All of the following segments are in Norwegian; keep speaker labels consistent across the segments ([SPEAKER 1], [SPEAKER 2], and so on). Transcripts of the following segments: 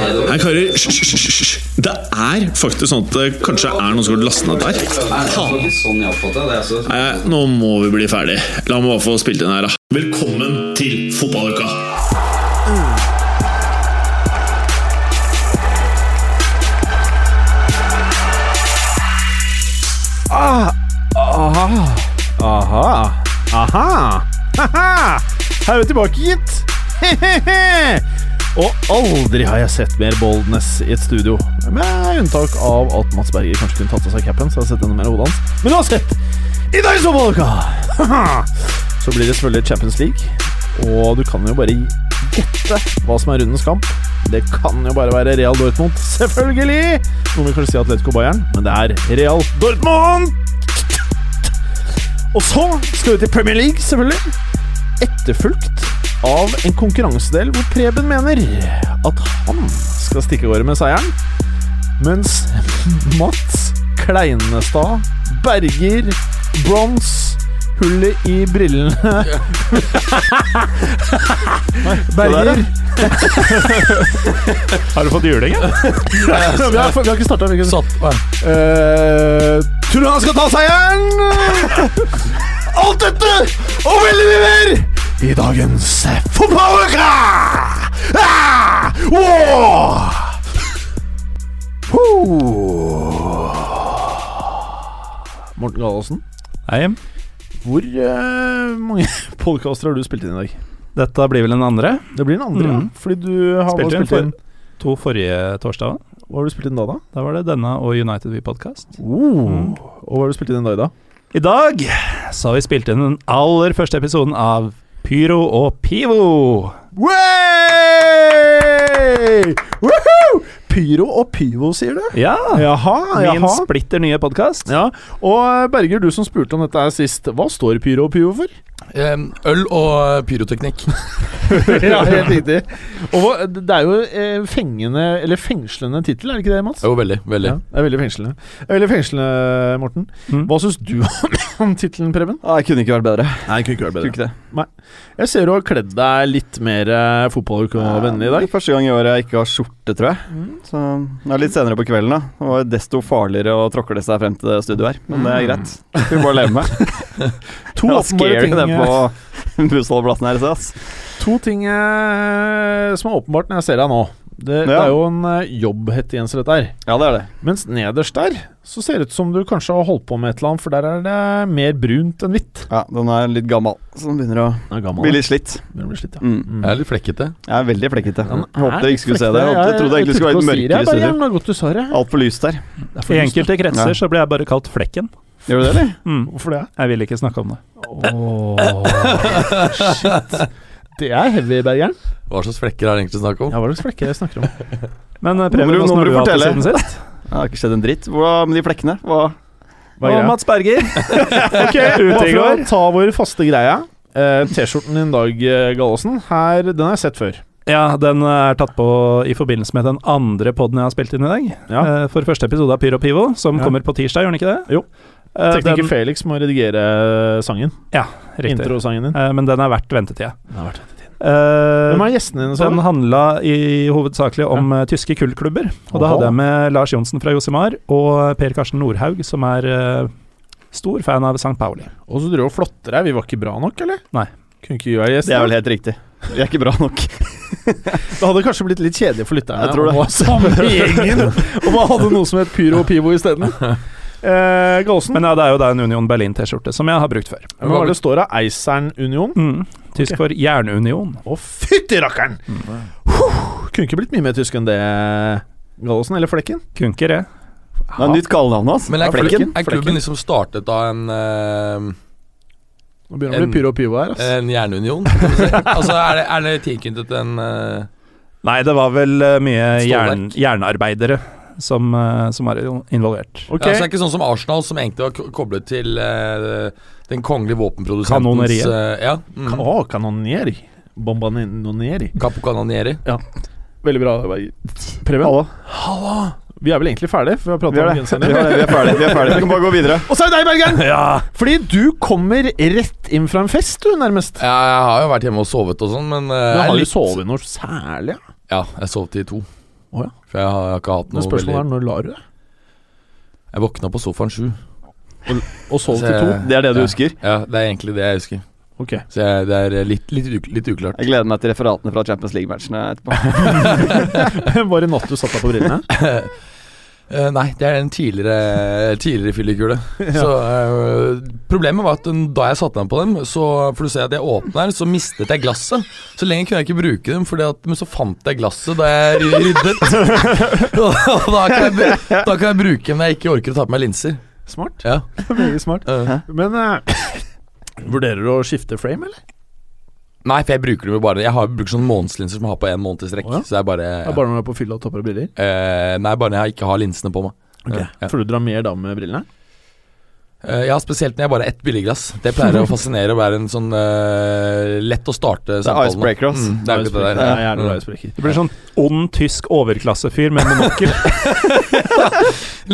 [SPEAKER 1] hører hysj, hysj, hysj, hysj. Det er faktisk sånn at det kanskje er noen som har lastet ned der.
[SPEAKER 2] var ikke sånn jeg oppfattet det. Altså.
[SPEAKER 1] Nei, nå må vi bli ferdig. La meg bare få spilt inn her, da. Velkommen til fotballuka!
[SPEAKER 3] Ah, Aha. Aha. Aha. Haha. Her er vi tilbake, gitt. Hehehe. Og aldri har jeg sett mer boldness i et studio. Med unntak av at Mats Berger kanskje kunne tatt av seg capen. Så jeg har sett enda mer av hodet hans. Men uansett, i dag så bolleka! Haha. Så blir det selvfølgelig Champions League. Og du kan jo bare gjette hva som er rundens kamp. Det kan jo bare være Real Dortmund, selvfølgelig! Noen vil kanskje si Atletico Bayern, men det er Real Dortmund! Og så skal vi til Premier League, selvfølgelig. Etterfulgt av en konkurransedel hvor Preben mener at han skal stikke av gårde med seieren. Mens Mats Kleinestad, Berger, Bronze Hullet i brillene Berger
[SPEAKER 4] Har du fått juling? ja?
[SPEAKER 3] vi, har, vi har ikke starta. Eh, tror du han skal ta seieren? Alt dette og veldig mye mer i dagens fotballuke! Ah! Wow! Ho! Morten Galaasen,
[SPEAKER 4] Hei.
[SPEAKER 3] hvor eh, mange podkaster har du spilt inn i dag?
[SPEAKER 4] Dette blir vel den andre.
[SPEAKER 3] Det blir den andre,
[SPEAKER 4] Mm.
[SPEAKER 3] ja. Fordi du har
[SPEAKER 4] Spilte
[SPEAKER 3] spilt
[SPEAKER 4] inn
[SPEAKER 3] spilt inn.
[SPEAKER 4] To forrige torsdager.
[SPEAKER 3] Hva har du spilt inn da, da?
[SPEAKER 4] Da var det denne og United We Podcast.
[SPEAKER 3] Oh. Og hva har du spilt inn i dag, da?
[SPEAKER 4] I dag så har vi spilt inn den aller første episoden av Pyro og Pivo.
[SPEAKER 3] Wey! Woohoo! Pyro og pyvo, sier du?
[SPEAKER 4] Ja!
[SPEAKER 3] Jaha,
[SPEAKER 4] Min
[SPEAKER 3] jaha.
[SPEAKER 4] splitter nye podkast.
[SPEAKER 3] Ja, Og eh, Berger, du som spurte om dette her sist, hva står pyro og pyvo for?
[SPEAKER 5] Em, Øl og pyroteknikk.
[SPEAKER 3] ja, Helt riktig. Og hva, Det er jo eh, fengende, eller fengslende tittel, er det ikke det, Mats?
[SPEAKER 5] Jo, veldig. veldig
[SPEAKER 3] Ja, det er veldig fengslende. Det er Veldig fengslende, Morten.
[SPEAKER 4] Mm.
[SPEAKER 3] Hva syns du om tittelen, Preben?
[SPEAKER 6] Ja, jeg kunne ikke vært bedre.
[SPEAKER 3] Nei, kunne ikke vært
[SPEAKER 6] Tror ikke sånn det.
[SPEAKER 3] Jeg ser du har kledd deg litt mer eh, fotballukevennlig i
[SPEAKER 6] Det
[SPEAKER 3] dag.
[SPEAKER 6] er første gang i året jeg ikke har skjorte, tror jeg. Så det er litt senere på kvelden, da. Det var desto farligere å tråkle seg frem til det studioet her. Men det er greit. Det får Vi bare leve med.
[SPEAKER 3] To
[SPEAKER 6] Jeg
[SPEAKER 3] åpenbare
[SPEAKER 6] rasker
[SPEAKER 3] ting,
[SPEAKER 6] det
[SPEAKER 3] eh,
[SPEAKER 6] på bussholdeplassen her. Så, ass.
[SPEAKER 3] To ting eh, som er åpenbart når jeg ser deg nå. Det, det
[SPEAKER 6] Ja.
[SPEAKER 3] er jo en eh, jobbhettegenser, dette her.
[SPEAKER 6] Ja, det er det.
[SPEAKER 3] Mens nederst der så ser det ut som du kanskje har holdt på med et eller annet, for der er det mer brunt enn hvitt.
[SPEAKER 6] Ja, Den er litt gammel, så den begynner å
[SPEAKER 3] Den er gammel.
[SPEAKER 6] bli litt slitt.
[SPEAKER 3] Den blir slitt, ja.
[SPEAKER 6] Mm.
[SPEAKER 3] Mm.
[SPEAKER 5] Jeg er litt flekkete.
[SPEAKER 6] Jeg er veldig flekkete.
[SPEAKER 3] Den
[SPEAKER 6] Jeg håpet
[SPEAKER 3] er
[SPEAKER 6] jeg ikke skulle se det. Jeg,
[SPEAKER 3] flekket.
[SPEAKER 6] håpet, jeg trodde det egentlig skulle være
[SPEAKER 3] trodde
[SPEAKER 6] litt
[SPEAKER 3] ikke å si det. Jeg
[SPEAKER 6] mørkere
[SPEAKER 3] bare,
[SPEAKER 6] studio.
[SPEAKER 3] "Jævla godt du sa det.
[SPEAKER 6] Altfor lyst der.
[SPEAKER 3] Det er for
[SPEAKER 4] I
[SPEAKER 3] lyst,
[SPEAKER 4] enkelte kretser
[SPEAKER 6] Ja.
[SPEAKER 4] så ble jeg bare kalt Flekken.
[SPEAKER 6] Gjør du det, eller?
[SPEAKER 4] Mm.
[SPEAKER 3] da. Hvorfor det?
[SPEAKER 4] Jeg vil ikke snakke om det.
[SPEAKER 3] Shit. Det er heavy, Bergeren.
[SPEAKER 5] Hva slags flekker er det egentlig snakk om?
[SPEAKER 3] Ja, hva slags flekker jeg snakker om?
[SPEAKER 4] Men
[SPEAKER 6] Nå må
[SPEAKER 4] eh, Preben,
[SPEAKER 6] du- nå
[SPEAKER 4] hvordan
[SPEAKER 6] må
[SPEAKER 4] har
[SPEAKER 6] du
[SPEAKER 4] du hatt det
[SPEAKER 6] fortelle.
[SPEAKER 4] siden sist?
[SPEAKER 6] Det har ikke skjedd en dritt. Hva med de flekkene? Hva?
[SPEAKER 3] Hva er
[SPEAKER 4] Og
[SPEAKER 3] greia?
[SPEAKER 4] Mats Berger.
[SPEAKER 3] Ok,
[SPEAKER 4] Ute i
[SPEAKER 3] bare for
[SPEAKER 4] går.
[SPEAKER 3] å ta vår faste greie. Eh, T-skjorten din i dag, eh, Gallosen, her, den har jeg sett før.
[SPEAKER 4] Ja, den er tatt på i forbindelse med den andre podden jeg har spilt inn i dag.
[SPEAKER 3] Ja.
[SPEAKER 4] Eh, For første episode av Pyro Pivo, som
[SPEAKER 3] Ja.
[SPEAKER 4] kommer på tirsdag, gjør den ikke det?
[SPEAKER 3] Jo.
[SPEAKER 4] Eh,
[SPEAKER 3] Tekniker
[SPEAKER 4] den-
[SPEAKER 3] Felix må redigere sangen.
[SPEAKER 4] Riktig.
[SPEAKER 3] Introsangen din.
[SPEAKER 4] Eh, Men den er verdt ventetida.
[SPEAKER 3] Hvem
[SPEAKER 4] Eh,
[SPEAKER 3] er gjestene dine? sa du?
[SPEAKER 4] Den handla i hovedsakelig om eh, tyske kullklubber. Og da
[SPEAKER 3] Oha.
[SPEAKER 4] hadde jeg med Lars Johnsen fra Josimar og Per Karsten Nordhaug, som er eh, stor fan av St. Pauli.
[SPEAKER 3] Og så drev du og flotter deg. Vi var ikke bra nok, eller?
[SPEAKER 4] Nei.
[SPEAKER 3] Kunne ikke vi være gjest?
[SPEAKER 6] Det er vel helt riktig. Vi er ikke bra nok.
[SPEAKER 3] Det hadde kanskje blitt litt kjedelig for lytterne.
[SPEAKER 6] Jeg tror det.
[SPEAKER 3] om å ha Samme gjengen. Og man hadde noe som het Pyro og Pivo isteden. Eh, Galsen,
[SPEAKER 4] Men ja, det er jo da en Union Berlin-T-skjorte, som jeg har brukt før.
[SPEAKER 3] hva er det det står av? Eisern Union?
[SPEAKER 4] Mm. Tysk for Jernunion.
[SPEAKER 3] Å, fytti rakkeren! Huh, Kunne ikke blitt mye mer tysk enn det, Gallosen. Eller Flekken.
[SPEAKER 4] Kunker, jeg.
[SPEAKER 6] Det er nytt kallenavn hans.
[SPEAKER 5] Men er,
[SPEAKER 6] Flekken.
[SPEAKER 5] er klubben liksom startet av en, eh,
[SPEAKER 3] Nå begynner det å
[SPEAKER 5] En-
[SPEAKER 3] bli Pyro og Pivo her. ass.
[SPEAKER 5] en jernunion? kan vi si. altså, er det, er det tilknyttet en eh,
[SPEAKER 4] Nei, det var vel eh, mye jern,
[SPEAKER 5] Stålverk.
[SPEAKER 4] jernarbeidere som, eh, som var involvert.
[SPEAKER 3] Ok,
[SPEAKER 5] ja, altså, Det er ikke sånn som Arsenal, som egentlig var ko- koblet til eh, den kongelige våpenprodusentens
[SPEAKER 4] Kanoneriet.
[SPEAKER 5] eh, ja.
[SPEAKER 3] Ka-
[SPEAKER 5] Mm.
[SPEAKER 3] Å, Kanonieri. Bombanonieri.
[SPEAKER 5] Capo Canonieri.
[SPEAKER 3] Veldig bra. Berger. Preben,
[SPEAKER 6] Hallo.
[SPEAKER 3] vi er vel egentlig ferdige? For vi har
[SPEAKER 6] Vi
[SPEAKER 3] pratet
[SPEAKER 6] er
[SPEAKER 3] om
[SPEAKER 6] det.
[SPEAKER 3] genseren
[SPEAKER 6] Vi
[SPEAKER 3] din.
[SPEAKER 6] er det. Vi er ferdig. Vi er ferdig. Vi kan bare gå videre.
[SPEAKER 3] Og så er det deg, Bergeren!
[SPEAKER 4] Ja!
[SPEAKER 3] Fordi du kommer rett inn fra en fest, du, nærmest.
[SPEAKER 5] Ja, jeg har jo vært hjemme og sovet og sånn, men eh,
[SPEAKER 3] Du
[SPEAKER 5] jeg
[SPEAKER 3] har
[SPEAKER 5] er
[SPEAKER 3] jo
[SPEAKER 5] litt-
[SPEAKER 3] sovet noe særlig. ja.
[SPEAKER 5] Ja, jeg sov til to.
[SPEAKER 3] Å ja.
[SPEAKER 5] For jeg har, jeg har ikke hatt
[SPEAKER 3] Men
[SPEAKER 5] noe
[SPEAKER 3] spørsmålet er
[SPEAKER 5] veldig
[SPEAKER 3] når lar du det?
[SPEAKER 5] Jeg våkna på sofaen sju.
[SPEAKER 3] Og sov
[SPEAKER 5] Så
[SPEAKER 3] til to?
[SPEAKER 5] jeg-
[SPEAKER 6] Det er det du
[SPEAKER 5] ja.
[SPEAKER 6] husker?
[SPEAKER 5] Ja, det er egentlig det jeg husker.
[SPEAKER 3] Ok.
[SPEAKER 5] Så jeg, det er litt, litt, uk- litt uklart.
[SPEAKER 6] Jeg gleder meg til referatene fra Champions League-matchene etterpå.
[SPEAKER 3] Var det natt du satt deg på brillene?
[SPEAKER 5] Eh, nei, det er en tidligere, tidligere fyllekule. Så eh, Problemet var at den- da jeg satte meg på dem, så For du ser at jeg åpner, så mistet jeg glasset. Så lenge kunne jeg ikke bruke dem, fordi at, men så fant jeg glasset da jeg ry- ryddet. Og da, kan jeg, bru- da kan jeg bruke dem når jeg ikke orker å ta på meg linser.
[SPEAKER 3] Smart.
[SPEAKER 5] Ja.
[SPEAKER 3] Veldig smart.
[SPEAKER 5] eh.
[SPEAKER 3] Men eh, vurderer du å skifte frame, eller?
[SPEAKER 5] Nei, for jeg bruker dem jo bare Jeg har bruker sånne månedslinser som jeg har på en måned i strekk.
[SPEAKER 3] Å ja.
[SPEAKER 5] Så det er bare,
[SPEAKER 3] Det er bare når du er på fylla og topper av briller?
[SPEAKER 5] Eh, Nei, bare når jeg ikke har linsene på meg.
[SPEAKER 3] Ok.
[SPEAKER 5] Ja, ja.
[SPEAKER 3] Får du dra mer da med brillene?
[SPEAKER 5] Eh, ja, spesielt når jeg bare har ett bildeglass. Det pleier å fascinere og være en sånn eh, lett å starte
[SPEAKER 6] Det er
[SPEAKER 5] samtalen med.
[SPEAKER 6] icebreaker, ass.
[SPEAKER 5] Mm, det er jo ikke det
[SPEAKER 3] Ja,
[SPEAKER 5] der.
[SPEAKER 3] jeg er
[SPEAKER 5] Mm.
[SPEAKER 3] glad i spreker.
[SPEAKER 4] Det blir sånn ond tysk overklassefyr med monokkel.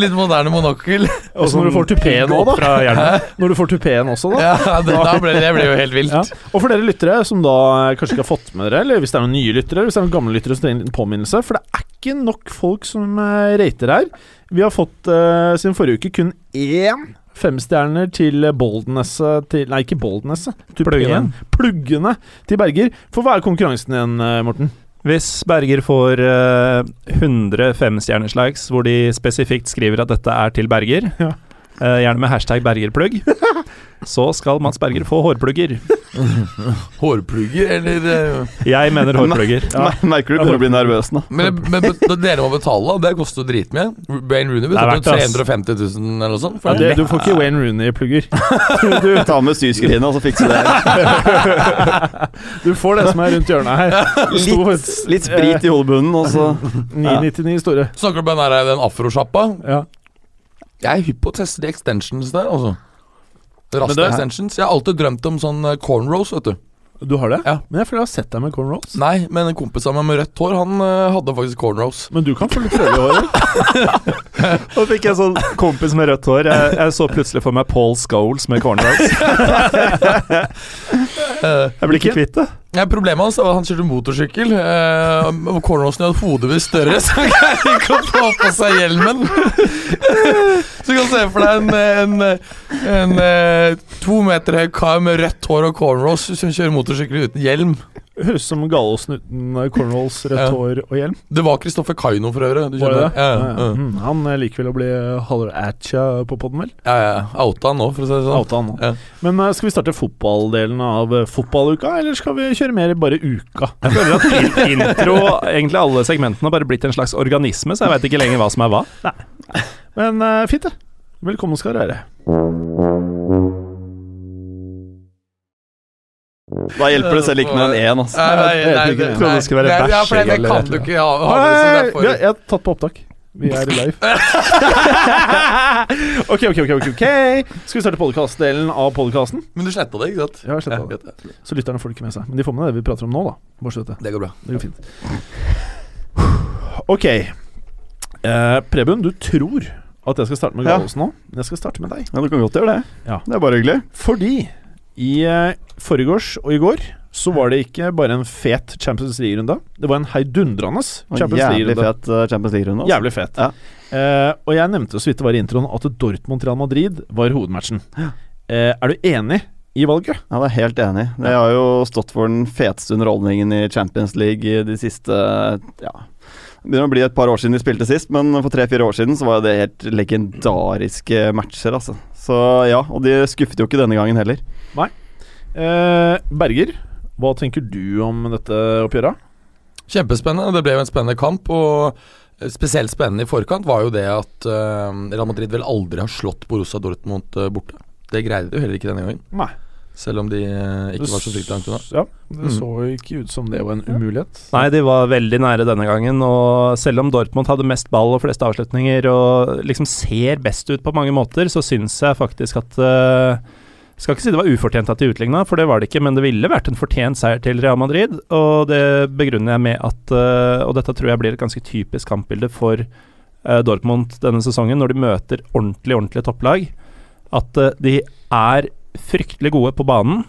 [SPEAKER 5] Litt moderne monokkel.
[SPEAKER 3] Også når du får tupeen òg,
[SPEAKER 4] opp
[SPEAKER 3] da.
[SPEAKER 4] fra hjelmen.
[SPEAKER 3] Når du får tupeen også, da.
[SPEAKER 5] ja, det, da ble det, det ble jo helt vilt.
[SPEAKER 3] Ja. Og for dere lyttere som da eh, kanskje ikke har fått med dere, eller hvis det er noen nye lyttere, eller hvis det er noen gamle lyttere som trenger en liten påminnelse, for det er ikke nok folk som eh, rater her. Vi har fått eh, siden forrige uke kun én femstjerner til eh, Boldenesset til Nei, ikke Boldenesset.
[SPEAKER 4] Pluggene.
[SPEAKER 3] Pluggene til Berger. For hva er konkurransen igjen, eh, Morten?
[SPEAKER 4] Hvis Berger får eh, 100 femstjerneslikes hvor de spesifikt skriver at dette er til Berger,
[SPEAKER 3] Ja.
[SPEAKER 4] eh, gjerne med hashtag bergerplugg, så skal Mats Berger få hårplugger.
[SPEAKER 5] Hårplugger, eller eh,
[SPEAKER 4] Jeg mener hårplugger.
[SPEAKER 6] Ja. Merker du begynner å bli nervøs nå?
[SPEAKER 5] Men, men bet- dere må betale, da. Det koster jo dritmye. Wayne Rooney
[SPEAKER 4] Det er
[SPEAKER 5] betalte
[SPEAKER 4] verdt det, ass.
[SPEAKER 5] 350 000 eller noe sånt.
[SPEAKER 3] Ja,
[SPEAKER 5] For
[SPEAKER 3] det, du får ikke Wayne Rooney-plugger. Du,
[SPEAKER 6] Ta med syskrinet, og så fikser du det.
[SPEAKER 3] du får det som er rundt hjørnet her. Det sto
[SPEAKER 6] Litt,
[SPEAKER 3] et
[SPEAKER 6] litt sprit i hodebunnen, og så
[SPEAKER 3] 999 store.
[SPEAKER 5] Snakker du om den, der- den afrosjappa?
[SPEAKER 3] Ja.
[SPEAKER 5] Jeg er hypp på å teste de extensions der, altså.
[SPEAKER 3] det-
[SPEAKER 5] Rasta-extensions. Jeg har alltid drømt om sånn eh, cornrows, vet du.
[SPEAKER 3] Du har det?
[SPEAKER 5] Ja.
[SPEAKER 3] Men jeg føler jeg har sett deg med cornrows.
[SPEAKER 5] Nei, men en kompis av meg med rødt hår, han eh, hadde faktisk cornrows.
[SPEAKER 3] Men du kan få litt krøll i håret.
[SPEAKER 4] Nå fikk jeg sånn kompis med rødt hår. Jeg, jeg så plutselig for meg Paul Scholes med cornrows.
[SPEAKER 5] Eh,
[SPEAKER 4] Jeg blir ikke kvitt det.
[SPEAKER 5] ja, problemet hans var at han kjørte motorsykkel. Uh, cornrowsen hadde hodet blitt større, så han greide ikke å få på seg hjelmen. så du kan se for deg en, eh, en, eh, en eh, to meter høy kar med rødt hår og cornrows som kjører motorsykkel uten hjelm.
[SPEAKER 3] Høres ut som Gallosen uten cornrows, rødt
[SPEAKER 5] Ja.
[SPEAKER 3] hår og hjelm.
[SPEAKER 5] Det var Kristoffer Kaino for øret. Du
[SPEAKER 3] Var det
[SPEAKER 5] skjønner?
[SPEAKER 3] det?
[SPEAKER 5] Ja,
[SPEAKER 3] Ja, ja.
[SPEAKER 5] ja.
[SPEAKER 3] Mm, han eh, liker vel å bli halvatcha på poden, vel?
[SPEAKER 5] Ja, ja. Outa han nå, for å si det sånn.
[SPEAKER 3] Outa han nå.
[SPEAKER 5] Ja.
[SPEAKER 3] Men eh, skal vi starte fotballdelen av eh, fotballuka, eller skal vi kjøre mer bare uka?
[SPEAKER 4] Jeg føler at in- intro, egentlig alle segmentene, har bare blitt en slags organisme, så jeg veit ikke lenger hva som er hva.
[SPEAKER 3] Men eh, fint, det. Velkommen skal dere være.
[SPEAKER 6] Da hjelper det selv ikke med en én, altså.
[SPEAKER 5] Nei, nei,
[SPEAKER 3] Jeg
[SPEAKER 5] nei,
[SPEAKER 3] vet ikke.
[SPEAKER 5] det-
[SPEAKER 3] Jeg
[SPEAKER 4] trodde det skulle være
[SPEAKER 5] nei, ja,
[SPEAKER 4] bæsj,
[SPEAKER 5] for det- det
[SPEAKER 4] eller-
[SPEAKER 5] kan du ikke ha. ha det, så
[SPEAKER 3] Hei,
[SPEAKER 5] derfor-
[SPEAKER 3] vi har, jeg har tatt på opptak. Vi er live. ok, ok, ok. ok, ok Skal vi starte podkastdelen av podkasten?
[SPEAKER 5] Men du sletta det, ikke sant?
[SPEAKER 3] Ja, jeg
[SPEAKER 5] Ja,
[SPEAKER 3] sletter det.
[SPEAKER 5] greit, det.
[SPEAKER 3] Så lytterne får det ikke med seg. Men de får med det vi prater om nå, da. Bare så vet det.
[SPEAKER 5] det går bra.
[SPEAKER 3] Det går fint. Ok. Eh, Preben, du tror at jeg skal starte med
[SPEAKER 6] Ja.
[SPEAKER 3] Gallosen nå. Men Jeg skal starte med deg.
[SPEAKER 6] Ja, du kan godt gjøre det.
[SPEAKER 3] Ja.
[SPEAKER 6] Det er bare hyggelig.
[SPEAKER 3] Fordi i eh, forgårs og i går så var det ikke bare en fet Champions League-runde. Det var en heidundrende
[SPEAKER 6] Og
[SPEAKER 3] Champions
[SPEAKER 6] Jævlig
[SPEAKER 3] League-runde.
[SPEAKER 6] fet eh, Champions League-runde. altså.
[SPEAKER 3] Jævlig fet.
[SPEAKER 6] Ja.
[SPEAKER 3] Eh, og jeg nevnte jo så vidt det var i introen at Dortmund-Real Madrid var hovedmatchen. Eh, er du enig i valget?
[SPEAKER 6] Ja, det er jeg helt enig. i. Det har jo stått for den feteste underholdningen i Champions League i de siste ja, Det begynner å bli et par år siden de spilte sist, men for tre-fire år siden så var jo det helt legendariske matcher, altså. Så ja, og de skuffet jo ikke denne gangen heller.
[SPEAKER 3] Eh, Berger, hva tenker du om dette oppgjøret?
[SPEAKER 5] Kjempespennende. Det ble jo en spennende kamp. Og eh, spesielt spennende i forkant var jo det at eh, Real Madrid vel aldri har slått Borussia Dortmund eh, borte. Det greide de jo heller ikke denne gangen.
[SPEAKER 3] Nei.
[SPEAKER 5] Selv om de eh, ikke var så fryktelig langt unna.
[SPEAKER 3] Ja, det så ikke ut som det var en umulighet.
[SPEAKER 4] Nei, de var veldig nære denne gangen, og selv om Dortmund hadde mest ball og flest avslutninger og liksom ser best ut på mange måter, så syns jeg faktisk at eh, Skal ikke si det var ufortjent at de utligna, for det var det ikke, men det ville vært en fortjent seier til Real Madrid, og det begrunner jeg med at eh, Og dette tror jeg blir et ganske typisk kampbilde for eh, Dortmund denne sesongen, når de møter ordentlig, ordentlig topplag, at eh, de er fryktelig gode på banen.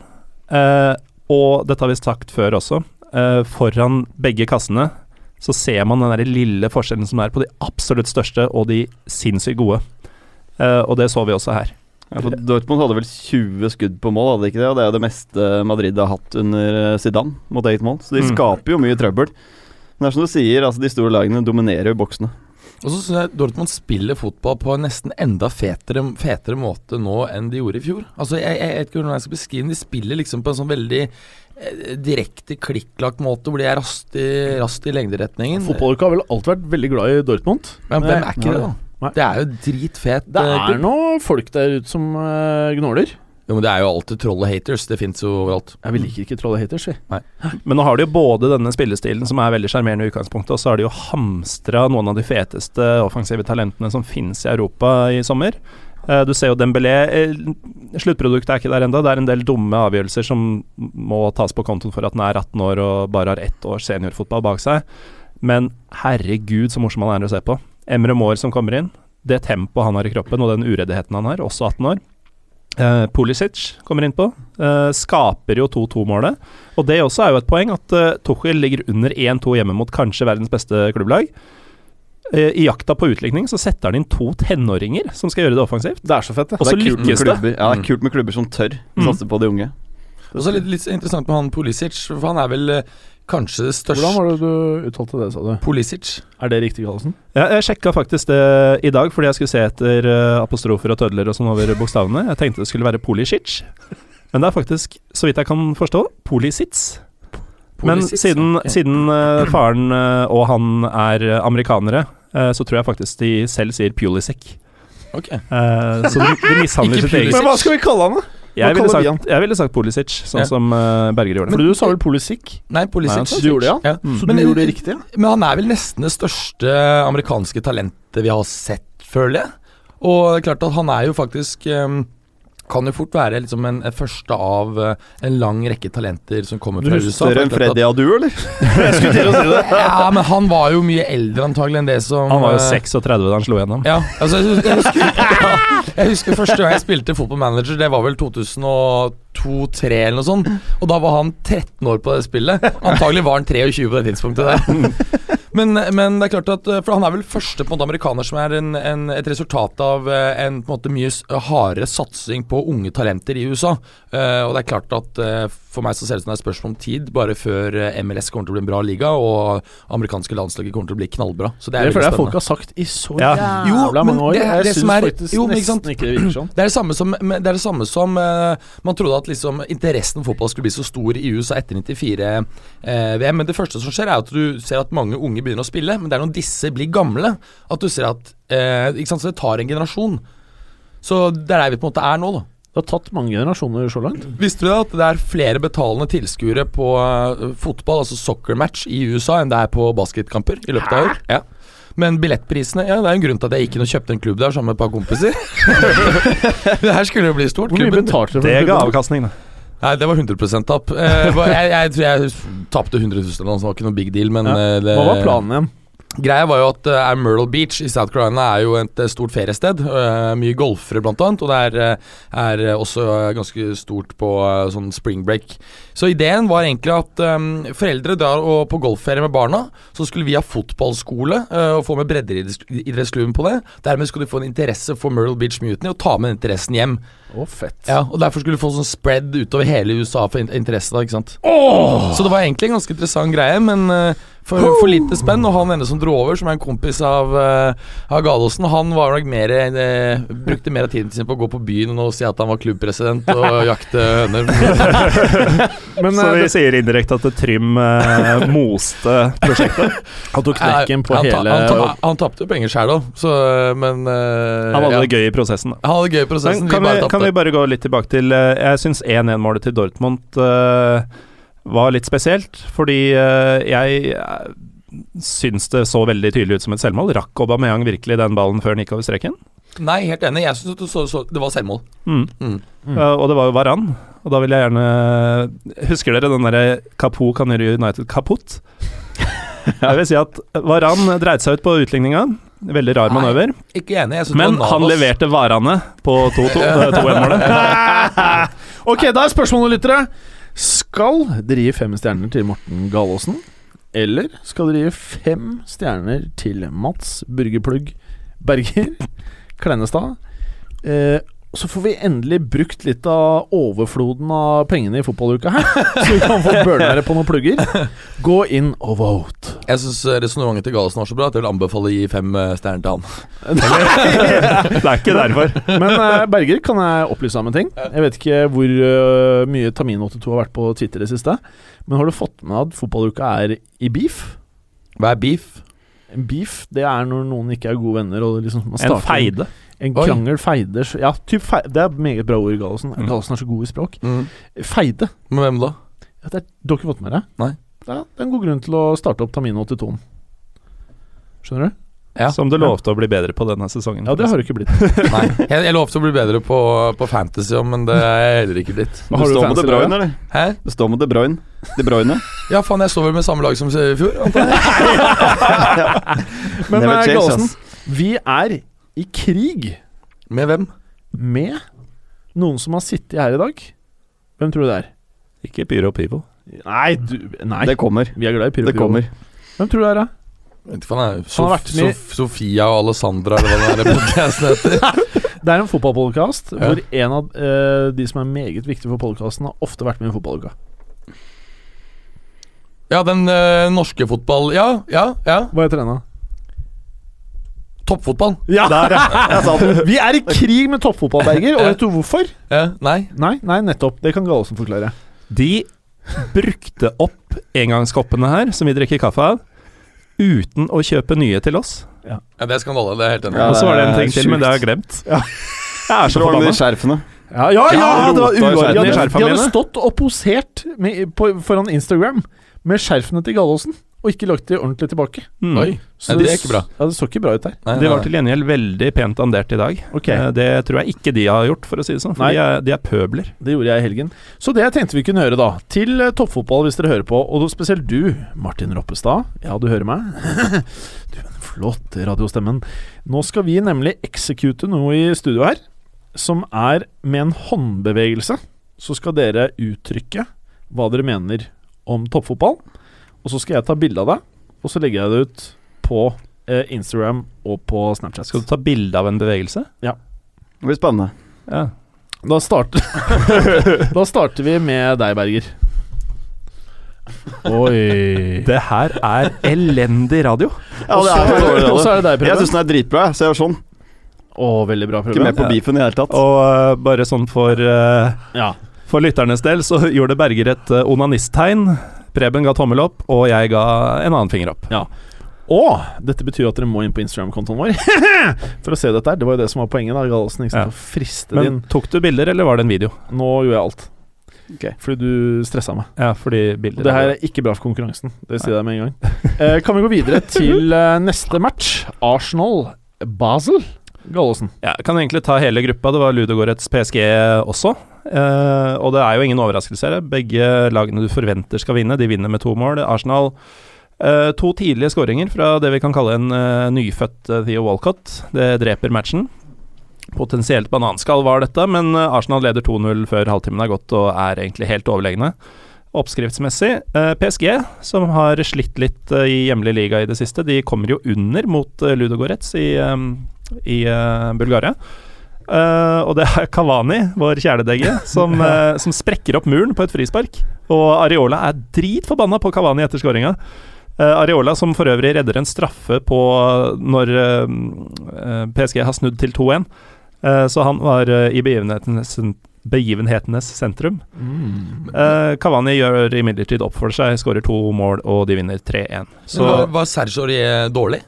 [SPEAKER 4] eh, og dette har vi sagt før også, eh, foran begge kassene så ser man den der lille forskjellen som er på de absolutt største og de sinnssykt gode. Eh, og det så vi også her.
[SPEAKER 6] Ja, for Dortmund hadde vel 20 skudd på mål, hadde de ikke det? Og det er jo det meste Madrid har hatt under eh, Zidane mot eget mål, så de
[SPEAKER 4] Mm.
[SPEAKER 6] skaper jo mye trøbbel. Men det er som du sier, altså de store lagene dominerer jo boksene.
[SPEAKER 5] Og så syns jeg Dortmund spiller fotball på en nesten enda fetere, fetere måte nå enn de gjorde i fjor. Altså, jeg, jeg vet ikke hvordan jeg skal beskrive det. De spiller liksom på en sånn veldig eh, direkte klikklagt måte, hvor de er rast i, rast i lengderetningen.
[SPEAKER 3] Fotballuka har vel alltid vært veldig glad i Dortmund.
[SPEAKER 5] Men hvem er ikke det, da?
[SPEAKER 3] Nei.
[SPEAKER 5] Det er jo dritfet.
[SPEAKER 3] Det
[SPEAKER 5] eh,
[SPEAKER 3] er nå folk der ute som eh, gnåler.
[SPEAKER 5] Jo, men det er jo alltid troll og haters. Det fins jo overalt.
[SPEAKER 3] Ja, vi liker ikke troll og haters, vi.
[SPEAKER 4] Men nå har de jo både denne spillestilen, som er veldig sjarmerende i utgangspunktet, og så har de jo hamstra noen av de feteste offensive talentene som finnes i Europa i sommer. Eh, Du ser jo Dembélé eh, Sluttproduktet er ikke der ennå. Det er en del dumme avgjørelser som må tas på kontoen for at han er 18 år og bare har ett års seniorfotball bak seg. Men herregud, så morsom han er å se på. Emre Moore som kommer inn. Det tempoet han har i kroppen, og den ureddheten han har, også 18 år. Eh, Pulisic kommer innpå. Eh, skaper jo 2-2-målet. Og det også er jo et poeng at eh, Tuchel ligger under 1-2 hjemme mot kanskje verdens beste klubblag. Eh, I jakta på utligning så setter han inn to tenåringer som skal gjøre det offensivt.
[SPEAKER 3] Det er så fett, det.
[SPEAKER 4] Og så
[SPEAKER 6] det er kult med
[SPEAKER 4] lykkes det.
[SPEAKER 6] klubber, ja, det er kult med klubber som tør å
[SPEAKER 4] Mm.
[SPEAKER 6] satse på de unge.
[SPEAKER 5] Og så litt, litt interessant med han Pulisic, for han er vel eh, kanskje det
[SPEAKER 3] Hvordan
[SPEAKER 5] største
[SPEAKER 3] var det du uttalte det, sa du?
[SPEAKER 5] Pulisic.
[SPEAKER 3] Er det riktig, Kallesen?
[SPEAKER 4] Ja, jeg sjekka faktisk det i dag, fordi jeg skulle se etter eh, apostrofer og tødler og sånn over bokstavene. Jeg tenkte det skulle være Polisic, men det er faktisk, så vidt jeg kan forstå, Polisits. Men
[SPEAKER 5] Pulisic,
[SPEAKER 4] siden,
[SPEAKER 5] ja.
[SPEAKER 4] siden eh, faren eh, og han er eh, amerikanere, eh, så tror jeg faktisk de selv sier Pulisic.
[SPEAKER 5] Ok.
[SPEAKER 4] Eh, så de, de mishandler
[SPEAKER 5] Ikke
[SPEAKER 4] sitt eget
[SPEAKER 5] Pulisic.
[SPEAKER 3] Men hva skal vi kalle han, da?
[SPEAKER 4] Jeg ville,
[SPEAKER 3] kaller vi
[SPEAKER 4] sagt, jeg ville sagt Pulisic, sånn
[SPEAKER 5] Ja.
[SPEAKER 4] som eh, Berger gjorde.
[SPEAKER 3] For du sa vel Polisic?
[SPEAKER 5] Nei, Pulisic.
[SPEAKER 3] Nei, så du gjorde det,
[SPEAKER 5] ja.
[SPEAKER 3] Så
[SPEAKER 5] Men-
[SPEAKER 3] du gjorde det riktig? Ja?
[SPEAKER 5] Men han er vel nesten det største amerikanske talentet vi har sett, føler jeg. Og det er klart at han er jo faktisk eh, kan jo fort være liksom en, en første av eh, en lang rekke talenter som kommer
[SPEAKER 3] Du
[SPEAKER 5] fra
[SPEAKER 3] husker
[SPEAKER 5] USA. for
[SPEAKER 6] Større enn
[SPEAKER 5] det er klart
[SPEAKER 6] Freddy Adu, eller?
[SPEAKER 5] at- Ja, men han var jo mye eldre antagelig enn det som
[SPEAKER 4] Han var jo
[SPEAKER 5] eh,
[SPEAKER 4] 36 da han slo
[SPEAKER 3] Liksom.
[SPEAKER 4] gjennom.
[SPEAKER 5] Ja, altså jeg husker, jeg, husker, ja, jeg husker første gang jeg spilte Football Manager, det var vel 2002-2003 eller noe sånt. Og da var han 13 år på det spillet. Antagelig var han 23 på det tidspunktet der. Men, men det er klart at eh, For han er vel første på en måte amerikaner som er en, en, et resultat av eh, en på en måte mye s- eh, hardere satsing på unge talenter i USA. Eh, og det er klart at eh, for meg så ser det ut som det er spørsmål om tid bare før eh, MLS kommer til å bli en bra liga, og amerikanske landslaget kommer til å bli knallbra. Så det
[SPEAKER 3] Det
[SPEAKER 5] er veldig
[SPEAKER 3] føler jeg
[SPEAKER 5] spennende.
[SPEAKER 3] folk har sagt i så
[SPEAKER 4] Ja.
[SPEAKER 5] Jo,
[SPEAKER 3] jævla
[SPEAKER 5] men
[SPEAKER 3] mange år.
[SPEAKER 5] det er
[SPEAKER 3] jeg
[SPEAKER 5] det
[SPEAKER 3] syns
[SPEAKER 5] som er-
[SPEAKER 3] faktisk
[SPEAKER 5] jo, men ikke sant?
[SPEAKER 3] nesten ikke det virker sånn.
[SPEAKER 5] Det er det samme som, men det er det samme som eh, man trodde at liksom, interessen for fotball skulle bli så stor i USA etter 94-VM. men det første som skjer, er at du ser at mange unge begynner å spille. Men det er når disse blir gamle, at du ser at eh, ikke sant, Så det tar en generasjon. Så det er der vi på en måte er nå, da.
[SPEAKER 3] Det har tatt mange generasjoner så langt.
[SPEAKER 5] Visste du det at det er flere betalende tilskuere på eh, fotball, altså soccermatch, i USA enn det er på basketkamper i løpet av i år? Ja. Men billettprisene ja, Det er jo en grunn til at jeg gikk inn og kjøpte en klubb der sammen med et par kompiser. det her skulle jo bli stort.
[SPEAKER 3] Hvor mye
[SPEAKER 5] Klubben-
[SPEAKER 3] betalte du for
[SPEAKER 4] Det ga
[SPEAKER 3] klubben?
[SPEAKER 4] avkastning, da.
[SPEAKER 5] Nei, det var 100 tap. Eh, hva- jeg, jeg tror jeg tapte 100 000 eller noe, så det var ikke noe big deal, men
[SPEAKER 3] Ja.
[SPEAKER 5] eh, det,
[SPEAKER 3] Hva var planen igjen?
[SPEAKER 5] Greia var jo at eh, Myrtle Beach i South Carolina er jo et eh, stort feriested. eh, mye golfere, blant annet, og det er, eh, er eh, også eh, ganske stort på eh, sånn spring break. Så ideen var egentlig at eh, foreldre drar og på golfferie med barna. Så skulle vi ha fotballskole eh, og få med breddeidrettsklubben på det. Dermed skulle de få en interesse for Myrtle Beach Mutiny og ta med den interessen hjem.
[SPEAKER 3] Å, fett.
[SPEAKER 5] Ja, og Derfor skulle du få sånn spread utover hele USA for in- interesse. da, ikke sant? Så det var egentlig en ganske interessant greie, men eh, for, for lite spenn. Og han ene som dro over, som er en kompis av, eh, av Gallosen, han var nok mer, eh, brukte mer av tiden sin på å gå på byen og si at han var klubbpresident og jakte høner.
[SPEAKER 3] Men
[SPEAKER 4] Så
[SPEAKER 3] eh,
[SPEAKER 4] vi sier indirekte at Trym eh, moste prosjektet.
[SPEAKER 3] han tok knekken på
[SPEAKER 5] han, ta-
[SPEAKER 3] hele
[SPEAKER 5] han, ta- han tapte jo penger sjæl òg, så eh, men eh,
[SPEAKER 4] Han hadde
[SPEAKER 5] ja.
[SPEAKER 4] det gøy i prosessen, da.
[SPEAKER 5] han hadde det gøy i
[SPEAKER 4] Men
[SPEAKER 5] prosessen.
[SPEAKER 4] kan,
[SPEAKER 5] vi bare
[SPEAKER 4] vi,
[SPEAKER 5] tapte.
[SPEAKER 4] kan vi bare gå litt tilbake til eh, Jeg syns 1-1-målet til Dortmund eh, var litt spesielt, fordi eh, jeg eh, syns det så veldig tydelig ut som et selvmål. Rakk Aubameyang virkelig den ballen før den gikk over streken?
[SPEAKER 5] Nei, helt enig. Jeg syns det, så, så, det var selvmål.
[SPEAKER 4] Mm.
[SPEAKER 5] Mm.
[SPEAKER 4] Ja, og det var jo Varan. Og da vil jeg gjerne Husker dere den derre Kapo kan gjøre United kaputt? Jeg vil si at Varan dreit seg ut på utligninga. Veldig rar
[SPEAKER 5] Nei.
[SPEAKER 4] manøver.
[SPEAKER 5] Ikke enig. Jeg synes
[SPEAKER 4] Men
[SPEAKER 5] det var
[SPEAKER 4] han
[SPEAKER 5] Navas.
[SPEAKER 4] leverte varene på 2-1-målet.
[SPEAKER 5] Eh.
[SPEAKER 3] Ok, da er spørsmålet, lyttere. Skal dere gi fem stjerner til Morten Galaasen? Eller skal dere gi fem stjerner til Mats Burgerplugg Berger Kleinestad? Eh, så får vi endelig brukt litt av overfloden av pengene i fotballuka her. Så vi kan få bølnere på noen plugger. Gå inn og vote.
[SPEAKER 5] Jeg syns resonnementet til Galesen var så bra at jeg vil anbefale å gi fem eh, stjerner til han.
[SPEAKER 4] Det er ikke derfor.
[SPEAKER 3] Men eh, Berger, kan jeg opplyse om en ting? Jeg vet ikke hvor eh, mye Tamin82 har vært på Twitter i det siste, men har du fått med at fotballuka er i beef?
[SPEAKER 5] Hva er beef?
[SPEAKER 3] En beef, det er når noen ikke er gode venner og liksom man
[SPEAKER 4] En
[SPEAKER 3] starter
[SPEAKER 4] feide.
[SPEAKER 3] En
[SPEAKER 5] Oi.
[SPEAKER 3] krangel, feide så- Ja, typ feide. det er meget bra ord, Gallosen.
[SPEAKER 5] Mm.
[SPEAKER 3] Gallosen er så god i språk.
[SPEAKER 5] Mm.
[SPEAKER 3] Feide.
[SPEAKER 5] Men hvem da?
[SPEAKER 3] Ja, det er, du har ikke fått med deg?
[SPEAKER 5] Nei.
[SPEAKER 3] Ja, det er en god grunn til å starte opp Tamino 82-en. Skjønner du?
[SPEAKER 5] Ja.
[SPEAKER 4] Som du lovte å bli bedre på denne sesongen.
[SPEAKER 3] Ja, det har du ikke blitt.
[SPEAKER 5] Nei, jeg, jeg lovte å bli bedre på, på fantasy, ja, men det er jeg heller ikke blitt.
[SPEAKER 6] Du står med De Bruyne, eller?
[SPEAKER 5] Hæ?
[SPEAKER 6] Du står med De Bruyne. De Bruyne.
[SPEAKER 5] Ja, faen, jeg står vel med samme lag som i fjor. antar jeg.
[SPEAKER 3] Men
[SPEAKER 6] Never
[SPEAKER 3] eh,
[SPEAKER 6] change,
[SPEAKER 3] Gallosen,
[SPEAKER 6] ass.
[SPEAKER 3] vi er i krig
[SPEAKER 5] Med hvem?
[SPEAKER 3] med noen som har sittet her i dag. Hvem tror du det er?
[SPEAKER 4] Ikke Pyro Pivo.
[SPEAKER 3] Nei, du Nei.
[SPEAKER 6] Det kommer.
[SPEAKER 3] vi er glad i Pyro
[SPEAKER 6] Det
[SPEAKER 3] Pyro.
[SPEAKER 6] kommer.
[SPEAKER 3] Hvem tror du det er, da?
[SPEAKER 5] Jeg Vet ikke, faen, jeg,
[SPEAKER 3] Han
[SPEAKER 5] Sof
[SPEAKER 3] har vært med i-
[SPEAKER 5] Sof Sofia og Alessandra, eller hva den der podcasten heter.
[SPEAKER 3] Det er en fotballpodkast
[SPEAKER 5] Ja.
[SPEAKER 3] hvor en av eh, de som er meget viktige for podkasten, har ofte vært med i en fotballuke.
[SPEAKER 5] Ja, den eh, norske fotball... Ja, ja, ja.
[SPEAKER 3] Hva heter den, da?
[SPEAKER 5] Toppfotball.
[SPEAKER 3] Ja!
[SPEAKER 6] Jeg sa det.
[SPEAKER 3] Vi er i krig med toppfotball, Berger, og vet du hvorfor?
[SPEAKER 5] Ja, nei.
[SPEAKER 3] Nei, nei, nettopp. Det kan Gallosen forklare.
[SPEAKER 4] De brukte opp engangskoppene her, som vi drikker kaffe av, uten å kjøpe nye til oss.
[SPEAKER 5] Ja, det er skandale. Det er jeg helt enig.
[SPEAKER 6] Ja,
[SPEAKER 5] i.
[SPEAKER 4] Og så var det
[SPEAKER 6] det
[SPEAKER 4] en
[SPEAKER 6] er
[SPEAKER 4] ting til, men det har jeg glemt.
[SPEAKER 3] Ja.
[SPEAKER 4] Jeg er så
[SPEAKER 6] Hvordan
[SPEAKER 4] forbanna.
[SPEAKER 6] de skjerfene.
[SPEAKER 3] Ja, ja, Ah, ja!
[SPEAKER 6] Ja,
[SPEAKER 3] det var
[SPEAKER 6] rota i
[SPEAKER 3] uorden i
[SPEAKER 6] skjerfene.
[SPEAKER 3] skjerfene. De hadde
[SPEAKER 4] mine.
[SPEAKER 3] stått og posert med, på, foran Instagram med skjerfene til Gallosen, og ikke lagt de ordentlig tilbake.
[SPEAKER 4] Mm.
[SPEAKER 5] Oi. Nei, det er ikke bra.
[SPEAKER 3] Ja, det så ikke bra ut der.
[SPEAKER 5] Nei,
[SPEAKER 4] De
[SPEAKER 5] nei,
[SPEAKER 4] var til gjengjeld veldig pent andert i dag.
[SPEAKER 3] Ok,
[SPEAKER 4] Eh, Det tror jeg ikke de har gjort, for å si det sånn. For
[SPEAKER 3] Nei.
[SPEAKER 4] de er, de er pøbler.
[SPEAKER 3] Det gjorde jeg i helgen. Så det tenkte vi kunne høre, da. Til eh, toppfotball, hvis dere hører på, og da spesielt du, Martin Roppestad. Ja, du hører meg. du, den flotte radiostemmen. Nå skal vi nemlig execute noe i studio her, som er med en håndbevegelse. Så skal dere uttrykke hva dere mener om toppfotball, og så skal jeg ta bilde av det, og så legger jeg det ut på eh, Instagram og på Snapchat.
[SPEAKER 4] Skal du ta bilde av en bevegelse?
[SPEAKER 6] Det blir spennende.
[SPEAKER 4] Ja.
[SPEAKER 3] Da starter Da starter vi med deg, Berger. Oi
[SPEAKER 4] Det her er elendig radio.
[SPEAKER 6] Ja, det er jo dårlig,
[SPEAKER 3] Og så
[SPEAKER 6] det.
[SPEAKER 3] er det deg,
[SPEAKER 6] Jeg syns
[SPEAKER 3] Preben.
[SPEAKER 6] den er dritbra, jeg, så jeg gjør sånn.
[SPEAKER 3] Å, veldig bra,
[SPEAKER 6] Ikke med
[SPEAKER 3] Preben.
[SPEAKER 6] på beefen i det hele tatt.
[SPEAKER 4] Og eh, bare sånn for eh,
[SPEAKER 3] Ja.
[SPEAKER 4] For lytternes del så gjorde Berger et eh, onanisttegn. Preben ga tommel opp, og jeg ga en annen finger opp.
[SPEAKER 3] Og dette betyr at dere må inn på Instagram-kontoen vår for å se dette her. Det var jo det som var poenget. da, Galsen, ikke
[SPEAKER 4] Ja.
[SPEAKER 3] sant? Å friste
[SPEAKER 4] Men tok du bilder, eller var det en video?
[SPEAKER 3] din Nå gjorde jeg alt.
[SPEAKER 6] Ok.
[SPEAKER 3] Fordi du stressa meg.
[SPEAKER 4] Ja, fordi
[SPEAKER 3] Og
[SPEAKER 4] bilder
[SPEAKER 3] det her er ikke bra for konkurransen. Det sier jeg med en gang. Eh, kan vi gå videre til eh, neste match? Arsenal-Basel. Gallosen.
[SPEAKER 4] Ja, jeg kan egentlig ta hele gruppa. Det var Ludogorets PSG også. Eh, og det er jo ingen overraskelser. her. Begge lagene du forventer skal vinne, de vinner med to mål. Arsenal eh, to tidlige skåringer fra det vi kan kalle en eh, nyfødt eh, Theo Walcott. Det dreper matchen. Potensielt bananskall var dette, men eh, Arsenal leder 2-0 før halvtimen er gått og er egentlig helt overlegne. Oppskriftsmessig, eh, PSG, som har slitt litt eh, i hjemlig liga i det siste, de kommer jo under mot eh, Ludogorets i eh, i eh, Bulgaria. Eh, og det er Kavani, vår kjæledegge, som, eh, som sprekker opp muren på et frispark. Og Areola er dritforbanna på Kavani etter skåringa. Eh, Areola som for øvrig redder en straffe på når eh, eh, PSG har snudd til 2-1. Eh, så han var eh, i begivenhetenes, begivenhetenes sentrum.
[SPEAKER 3] Mm.
[SPEAKER 4] Eh, Kavani gjør imidlertid opp for seg, skårer to mål, og de vinner 3-1.
[SPEAKER 5] Så var,
[SPEAKER 4] Så
[SPEAKER 5] var Serge Aurier dårlig?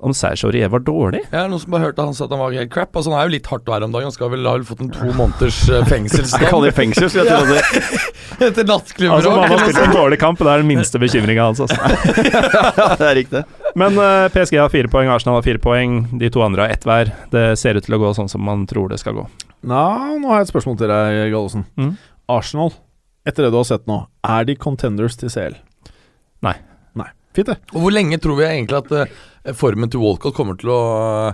[SPEAKER 4] om Serge Aurier var dårlig
[SPEAKER 5] Jeg er noen som bare hørte han sa at han var helt crap. Altså, han er jo litt hardt å være om dagen. Han skal vel ha fått en to måneders eh,
[SPEAKER 6] Jeg kaller
[SPEAKER 5] fengselsdom
[SPEAKER 6] det fengsel, skulle jeg til å si.
[SPEAKER 5] etter nattklubber
[SPEAKER 4] Altså,
[SPEAKER 5] og
[SPEAKER 4] man har spilt en dårlig kamp, det er den minste bekymringa hans. Altså.
[SPEAKER 6] Ja, det er riktig.
[SPEAKER 4] Men eh, PSG har fire poeng, Arsenal har fire poeng, de to andre har ett hver. Det ser ut til å gå sånn som man tror det skal gå.
[SPEAKER 3] Nå, nå har jeg et spørsmål til deg, Gallosen.
[SPEAKER 4] Mm.
[SPEAKER 3] Arsenal, etter det du har sett nå, er de contenders til CL?
[SPEAKER 4] Nei.
[SPEAKER 3] Nei. Fint, det.
[SPEAKER 5] Og hvor lenge tror vi egentlig at eh, formen til Walcott kommer til å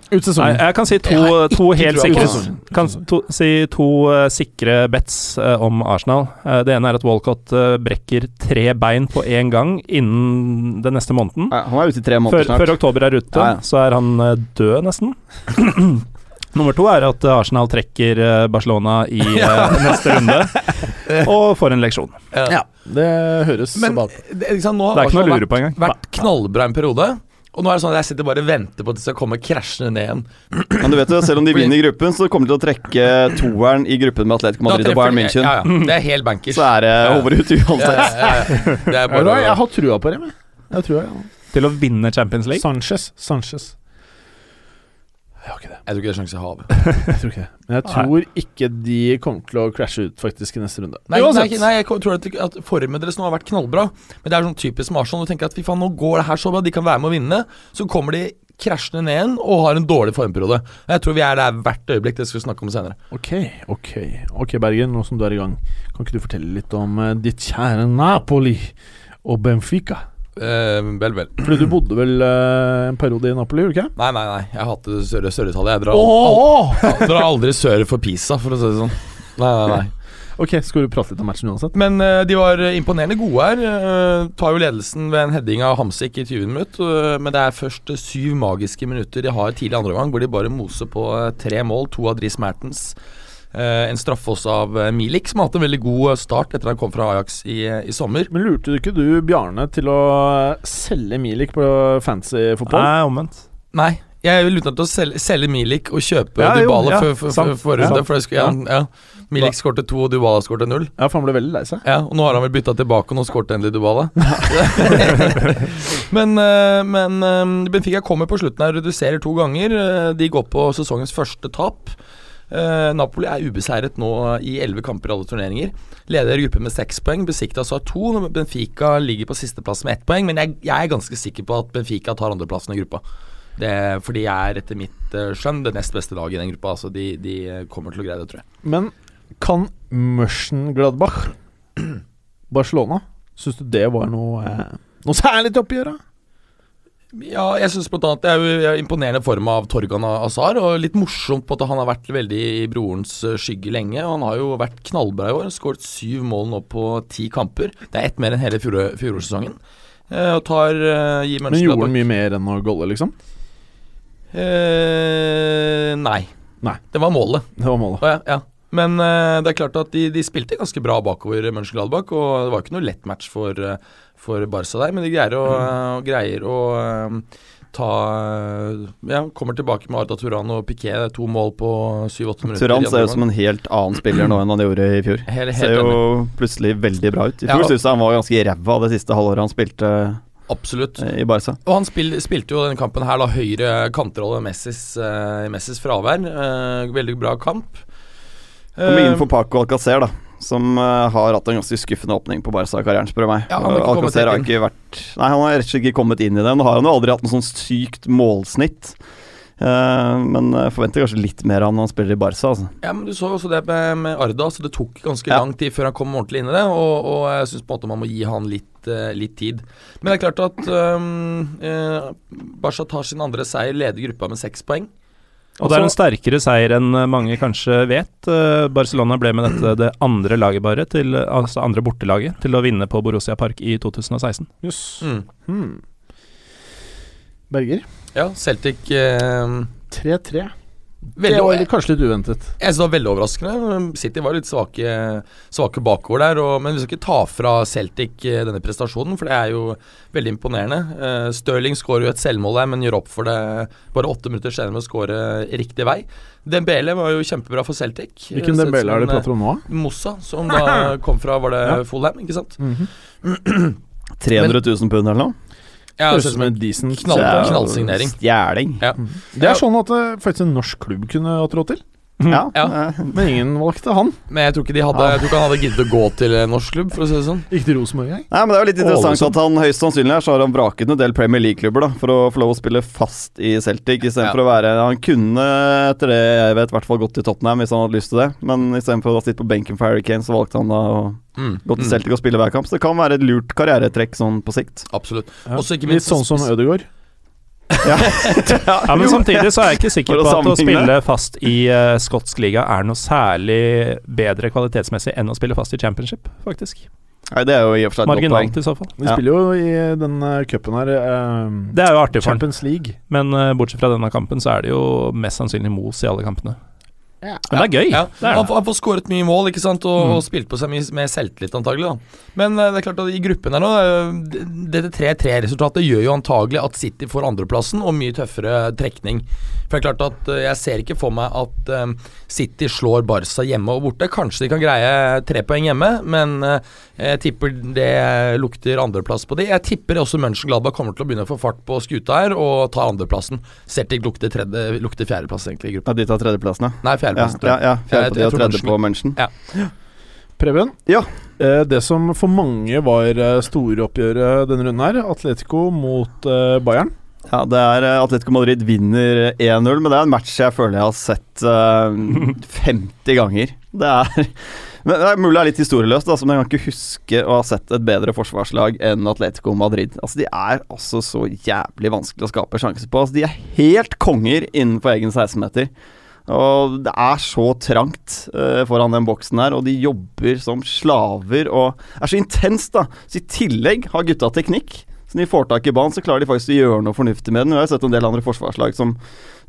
[SPEAKER 3] Ut
[SPEAKER 4] Nei,
[SPEAKER 3] sesongen.
[SPEAKER 4] jeg kan si to,
[SPEAKER 5] Jeg har
[SPEAKER 4] to
[SPEAKER 5] ikke
[SPEAKER 4] helt
[SPEAKER 5] trua på
[SPEAKER 4] sikre
[SPEAKER 5] det.
[SPEAKER 4] Kan s- to, si to eh, sikre bets eh, om Arsenal. Eh, det ene er at Walcott eh, brekker tre bein på én gang innen den neste måneden.
[SPEAKER 6] Nei, Han er ute i tre måneder
[SPEAKER 4] Før,
[SPEAKER 6] snart.
[SPEAKER 4] før oktober er ute,
[SPEAKER 6] Ja, ja.
[SPEAKER 4] så er han eh, død, nesten. Nummer to er at eh, Arsenal trekker eh, Barcelona i eh, neste runde, og får en leksjon.
[SPEAKER 5] eh,
[SPEAKER 3] Ja, det høres
[SPEAKER 5] Men
[SPEAKER 3] bra ut.
[SPEAKER 5] det, ikke sant, nå har
[SPEAKER 4] Det er ikke noe å
[SPEAKER 5] Arsenal
[SPEAKER 4] lure på engang.
[SPEAKER 5] vært knallbra en periode. Og nå er det sånn at jeg sitter bare og venter på at de skal komme krasjende ned igjen.
[SPEAKER 6] Men du vet jo, selv om de
[SPEAKER 5] Fordi-
[SPEAKER 6] vinner gruppen, så kommer de til å trekke toeren i gruppen med Atletico Madrid og
[SPEAKER 5] Da
[SPEAKER 6] Bayern
[SPEAKER 5] treffer de-
[SPEAKER 6] München.
[SPEAKER 5] Ja, ja. Det er helt bankers.
[SPEAKER 6] Så er det
[SPEAKER 5] Ja.
[SPEAKER 6] over altså. ut
[SPEAKER 5] Ja,
[SPEAKER 6] uansett.
[SPEAKER 5] ja, ja, ja. Det er
[SPEAKER 3] Jeg,
[SPEAKER 5] bare
[SPEAKER 3] har trua på dem, jeg. jeg tror jeg,
[SPEAKER 4] Til å vinne Champions
[SPEAKER 3] ja.
[SPEAKER 4] League.
[SPEAKER 3] Sanchez. Sanchez. Jeg har ikke det.
[SPEAKER 5] Jeg tror ikke det er sjanse jeg har.
[SPEAKER 3] Jeg tror ikke det. Men jeg tror ikke de kommer til å crashe ut faktisk i neste runde.
[SPEAKER 5] Nei, nei,
[SPEAKER 3] Uansett.
[SPEAKER 5] nei, jeg tror at, at formen deres nå har vært knallbra. Men det er sånn typisk med Arsenal. Du tenker at fy faen, nå går det her så bra, de kan være med å vinne. Så kommer de krasjende ned igjen og har en dårlig formperiode. Jeg tror vi er der hvert øyeblikk. Det skal vi snakke om senere.
[SPEAKER 3] Ok, ok. Ok, Bergen, nå som du er i gang, kan ikke du fortelle litt om eh, ditt kjære Napoli og Benfica?
[SPEAKER 5] Eh, vel, vel.
[SPEAKER 3] Fordi du bodde vel eh, en periode i Napoli, gjorde du ikke?
[SPEAKER 5] Nei, nei, nei. Jeg hater Sør- Sør-Italia. Jeg drar, al
[SPEAKER 3] Åh!
[SPEAKER 5] al drar aldri sør for Pisa, for å si det sånn. Nei, nei, nei.
[SPEAKER 3] Ok, skal du prate litt om matchen uansett?
[SPEAKER 5] Men eh, de var imponerende gode her. eh, tar jo ledelsen ved en heading av Hamsik i 20 minutt. eh, men det er først eh, syv magiske minutter de har tidlig andre gang, hvor de bare moser på eh, tre mål. To av Dris Mertens. eh, en straffe også av eh, Milik, som har hatt en veldig god eh, start etter han kom fra Ajax i, eh, i sommer.
[SPEAKER 3] Men lurte du ikke du, Bjarne, til å eh, selge Milik på fancy fotball?
[SPEAKER 4] Nei, omvendt.
[SPEAKER 5] Nei, jeg vil uten til å selge, selge Milik og kjøpe
[SPEAKER 4] Ja, jo,
[SPEAKER 5] Dybala
[SPEAKER 4] ja,
[SPEAKER 5] for, for,
[SPEAKER 4] sant.
[SPEAKER 5] for, forrige
[SPEAKER 4] Ja,
[SPEAKER 5] runde,
[SPEAKER 4] sant.
[SPEAKER 5] for jeg skulle, ja, ja. Milik skårte to, og Dybala skårte null.
[SPEAKER 3] Ja, for han ble veldig lei seg.
[SPEAKER 5] Ja, og nå har han vel bytta tilbake, og nå skåret endelig Dubala. men eh, men eh, Benfica kommer på slutten her og reduserer to ganger. Eh, De går på sesongens første tap. Eh, Napoli er ubeseiret nå i elleve kamper i alle turneringer. Leder gruppen med seks poeng. Besiktas har to. Benfica ligger på sisteplass med ett poeng, men jeg, jeg er ganske sikker på at Benfica tar andreplassen i gruppa. Det, for de er etter mitt eh, skjønn det nest beste laget i den gruppa. Altså de, de kommer til å greie det, tror jeg.
[SPEAKER 3] Men kan Mørsen-Gladbach Barcelona Syns du det var noe eh, Noe særlig til oppgjøret?
[SPEAKER 5] Ja, jeg synes blant annet det er jo- det er imponerende form av Torgan Azar, og litt morsomt på at han har vært veldig i brorens eh, skygge lenge. og Han har jo vært knallbra i år, skåret syv mål nå på ti kamper. Det er ett mer enn hele fjorå- fjorårssesongen. Eh, og tar eh, gir
[SPEAKER 3] Men gjorde han
[SPEAKER 5] Mönchengladbach-
[SPEAKER 3] mye mer enn å golle, liksom?
[SPEAKER 5] Eh, nei.
[SPEAKER 3] Nei.
[SPEAKER 5] Det var målet.
[SPEAKER 3] Det var målet.
[SPEAKER 5] Å, ja, ja. Men eh, det er klart at de, de spilte ganske bra bakover Mönchengladbach, og det var ikke noe lett match for, eh, for Barca der, men de greier å, eh, greier å eh, ta eh, Ja, kommer tilbake med Arda Turan og Piquet, det er to mål på 7-8 minutter.
[SPEAKER 6] Turan ser jo som en helt annen spiller nå enn han gjorde i fjor.
[SPEAKER 5] Helt,
[SPEAKER 6] Ser
[SPEAKER 5] helt enig.
[SPEAKER 6] jo plutselig veldig bra ut. I
[SPEAKER 5] Ja.
[SPEAKER 6] fjor synes jeg han var ganske ræva det siste halvåret han spilte
[SPEAKER 5] Absolutt.
[SPEAKER 6] eh, i Barca.
[SPEAKER 5] Og han spil, spilte jo denne kampen her da høyre kantrolle Messis, eh, Messis fravær. Eh, veldig bra kamp.
[SPEAKER 6] Kom
[SPEAKER 5] Eh,
[SPEAKER 6] inn for Paco Alcacer, da. Som eh, har hatt en ganske skuffende åpning på Barca-karrieren, spør du meg.
[SPEAKER 5] Ja, han har ikke
[SPEAKER 6] Og
[SPEAKER 5] kommet
[SPEAKER 6] Alcacer har
[SPEAKER 5] inn.
[SPEAKER 6] ikke vært Nei, han har rett og slett ikke kommet inn i det. Nå har han jo aldri hatt noe sånn sykt målsnitt. Eh, men eh, forventer kanskje litt mer av han når han spiller i Barca, altså.
[SPEAKER 5] Ja, men Du så jo også det med, med Arda. så Det tok ganske
[SPEAKER 6] Ja.
[SPEAKER 5] lang tid før han kom ordentlig inn i det. Og, og jeg syns på en måte man må gi han litt, eh, litt tid. Men det er klart at um, eh, Barca tar sin andre seier, leder gruppa med seks poeng.
[SPEAKER 4] Og
[SPEAKER 6] Altså-
[SPEAKER 4] det er en sterkere seier enn eh, mange kanskje vet. Eh, Barcelona ble med dette det andre laget bare, til, eh, altså andre bortelaget, til å vinne på Borussia Park i 2016.
[SPEAKER 3] Jøss.
[SPEAKER 5] Mm.
[SPEAKER 3] Hmm. Berger.
[SPEAKER 5] Ja, Celtic eh,
[SPEAKER 3] 3-3. Det
[SPEAKER 5] veldig,
[SPEAKER 3] var
[SPEAKER 5] Jeg
[SPEAKER 3] kanskje litt uventet.
[SPEAKER 5] synes det var veldig overraskende. City var litt svake, svake bakover der. Og, men vi skal ikke ta fra Celtic eh, denne prestasjonen, for det er jo veldig imponerende. Eh, Stirling skårer jo et selvmål der, men gjør opp for det bare åtte minutter senere med å skåre riktig vei. Dembele var jo kjempebra for Celtic.
[SPEAKER 3] Hvilken Dembele er det du prater om nå?
[SPEAKER 5] Mossa, eh, som da kom fra var det Fulham, ikke sant?
[SPEAKER 3] Mhm.
[SPEAKER 6] 300 000 pund eller noe.
[SPEAKER 5] Ja,
[SPEAKER 3] Høres
[SPEAKER 5] det
[SPEAKER 3] ut som en decent
[SPEAKER 5] knall-
[SPEAKER 6] Det er jo
[SPEAKER 5] knallsignering.
[SPEAKER 6] Stjeling.
[SPEAKER 5] Ja.
[SPEAKER 3] Det er sånn at eh, faktisk en norsk klubb kunne hatt råd til,
[SPEAKER 6] Ja.
[SPEAKER 5] Ja.
[SPEAKER 6] eh,
[SPEAKER 3] men ingen valgte han.
[SPEAKER 5] Men jeg tror ikke de hadde Jeg tror ikke han hadde giddet å gå til en norsk klubb, for å si det sånn.
[SPEAKER 3] Ikke til Rosenborg engang.
[SPEAKER 6] Nei, men Det er jo litt interessant
[SPEAKER 5] liksom.
[SPEAKER 3] Ålesund.
[SPEAKER 6] at han høyst sannsynlig her så har han vraket en del Premier League-klubber da for å få lov å spille fast i Celtic. I stedet
[SPEAKER 5] Ja.
[SPEAKER 6] for å være Han kunne etter det jeg vet, i hvert fall gått til Tottenham hvis han hadde lyst til det. Men istedenfor å sitte på benken for Harry Kane, så valgte han da å
[SPEAKER 5] Mm.
[SPEAKER 6] gå til
[SPEAKER 5] Mm.
[SPEAKER 6] Celtic og spille hver kamp. Så det kan være et lurt karrieretrekk sånn på sikt.
[SPEAKER 5] Absolutt.
[SPEAKER 3] Ja.
[SPEAKER 5] Også ikke
[SPEAKER 3] Litt
[SPEAKER 5] minst
[SPEAKER 3] sånn som Ødegaard.
[SPEAKER 4] Ja, men samtidig så er jeg ikke sikker
[SPEAKER 6] For å
[SPEAKER 4] på at å
[SPEAKER 6] sammenligne.
[SPEAKER 4] spille fast i eh, skotsk liga er noe særlig bedre kvalitetsmessig enn å spille fast i championship, faktisk.
[SPEAKER 6] Nei, det er jo i og for seg et godt poeng.
[SPEAKER 4] Marginalt i så fall.
[SPEAKER 3] De
[SPEAKER 6] Ja.
[SPEAKER 3] spiller jo i den eh, cupen her eh,
[SPEAKER 4] Det er jo artig for han,
[SPEAKER 3] Champions League.
[SPEAKER 4] men eh, bortsett fra denne kampen så er det jo mest sannsynlig mos i alle kampene.
[SPEAKER 3] Ja.
[SPEAKER 4] Men det er gøy.
[SPEAKER 5] Ja,
[SPEAKER 4] Det er
[SPEAKER 5] han,
[SPEAKER 4] det.
[SPEAKER 5] får- han får skåret mye mål ikke sant? Og,
[SPEAKER 4] Mm.
[SPEAKER 5] og spilt på seg mye med selvtillit, antagelig. Da. Men eh, det er klart at i gruppen her nå eh, d- Dette 3-3-resultatet gjør jo antagelig at City får andreplassen og mye tøffere trekning. For det er klart at eh, Jeg ser ikke for meg at eh, City slår Barca hjemme og borte. Kanskje de kan greie tre poeng hjemme, men eh, jeg tipper det lukter andreplass på de. Jeg tipper også Mönchengladbach kommer til å begynne å få fart på skuta her og tar andreplassen. Celtic lukter, tredje, lukter fjerdeplass egentlig i gruppen.
[SPEAKER 6] Ja, de tar tredjeplassen, ja.
[SPEAKER 5] Nei,
[SPEAKER 6] Ja,
[SPEAKER 5] fjerdeplassen, tror jeg.
[SPEAKER 6] ja, ja. Fjerde
[SPEAKER 5] Jeg-
[SPEAKER 6] på
[SPEAKER 5] jeg
[SPEAKER 6] de og
[SPEAKER 5] tror
[SPEAKER 6] tredje
[SPEAKER 5] Munchen-
[SPEAKER 6] på Munchen.
[SPEAKER 3] Preben,
[SPEAKER 6] Ja.
[SPEAKER 3] eh, det som for mange var eh, storoppgjøret denne runden her, Atletico mot eh, Bayern.
[SPEAKER 6] Ja, det er eh, Atletico Madrid vinner 1-0, men det er en match jeg føler jeg har sett eh, 50 ganger. Det er, men det er mulig det er litt historieløst, altså, men jeg kan ikke huske å ha sett et bedre forsvarslag enn Atletico Madrid. Altså, de er altså så jævlig vanskelig å skape sjanser på. Altså, de er helt konger innenfor egen 16-meter. Og det er så trangt eh, foran den boksen her, og de jobber som slaver og er så intenst, da. Så i tillegg har gutta teknikk. Så når de får tak i banen, så klarer de faktisk å gjøre noe fornuftig med den. Jeg har sett en del andre forsvarslag som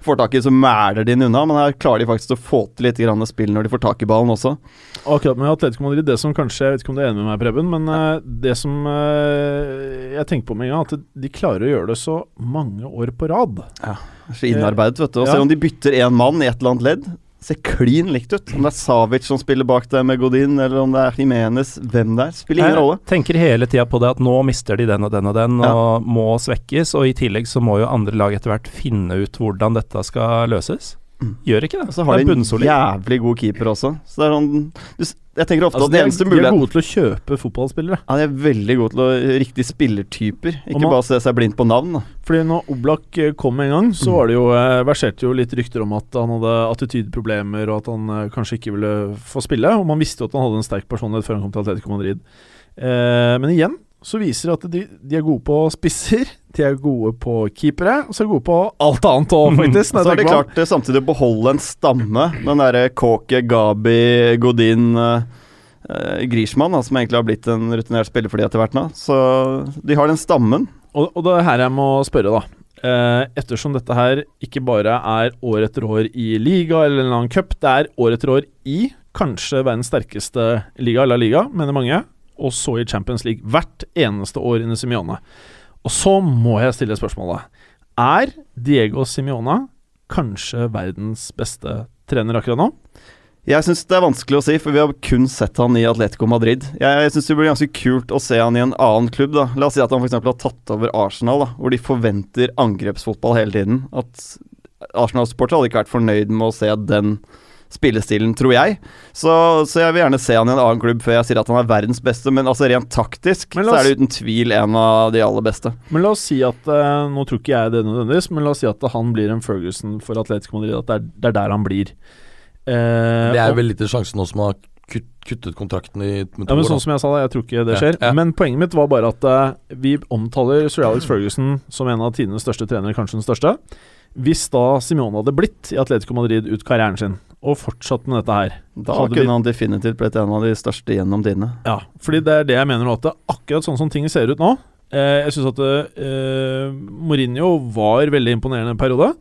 [SPEAKER 6] får tak i, så mæler de den unna, men her klarer de faktisk å få til litt grann spill når de får tak i ballen også.
[SPEAKER 3] Og Akkurat med Atletico Madrid, det som kanskje Jeg vet ikke om du er enig med meg, Preben, men eh, det som eh, jeg tenker på med en gang, at de klarer å gjøre det så mange år på rad.
[SPEAKER 6] Det er Så innarbeidet, vet du. Og
[SPEAKER 3] Ja.
[SPEAKER 6] selv om de bytter én mann i et eller annet ledd, ser klin likt ut. Om det er Savic som spiller bak deg med Godin, eller om det er Jimenez, hvem det er, spiller ingen rolle.
[SPEAKER 4] Jeg tenker hele tida på det at nå mister de den og den og den,
[SPEAKER 6] Ja.
[SPEAKER 4] og må svekkes. Og i tillegg så må jo andre lag etter hvert finne ut hvordan dette skal løses.
[SPEAKER 6] Mm.
[SPEAKER 4] Gjør ikke det.
[SPEAKER 6] Og så har
[SPEAKER 4] det
[SPEAKER 6] de
[SPEAKER 4] er
[SPEAKER 6] en
[SPEAKER 4] bunnsolid.
[SPEAKER 6] jævlig god keeper også. Så det er sånn du, s- Jeg tenker ofte
[SPEAKER 3] Altså,
[SPEAKER 6] at den
[SPEAKER 3] de,
[SPEAKER 6] eneste
[SPEAKER 3] er, de er
[SPEAKER 6] muligheten
[SPEAKER 3] gode til å kjøpe fotballspillere.
[SPEAKER 6] ja, De er veldig gode til å riktige spillertyper, ikke
[SPEAKER 3] man-
[SPEAKER 6] bare se seg blind på navn. da.
[SPEAKER 3] Fordi når Oblak eh, kom en gang,
[SPEAKER 6] Mm.
[SPEAKER 3] så var det jo, eh, verserte jo litt rykter om at han hadde attitydeproblemer, og at han eh, kanskje ikke ville få spille. Og man visste jo at han hadde en sterk personlighet før han kom til Atletico Madrid. Eh, men igjen så viser det at de, de er gode på spisser, de er gode på keepere, og så er de gode på alt annet òg, faktisk. når
[SPEAKER 6] Så har
[SPEAKER 3] jeg
[SPEAKER 6] de
[SPEAKER 3] tenker på det.
[SPEAKER 6] klart eh, samtidig å beholde en stamme. Den derre Kåke, Gabi, Godin eh, eh, Grishman, da, som egentlig har blitt en rutinert spiller for de etter hvert nå. Så de har den stammen.
[SPEAKER 3] Og, og det er her jeg må spørre, da. Eh, ettersom dette her ikke bare er år etter år i liga eller en eller annen cup, det er år etter år i kanskje verdens sterkeste liga, eller liga, mener mange, og så i Champions League hvert eneste år under Simione. Og så må jeg stille spørsmålet Er Diego Simione kanskje verdens beste trener akkurat nå?
[SPEAKER 6] Jeg syns det er vanskelig å si, for vi har kun sett han i Atletico Madrid. Jeg syns det blir ganske kult å se han i en annen klubb, da. La oss si at han f.eks. har tatt over Arsenal, da, hvor de forventer angrepsfotball hele tiden. At Arsenal-supportere hadde ikke vært fornøyd med å se den spillestilen, tror jeg. Så, så jeg vil gjerne se han i en annen klubb før jeg sier at han er verdens beste, men altså rent taktisk
[SPEAKER 3] Men la
[SPEAKER 6] så
[SPEAKER 3] oss-
[SPEAKER 6] er det uten tvil en av de aller beste.
[SPEAKER 3] Men la oss si at eh, Nå tror ikke jeg det nødvendigvis, men la oss si at han blir en Ferguson for Atletico Madrid. At det er, det er der han blir. Eh, og-
[SPEAKER 5] Det er vel litt sjansen nå som har kutt, kuttet kontrakten i med to
[SPEAKER 3] Ja, men
[SPEAKER 5] år, da.
[SPEAKER 3] sånn som jeg sa det, jeg tror ikke det
[SPEAKER 5] Ja,
[SPEAKER 3] skjer.
[SPEAKER 5] ja.
[SPEAKER 3] Men poenget mitt var bare at eh, vi omtaler Sir Alex Ferguson som en av tidenes største trenere, kanskje den største. Hvis da Simone hadde blitt i Atletico Madrid ut karrieren sin, og fortsatt med dette her
[SPEAKER 6] Da
[SPEAKER 3] Hadde vi-
[SPEAKER 6] kunne han definitivt blitt en av de største gjennom dine.
[SPEAKER 3] Ja, fordi det er det jeg mener nå, at det er akkurat sånn som ting ser ut nå eh, Jeg syns at eh, Mourinho var veldig imponerende en periode.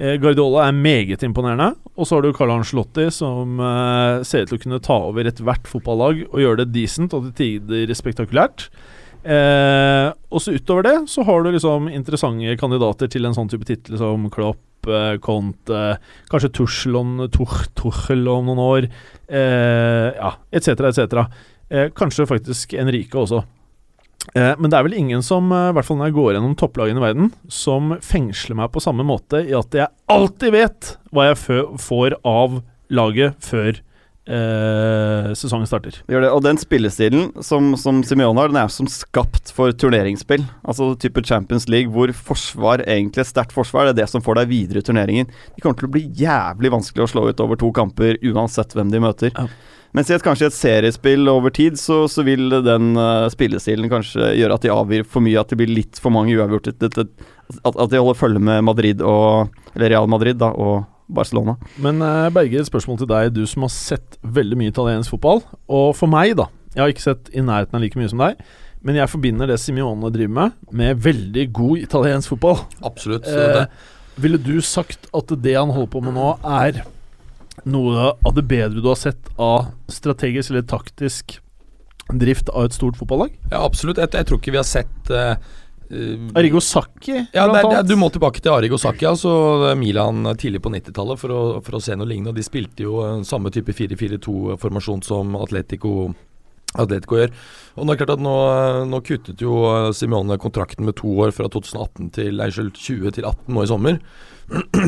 [SPEAKER 3] Eh, Guardiola er meget imponerende. Og så har du Carl Arnslotti, som eh, ser ut til å kunne ta over ethvert fotballag og gjøre det decent og til tider spektakulært. Eh, og så utover det så har du liksom interessante kandidater til en sånn type tittel som Klopp, eh, Conte, kanskje Tuchel om, Tuch, Tuchel om noen år, eh, ja, etc., etc. Eh, kanskje faktisk Enrique også. Eh, men det er vel ingen som, eh, i hvert fall når jeg går gjennom topplagene i verden, som fengsler meg på samme måte i at jeg alltid vet hva jeg fø- får av laget før eh, sesongen starter.
[SPEAKER 6] Gjør det. Og den spillestilen som, som Simeone har, den er som skapt for turneringsspill. Altså type Champions League hvor forsvar, egentlig et sterkt forsvar, det er det som får deg videre i turneringen. De kommer til å bli jævlig vanskelig å slå ut over to kamper, uansett hvem de møter.
[SPEAKER 3] Ja.
[SPEAKER 6] Mens i et, kanskje et seriespill over tid, så, så vil den eh, spillestilen kanskje gjøre at de avgir for mye, at det blir litt for mange uavgjort. At, at at de holder følge med Madrid og Eller Real Madrid, da, og Barcelona.
[SPEAKER 3] Men eh, Berge, et spørsmål til deg, du som har sett veldig mye italiensk fotball. Og for meg, da. Jeg har ikke sett i nærheten av like mye som deg. Men jeg forbinder det Simione driver med, med veldig god italiensk fotball.
[SPEAKER 5] Absolutt. så
[SPEAKER 3] Eh,
[SPEAKER 5] det-
[SPEAKER 3] ville du sagt at det han holder på med nå, er noe av det bedre du har sett av strategisk eller taktisk drift av et stort fotballag?
[SPEAKER 5] Ja, absolutt. Jeg, jeg tror ikke vi har sett eh, eh,
[SPEAKER 3] Arigo Sacchi,
[SPEAKER 5] ja,
[SPEAKER 3] blant
[SPEAKER 5] det, er- det, er-
[SPEAKER 3] annet.
[SPEAKER 5] Du må tilbake til Arigo Saki, altså Milan tidlig på 90-tallet, for, å- for å se noe lignende. Og de spilte jo eh, samme type 4-4-2-formasjon som Atletico, Atletico gjør. Og det er klart at nå, eh, nå kuttet jo eh, Simeone kontrakten med to år fra 2018 til nei, unnskyld, 20 til 18 nå i sommer.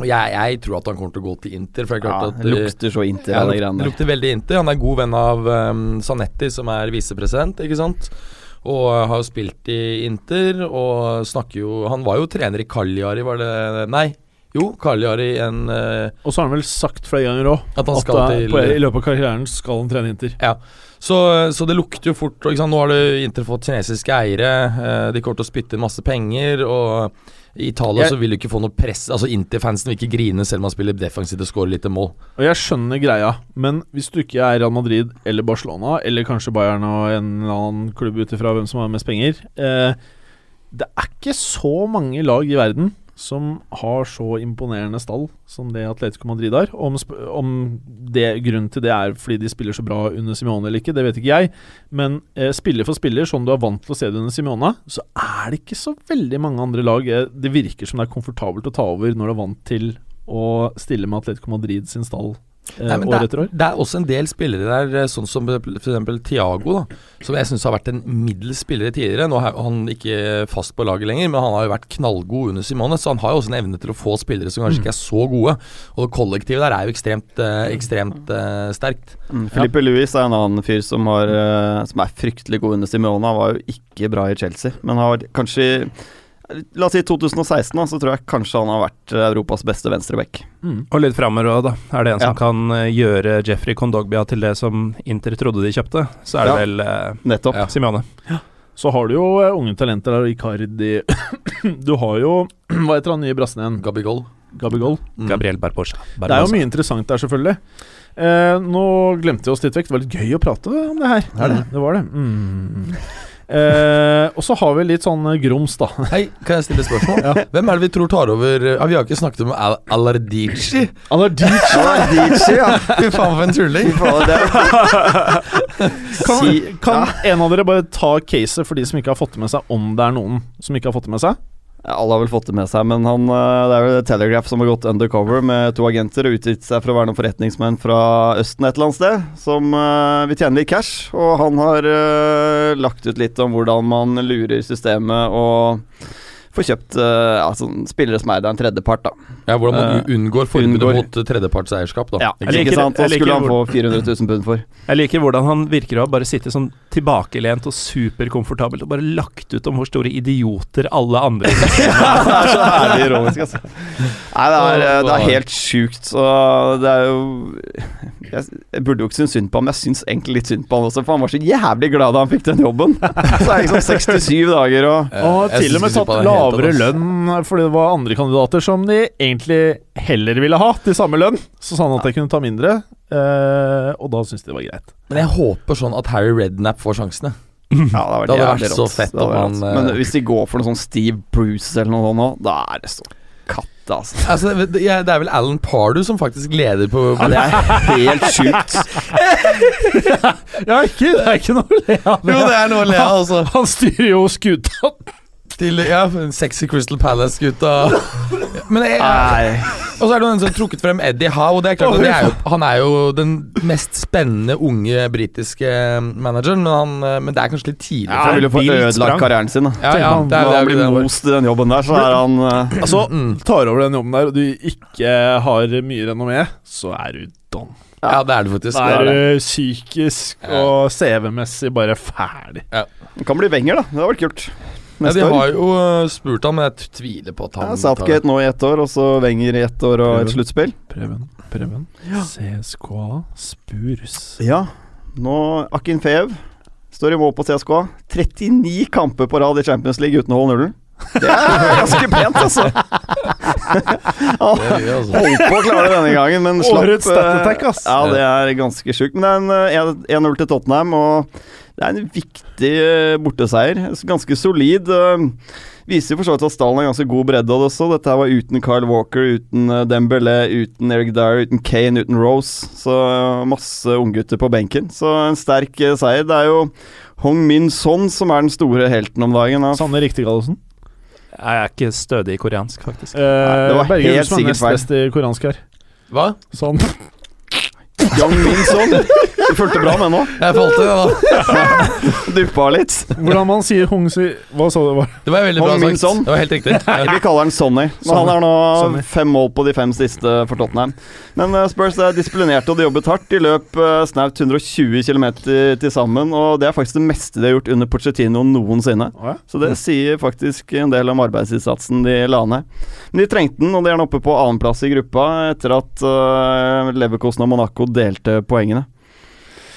[SPEAKER 5] Og jeg, jeg tror at han kommer til å gå til Inter. For det er klart
[SPEAKER 6] Ja,
[SPEAKER 5] at eh,
[SPEAKER 6] lukter så inntil
[SPEAKER 5] ja,
[SPEAKER 6] alle
[SPEAKER 5] det luk-
[SPEAKER 6] greiene der.
[SPEAKER 5] lukter veldig inntil. Han er god venn av ehm, Zanetti, som er visepresident, ikke sant. Og eh, har jo spilt i Inter, og snakker jo Han var jo trener i Cagliari, var det Nei, jo, Cagliari en eh,
[SPEAKER 3] Og så har han vel sagt flere ganger òg
[SPEAKER 5] At han
[SPEAKER 3] at
[SPEAKER 5] skal
[SPEAKER 3] det er-
[SPEAKER 5] til
[SPEAKER 3] på, i løpet av karrieren skal han trene Inter.
[SPEAKER 5] så, så det lukter jo fort. og Ikke sant? Nå har du Inter fått kinesiske eiere. eh, De kommer til å spytte inn masse penger. Og uh, i Italia
[SPEAKER 3] Jeg-
[SPEAKER 5] så vil du ikke få noe press. Altså Inter-fansen vil ikke grine selv om man spiller defensivt og scorer lite mål.
[SPEAKER 3] Og jeg skjønner greia, men hvis du ikke er Real Madrid eller Barcelona, eller kanskje Bayern og en eller annen klubb ut ifra hvem som har mest penger eh, Det er ikke så mange lag i verden som har så imponerende stall som det Atletico Madrid har. Om, sp- om det, grunnen til det er fordi de spiller så bra under Simone eller ikke, det vet ikke jeg. Men eh, spiller for spiller, sånn du er vant til å se det under Simone, så er det ikke så veldig mange andre lag eh, det virker som det er komfortabelt å ta over når du er vant til å stille med Atletico Madrid sin stall eh,
[SPEAKER 5] Nei, men
[SPEAKER 3] år
[SPEAKER 5] det,
[SPEAKER 3] etter
[SPEAKER 5] er,
[SPEAKER 3] år.
[SPEAKER 5] det er også en del spillere der, eh, sånn som f.eks. Tiago, da, som jeg syns har vært en middels spiller tidligere. Nå er han ikke fast på laget lenger, men han har jo vært knallgod under Simone, så han har jo også en evne til å få spillere som kanskje ikke er så gode. Og kollektivet der er jo ekstremt, eh, ekstremt eh, sterkt.
[SPEAKER 6] Mm, Filippe Luis er en annen fyr som, har, eh, som er fryktelig god under Simeone. Han var jo ikke bra i Chelsea, men har vært kanskje La oss si 2016, da, så tror jeg kanskje han har vært eh, Europas beste venstreback.
[SPEAKER 3] Mm.
[SPEAKER 4] Og litt framover òg, da. Er det en
[SPEAKER 6] Ja.
[SPEAKER 4] som kan eh, gjøre Jeffrey Kondogbia til det som Inter trodde de kjøpte, så er det
[SPEAKER 6] Ja.
[SPEAKER 4] vel eh,
[SPEAKER 6] Nettopp.
[SPEAKER 5] Ja.
[SPEAKER 4] Simione.
[SPEAKER 3] Så har du jo eh, unge talenter der, Icardi Du har jo Hva heter han nye brassen igjen?
[SPEAKER 5] Gabigol.
[SPEAKER 3] Gabigol?
[SPEAKER 5] Mm.
[SPEAKER 4] Gabriel Barbosa.
[SPEAKER 3] Det er jo mye interessant der, selvfølgelig. Eh, nå glemte vi oss litt vekk. Det var litt gøy å prate om det her.
[SPEAKER 6] Er det?
[SPEAKER 3] var det. Mm. Eh, og så har vi litt sånn eh, grums, da.
[SPEAKER 5] Hei, kan jeg stille et spørsmål? Hvem er det vi tror tar over eh, ja, Vi har ikke snakket om Al Alardici.
[SPEAKER 3] Alardici
[SPEAKER 6] Ja, det er DJ, ja.
[SPEAKER 5] Fy faen, for en tulling.
[SPEAKER 6] Fy faen, det er-
[SPEAKER 3] Kan,
[SPEAKER 6] Si-
[SPEAKER 3] kan en av dere bare ta caset for de som ikke har fått det med seg, om det er noen som ikke har fått det med seg?
[SPEAKER 6] Ja, alle har vel fått det med seg, men han, eh, det er jo Telegraph som har gått undercover med to agenter og utgitt seg for å være noen forretningsmenn fra Østen et eller annet sted, som eh, vil tjene litt cash. Og han har eh, lagt ut litt om hvordan man lurer systemet og får kjøpt eh, ja, sånn spillere som er der en tredjepart, da.
[SPEAKER 5] Ja, Hvordan man u- unngår forbudet
[SPEAKER 6] unngår.
[SPEAKER 5] mot eh, tredjepartseierskap, da.
[SPEAKER 6] Ja, ikke
[SPEAKER 5] Ikke sant?
[SPEAKER 4] liker-
[SPEAKER 6] sant? Og
[SPEAKER 4] jeg liker
[SPEAKER 6] skulle han få 400 000 pund for.
[SPEAKER 4] Jeg liker hvordan han virker å ha bare sittet sånn tilbakelent og superkomfortabelt og bare lagt ut om hvor store idioter alle andre er.
[SPEAKER 6] det er så herlig ironisk, altså. Nei, det er, eh, det er helt sjukt. Så det er jo Jeg s- jeg burde jo ikke synes synd på ham, men jeg syns egentlig litt synd på han også, for han var så jævlig glad da han fikk den jobben. Så er det liksom 67 dager og
[SPEAKER 5] Eh,
[SPEAKER 3] Og
[SPEAKER 5] jeg
[SPEAKER 3] til
[SPEAKER 5] synes
[SPEAKER 3] og med
[SPEAKER 5] ikke synd
[SPEAKER 3] tatt
[SPEAKER 5] på han i det hele tatt,
[SPEAKER 3] lavere
[SPEAKER 5] ass.
[SPEAKER 3] lønn eh, fordi det var andre kandidater som de egentlig heller ville ha til samme lønn. Så sa han at jeg kunne ta mindre, eh, og da syntes de det var greit.
[SPEAKER 5] Men jeg håper sånn at Harry Redknapp får sjansene.
[SPEAKER 6] Ja, det,
[SPEAKER 5] Det hadde
[SPEAKER 6] jævlig
[SPEAKER 5] vært så
[SPEAKER 6] rått.
[SPEAKER 5] fett
[SPEAKER 6] Det hadde
[SPEAKER 5] om
[SPEAKER 6] vært
[SPEAKER 5] han,
[SPEAKER 6] rått. Men
[SPEAKER 5] eh,
[SPEAKER 6] hvis de går for noe sånn Steve Bruce eller noe sånt nå, da er det så katta, altså.
[SPEAKER 5] Altså, det, det- jeg- det er vel Alan Pardew som faktisk leder på
[SPEAKER 6] Ja, det er helt sjukt.
[SPEAKER 3] Ja, ikke, det er ikke noe å le av.
[SPEAKER 5] Jo, det er noe å le av, altså.
[SPEAKER 3] Han styrer jo skuta.
[SPEAKER 5] Til ja, sexy Crystal Palace-gutta. Men jeg,
[SPEAKER 6] Nei.
[SPEAKER 5] og så er det noen som har trukket frem Eddie Howe. og Det er klart at det er jo, han er jo den mest spennende unge britiske eh, manageren, men, han, eh, men det er kanskje litt tidlig.
[SPEAKER 6] Han ville få
[SPEAKER 4] vilt
[SPEAKER 6] ødelagt
[SPEAKER 4] sprang.
[SPEAKER 6] karrieren sin. da
[SPEAKER 5] Ja, ja,
[SPEAKER 6] Når
[SPEAKER 5] det er, det
[SPEAKER 6] han
[SPEAKER 5] er, det
[SPEAKER 6] blir
[SPEAKER 5] er,
[SPEAKER 6] most i den jobben der, så er han eh,
[SPEAKER 3] Altså, tar over den jobben der, og du ikke har mye renommé, så er du don.
[SPEAKER 5] ja, det er det faktisk.
[SPEAKER 3] Da er du psykisk og CV-messig bare ferdig.
[SPEAKER 6] han Kan bli Wenger, da. Det hadde vært kult.
[SPEAKER 5] Ja, de
[SPEAKER 6] Neste år.
[SPEAKER 5] har jo eh, spurt ham, men jeg tviler på at
[SPEAKER 6] Ja,
[SPEAKER 5] han
[SPEAKER 6] Southgate nå i ett år, og så Wenger i ett år og et sluttspill.
[SPEAKER 3] Preben, Preben. CSKA Spurs.
[SPEAKER 6] Ja, nå Akin Feev står i mål på CSK. 39 kamper på rad i Champions League uten å holde nullen. Det er ganske pent, altså.
[SPEAKER 5] tar det. Ja, altså.
[SPEAKER 6] Holdt på å klare det denne gangen, men slapp.
[SPEAKER 3] Årets
[SPEAKER 6] eh,
[SPEAKER 3] stat attack, ass.
[SPEAKER 6] Ja, det er ganske sjukt. Men det er en eh, 1-0 til Tottenham, og det er en viktig eh, borteseier. Ganske solid. eh, Viser for så vidt at stallen har ganske god bredde av det også. Dette her var uten Kyle Walker, uten eh, Dembélé, uten Eric Dyer, uten Kane, uten Rose. Så eh, masse unggutter på benken. Så en sterk eh, seier. Det er jo Hong Min Son som er den store helten om dagen. da.
[SPEAKER 3] Sanne Riktigallosen.
[SPEAKER 4] Jeg er ikke stødig i koreansk, faktisk.
[SPEAKER 3] Eh,
[SPEAKER 6] det var
[SPEAKER 3] Berger,
[SPEAKER 6] helt
[SPEAKER 3] som er
[SPEAKER 6] sikkert
[SPEAKER 3] nest
[SPEAKER 6] feil.
[SPEAKER 3] best i koreansk her.
[SPEAKER 5] Hva?
[SPEAKER 3] Sånn.
[SPEAKER 6] Young Min Son. Du fulgte bra med nå.
[SPEAKER 5] Jeg falt i det, da.
[SPEAKER 6] Duppa litt.
[SPEAKER 3] Hvordan man sier Hong Si... Hva sa du? Hva-
[SPEAKER 5] Det var veldig bra
[SPEAKER 6] Hong Min Son.
[SPEAKER 5] sagt. Det var helt riktig.
[SPEAKER 6] Nei, Vi kaller han Sonny. Men han
[SPEAKER 3] Sonny.
[SPEAKER 6] har nå
[SPEAKER 3] Sonny.
[SPEAKER 6] fem mål på de fem siste for Tottenham. Men eh, Spurs er disiplinerte, og de jobbet hardt. De løp eh, snaut 120 km til sammen, og det er faktisk det meste de har gjort under Pochettino noensinne.
[SPEAKER 3] Å, ja.
[SPEAKER 6] Så det sier faktisk en del om arbeidsinnsatsen de la ned. Men de trengte den, og de er nå oppe på annenplass i gruppa etter at uh, Leverkosen og Monaco delte poengene.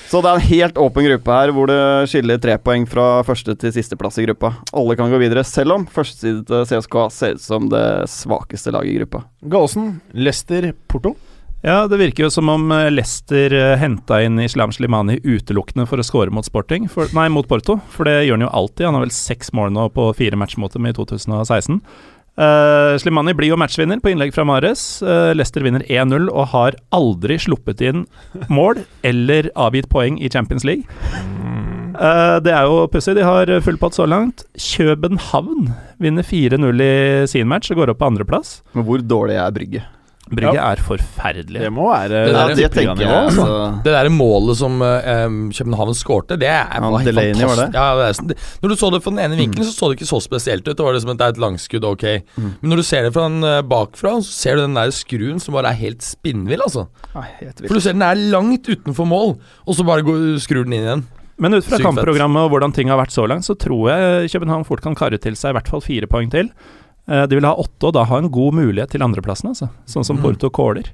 [SPEAKER 6] Så det er en helt åpen gruppe her, hvor det skiller tre poeng fra første til sisteplass i gruppa. Alle kan gå videre, selv om førsteside til CSKA ser ut som det svakeste laget i gruppa.
[SPEAKER 3] Gallosen, Lester, Porto.
[SPEAKER 4] Ja, det virker jo som om eh, Leicester henta inn Islam Slimani utelukkende for å score mot Sporting, for, nei, mot Porto, for det gjør han jo alltid. Han har vel seks mål nå på fire matcher mot dem i 2016. Eh, Slimani blir jo matchvinner på innlegg fra Mares. Eh, Leicester vinner 1-0 og har aldri sluppet inn mål eller avgitt poeng i Champions League. Eh, det er jo pussig. De har full pott så langt. København vinner 4-0 i sin match og går opp på andreplass.
[SPEAKER 6] Men hvor dårlig er Brygge?
[SPEAKER 4] Brygge er forferdelig.
[SPEAKER 3] Det må være
[SPEAKER 5] Det der
[SPEAKER 6] Ja,
[SPEAKER 5] er
[SPEAKER 6] det tenker jeg.
[SPEAKER 3] altså.
[SPEAKER 6] Altså.
[SPEAKER 5] Det der målet som eh, em, København skårte, det er
[SPEAKER 6] Ja,
[SPEAKER 5] var helt
[SPEAKER 6] Delaney var
[SPEAKER 5] fantastisk. Ja, det er, sånn- det, når du så det fra den ene vinkelen, så så det ikke så spesielt ut. Det var liksom at det er et langskudd, ok. Men når du ser det fra den eh, bakfra, så ser du den der skruen som bare er helt spinnvill, altså.
[SPEAKER 6] Nei, helt vilt.
[SPEAKER 5] For du ser den er langt utenfor mål, og så bare går, skrur den inn igjen.
[SPEAKER 4] Men ut fra
[SPEAKER 5] Sykt fett.
[SPEAKER 4] kampprogrammet og hvordan ting har vært så langt, så tror jeg København fort kan karre til seg i hvert fall fire poeng til. Eh, De vil ha åtte, og da ha en god mulighet til andreplassen, altså. Sånn
[SPEAKER 3] Mm.
[SPEAKER 4] som Porto caller.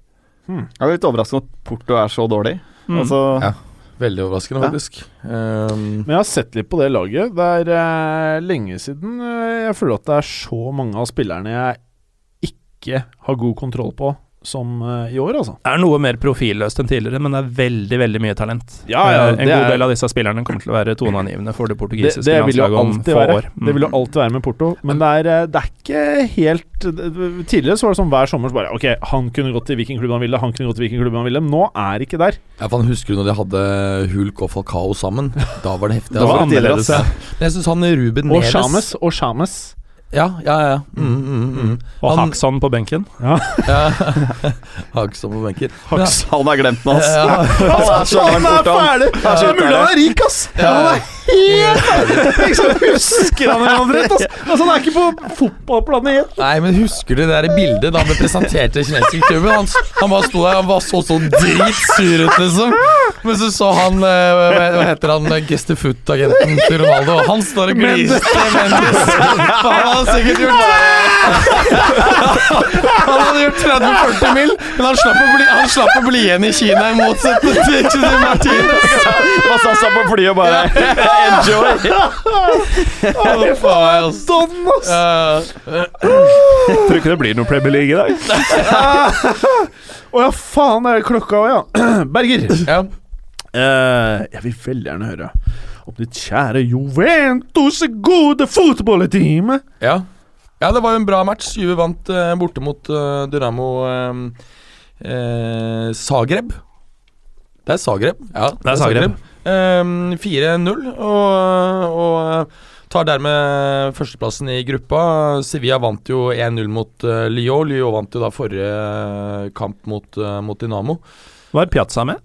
[SPEAKER 6] Jeg er litt overrasket at Porto er så dårlig.
[SPEAKER 4] Mm.
[SPEAKER 6] Altså,
[SPEAKER 5] Ja. Veldig overraskende,
[SPEAKER 6] Ja.
[SPEAKER 5] faktisk. Em,
[SPEAKER 3] Men jeg har sett litt på det laget. Det er eh, lenge siden eh, jeg føler at det er så mange av spillerne jeg ikke har god kontroll på, som eh, i år, altså.
[SPEAKER 4] Det er noe mer profilløst enn tidligere, men det er veldig veldig mye talent.
[SPEAKER 3] Ja, ja,
[SPEAKER 4] Eh,
[SPEAKER 3] det
[SPEAKER 4] en god
[SPEAKER 3] er-
[SPEAKER 4] del av disse spillerne kommer til å være toneangivende for
[SPEAKER 3] Det,
[SPEAKER 4] det portugisiske
[SPEAKER 3] det vil jo
[SPEAKER 4] landslaget om
[SPEAKER 3] alltid
[SPEAKER 4] få
[SPEAKER 3] være.
[SPEAKER 4] år. Mm.
[SPEAKER 3] Det vil jo alltid være med Porto, men det er, eh, det er ikke helt Tidligere så var det sånn hver sommer så bare Ok, han kunne gått til hvilken klubb han ville, han kunne gått til hvilken klubb han ville. Men nå er det ikke der.
[SPEAKER 5] Ja, for han Husker du når de hadde Hulk og Falcao sammen? Da var det heftig.
[SPEAKER 3] Da var
[SPEAKER 5] altså.
[SPEAKER 3] det annerledes, ja.
[SPEAKER 5] Men jeg syns han Ruben
[SPEAKER 3] Og
[SPEAKER 5] Neves
[SPEAKER 3] Shames. Og Shames.
[SPEAKER 5] Ja, ja, ja. Mm, mm, mm.
[SPEAKER 4] Og
[SPEAKER 5] Han-
[SPEAKER 4] Haxon på benken.
[SPEAKER 5] Ja. Hagstad på benken.
[SPEAKER 6] Haks, han er glemt nå, altså.
[SPEAKER 5] Ja,
[SPEAKER 6] Han er så langt borte, han.
[SPEAKER 3] Det er mulig han er rik, ass! Han er helt ferdig! Liksom, husker han en rett, ass? Altså, han er ikke på fotballplanet igjen.
[SPEAKER 5] Nei, men husker du det der bildet da han ble presentert i kinesisk tube? Han, han bare sto der han bare så så dritsur ut, liksom. Men så så han eh, Hva hva heter han eh, Gestefoot-agenten til Ronaldo? og Han står og gliser til Mendes. For han hadde sikkert gjort Han hadde gjort 30-40 mil, men han slapp, å bli, han slapp å bli igjen i Kina, i motsetning til- til Martinez.
[SPEAKER 6] Han satt seg på flyet og bare Enjoy!
[SPEAKER 5] Å, faen, altså.
[SPEAKER 3] Sånn, ass!
[SPEAKER 5] Eh,
[SPEAKER 4] Tror ikke det blir noe Premier League i dag.
[SPEAKER 3] Å ja, faen, det er klokka òg, ja. Berger.
[SPEAKER 5] ja.
[SPEAKER 3] Eh, jeg vil veldig gjerne høre om ditt kjære Juventus' gode fotballteam.
[SPEAKER 5] Ja. ja, det var jo en bra match. Juve vant eh, borte mot eh, Dynamo eh, eh, Zagreb. Det er Zagreb. Ja,
[SPEAKER 4] Det er Zagreb.
[SPEAKER 5] Zagreb. Eh, 4-0, og, og eh, Tar dermed førsteplassen i gruppa. Sevilla vant jo 1-0 mot eh, Lyon. Lyon vant jo da forrige kamp mot, eh, mot Dinamo.
[SPEAKER 4] Var Piazza med?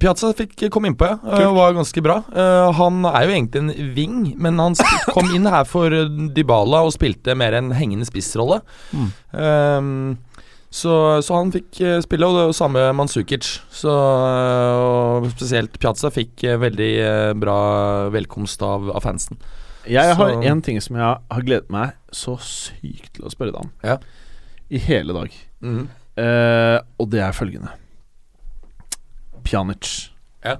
[SPEAKER 5] Piazza fikk komme innpå, ja. Eh, var ganske bra. Eh, han er jo egentlig en wing, men han sp- kom inn her for eh, Dybala og spilte mer en hengende spissrolle.
[SPEAKER 4] Mm.
[SPEAKER 5] Eh, så, så han fikk eh, spille, og det var samme Mansukic. Så eh, og spesielt Piazza fikk eh, veldig eh, bra velkomst av, av fansen.
[SPEAKER 3] Jeg har
[SPEAKER 5] Så-
[SPEAKER 3] en ting som jeg har gledet meg så sykt til å spørre deg om.
[SPEAKER 5] Ja.
[SPEAKER 3] I hele dag. Eh, og det er følgende Pjanic.
[SPEAKER 5] Ja.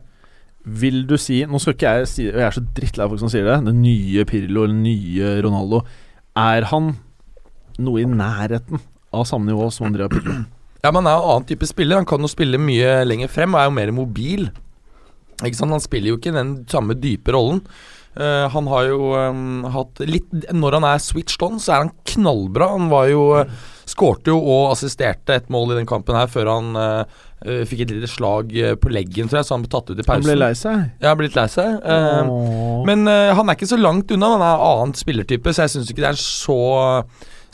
[SPEAKER 3] Vil du si Nå skal ikke jeg si det, og jeg er så drittlei av folk som sier det. Den nye Pirlo eller den nye Ronaldo. Er han noe i nærheten av samme nivå som Andrea Pirlo?
[SPEAKER 5] Ja, men han er jo en annen type spiller. Han kan jo spille mye lenger frem og er jo mer mobil. Ikke sant? Han spiller jo ikke den samme dype rollen. Eh, han har jo eh, hatt litt Når han er switched on, så er han knallbra. Han var jo eh, Skårte jo og assisterte et mål i den kampen her før han eh, eh, fikk et lite slag eh, på leggen, tror jeg, så han ble tatt ut i
[SPEAKER 3] Han ble
[SPEAKER 5] pausen.
[SPEAKER 3] lei seg.
[SPEAKER 5] Ja, blitt lei seg. Eh,
[SPEAKER 3] Åh.
[SPEAKER 5] men eh, han er ikke så langt unna, han er en annen spillertype, så jeg syns ikke det er så,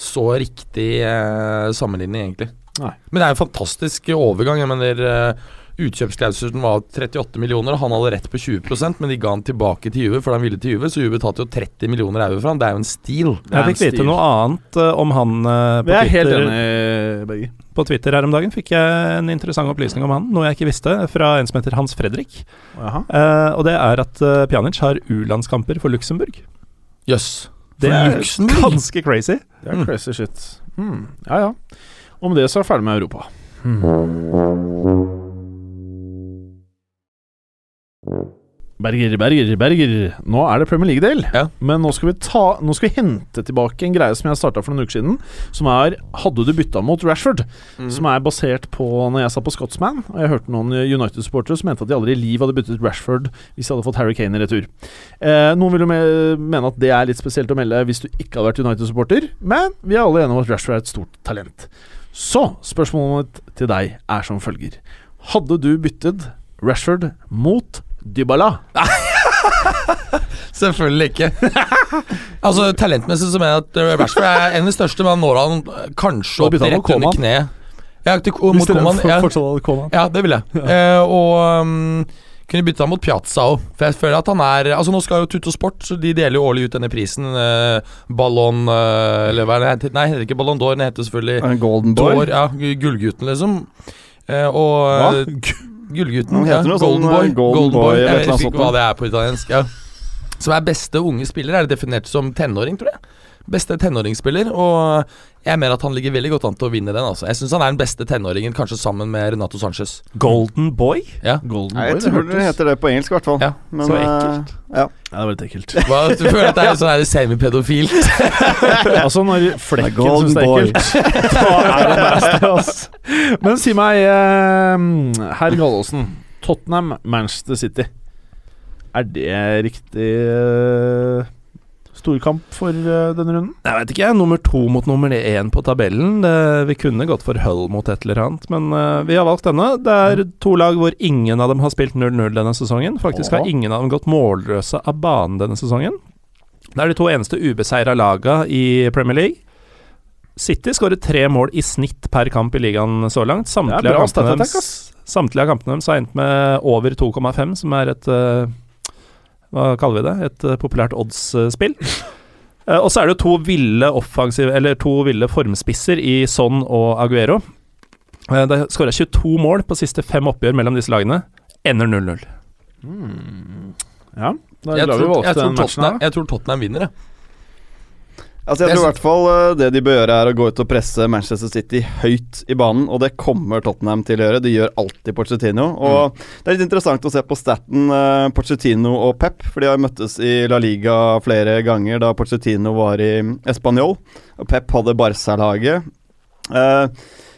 [SPEAKER 5] så riktig eh, sammenligning, egentlig.
[SPEAKER 3] Nei.
[SPEAKER 5] Men det er en fantastisk overgang. Jeg mener, uh, utkjøpsklausulen var 38 millioner, og han hadde rett på 20 men de ga han tilbake til Juve, for han ville til Juve, så Juve betalte jo 30 millioner euro for han. Det er jo en steal.
[SPEAKER 4] Jeg fikk vite noe annet eh, om han eh,
[SPEAKER 3] Vi
[SPEAKER 4] på,
[SPEAKER 3] er helt
[SPEAKER 4] Twitter,
[SPEAKER 3] enige, begge.
[SPEAKER 4] på Twitter her om dagen. Fikk jeg en interessant opplysning om han, noe jeg ikke visste, fra en som heter Hans Fredrik.
[SPEAKER 3] Jaha.
[SPEAKER 4] Eh, og det er at eh, Pjanic har U-landskamper for Luxembourg.
[SPEAKER 5] Jøss.
[SPEAKER 4] Det er
[SPEAKER 5] Luxembourg?
[SPEAKER 4] ganske crazy.
[SPEAKER 3] Det er crazy shit. Hmm. Ja ja. Om det så er jeg ferdig med Europa. Berger, Berger, Berger. Nå er det Premier League-del.
[SPEAKER 5] Ja.
[SPEAKER 3] Men nå skal, vi ta, nå skal vi hente tilbake en greie som jeg starta for noen uker siden. Som er 'Hadde du bytta mot Rashford?' Som er basert på når jeg satt på Scotsman, og jeg hørte noen United-supportere som mente at de aldri i liv hadde byttet Rashford hvis de hadde fått Harry Kane i retur. Eh, noen vil jo me- mene at det er litt spesielt å melde hvis du ikke hadde vært United-supporter, men vi er alle enige om at Rashford er et stort talent. Så spørsmålet mitt til deg er som følger. Hadde du byttet Rashford mot Dybala?
[SPEAKER 5] Selvfølgelig ikke. altså, talentmessig så mener jeg at eh, Rashford er en av de største, men han når han eh, kanskje
[SPEAKER 3] Da
[SPEAKER 5] opp
[SPEAKER 3] bytter han
[SPEAKER 5] rett
[SPEAKER 3] mot
[SPEAKER 5] under
[SPEAKER 3] Koeman.
[SPEAKER 5] kneet. Ja, til, mot Koeman, ja. Ja, det vil jeg. Eh, og um, kunne bytte ham mot Piazza òg. For jeg føler at han er Altså Nå skal jo Tutto Sport, så de deler jo årlig ut denne prisen. eh, Ballon eh, Eller hva er det heter? Nei, det heter ikke Ballon d'Or, den heter selvfølgelig
[SPEAKER 6] Golden
[SPEAKER 5] D'Or.
[SPEAKER 6] Boy.
[SPEAKER 5] Ja, gu- Gullgutten, liksom. Eh, og eh, Gullgutten.
[SPEAKER 6] Han heter noe sånn,
[SPEAKER 5] Golden Boy.
[SPEAKER 6] eh, Golden Boy, eller
[SPEAKER 5] Jeg
[SPEAKER 6] et eller
[SPEAKER 5] vet
[SPEAKER 6] annet
[SPEAKER 5] ikke
[SPEAKER 6] sånt.
[SPEAKER 5] hva det er på italiensk. Ja. Som er beste unge spiller, er det definert som tenåring, tror jeg. Beste tenåringsspiller, og jeg mener at han ligger veldig godt an til å vinne den. altså Jeg syns han er den beste tenåringen, kanskje sammen med Renato Sanchez.
[SPEAKER 4] Golden Boy?
[SPEAKER 5] Ja.
[SPEAKER 3] Golden
[SPEAKER 6] Nei, jeg
[SPEAKER 3] det
[SPEAKER 6] tror det
[SPEAKER 3] hørtes-
[SPEAKER 6] heter det på engelsk, i hvert fall.
[SPEAKER 5] Ja,
[SPEAKER 6] Men,
[SPEAKER 4] så
[SPEAKER 6] eh,
[SPEAKER 4] ekkelt.
[SPEAKER 6] ja.
[SPEAKER 3] Ja, det var litt ekkelt.
[SPEAKER 5] Hva, du føler at det er sånn her semipedofilt?
[SPEAKER 3] Altså når flekken
[SPEAKER 6] Golden
[SPEAKER 3] syns det er
[SPEAKER 6] boy.
[SPEAKER 3] ekkelt, da er det nasty, ass. Men si meg, eh, herr Gallosen. Tottenham, Manchester City. Er det riktig eh, storkamp for eh, denne runden?
[SPEAKER 4] Jeg vet ikke. Nummer to mot nummer én på tabellen. Det, vi kunne gått for Hull mot et eller annet, men eh, vi har valgt denne. Det er to lag hvor ingen av dem har spilt 0-0 denne sesongen. Faktisk har
[SPEAKER 3] Åh.
[SPEAKER 4] ingen av dem gått målløse av banen denne sesongen. Det er de to eneste ubeseira laga i Premier League. City skårer tre mål i snitt per kamp i ligaen så langt.
[SPEAKER 3] Det er
[SPEAKER 4] Samtlige
[SPEAKER 3] bra
[SPEAKER 4] av kampene
[SPEAKER 3] stat-attack,
[SPEAKER 4] deres Samtlige av kampene deres har endt med over 2,5, som er et eh, Hva kaller vi det? Et eh, populært odds-spill. Eh, og så er det jo to ville offensive Eller to ville formspisser i Son og Aguero. Uh, det er skåra 22 mål på siste fem oppgjør mellom disse lagene. Ender 0-0.
[SPEAKER 6] Hmm.
[SPEAKER 3] Ja. Da er
[SPEAKER 5] Jeg
[SPEAKER 3] jeg glad vi
[SPEAKER 5] tror, jeg,
[SPEAKER 3] valgte
[SPEAKER 5] tror
[SPEAKER 3] den matchen
[SPEAKER 5] Tottenham,
[SPEAKER 3] her. da.
[SPEAKER 5] jeg tror Tottenham vinner, jeg.
[SPEAKER 6] Altså, jeg
[SPEAKER 5] Jeg
[SPEAKER 6] tror i hvert fall eh, det de bør gjøre, er å gå ut og presse Manchester City høyt i banen, og det kommer Tottenham til å gjøre. De gjør alltid Pochettino. Og det er litt interessant å se på staten eh, Pochettino og Pep, for de har jo møttes i La Liga flere ganger da Pochettino var i Español, og Pep hadde Barca-laget. Eh,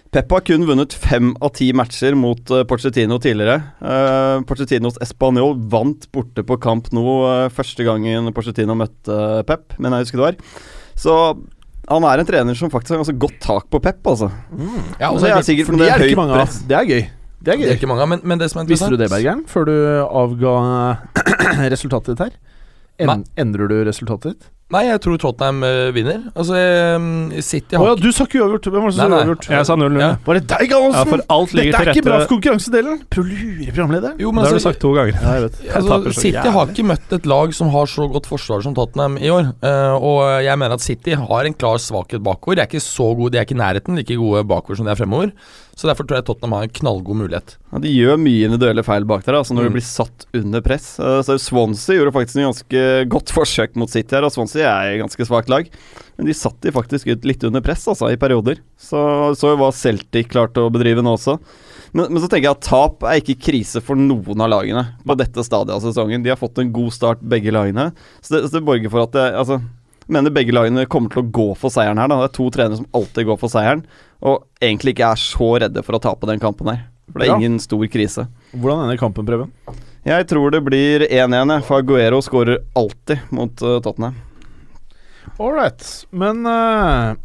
[SPEAKER 6] Pep har kun vunnet fem av ti matcher mot eh, Pochettino tidligere. Eh, Pochettinos Español vant borte på kamp nå eh, første gangen Pochettino møtte Pep, men jeg husker det var. Så han er en trener som faktisk har ganske godt tak på Pep, altså.
[SPEAKER 5] Ja, og
[SPEAKER 6] det er
[SPEAKER 5] så-
[SPEAKER 6] sikkert
[SPEAKER 3] For det Hmm. er det
[SPEAKER 6] høyt
[SPEAKER 3] ikke mange av.
[SPEAKER 6] press.
[SPEAKER 3] Det er gøy. Det
[SPEAKER 5] det er
[SPEAKER 3] er gøy.
[SPEAKER 5] ikke mange, men, men det som er
[SPEAKER 3] Visste
[SPEAKER 5] interessant
[SPEAKER 3] du det, Bergeren, før du avga resultatet ditt her? En, endrer du resultatet ditt?
[SPEAKER 5] Nei, jeg tror Tottenham eh, vinner. Altså, eh, City
[SPEAKER 3] Å
[SPEAKER 5] har
[SPEAKER 3] ja, du sa ikke uavgjort! Hvem var det som
[SPEAKER 5] Nei,
[SPEAKER 3] sa
[SPEAKER 5] nei.
[SPEAKER 3] uavgjort?
[SPEAKER 4] Jeg sa 0-0.
[SPEAKER 5] Ja.
[SPEAKER 3] Var det deg,
[SPEAKER 4] Ja,
[SPEAKER 3] Gallosen?
[SPEAKER 4] for alt ligger
[SPEAKER 3] Dette
[SPEAKER 4] til
[SPEAKER 3] er ikke bra
[SPEAKER 4] rette
[SPEAKER 3] for konkurransedelen! Prøv å lure programleder.
[SPEAKER 5] Jo, men
[SPEAKER 4] Det har du
[SPEAKER 5] altså,
[SPEAKER 4] sagt to ganger.
[SPEAKER 3] Ja, jeg vet.
[SPEAKER 4] Jeg taper
[SPEAKER 5] altså,
[SPEAKER 4] så
[SPEAKER 5] City har ikke møtt et lag som har så godt forsvar som Tottenham i år. Eh, og jeg mener at City har en klar svakhet bakover. De er ikke så gode, de er ikke i nærheten like gode bakover som de er fremover. Så derfor tror jeg Tottenham har en knallgod mulighet.
[SPEAKER 6] Ja, de gjør mye individuelle feil bak der, altså når du blir satt under press. Eh, Så Swansea gjorde faktisk en ganske godt forsøk mot City her, og Swansea er et ganske svakt lag. Men de satt de faktisk ut litt under press, altså, i perioder. Så så jo hva Celtic klarte å bedrive nå også. Men, men så tenker jeg at tap er ikke krise for noen av lagene på dette stadiet av sesongen. De har fått en god start, begge lagene. Så det, så det borger for at det, altså, jeg mener begge lagene kommer til å gå for seieren her. Da. Det er to trenere som alltid går for seieren, og egentlig ikke er så redde for å tape den kampen her. For det er
[SPEAKER 3] Ja.
[SPEAKER 6] ingen stor krise.
[SPEAKER 3] Hvordan ender kampen, Preben?
[SPEAKER 6] Jeg tror det blir 1-1, jeg, for Aguero skårer alltid mot eh, Tottenham.
[SPEAKER 3] All right. Men eh,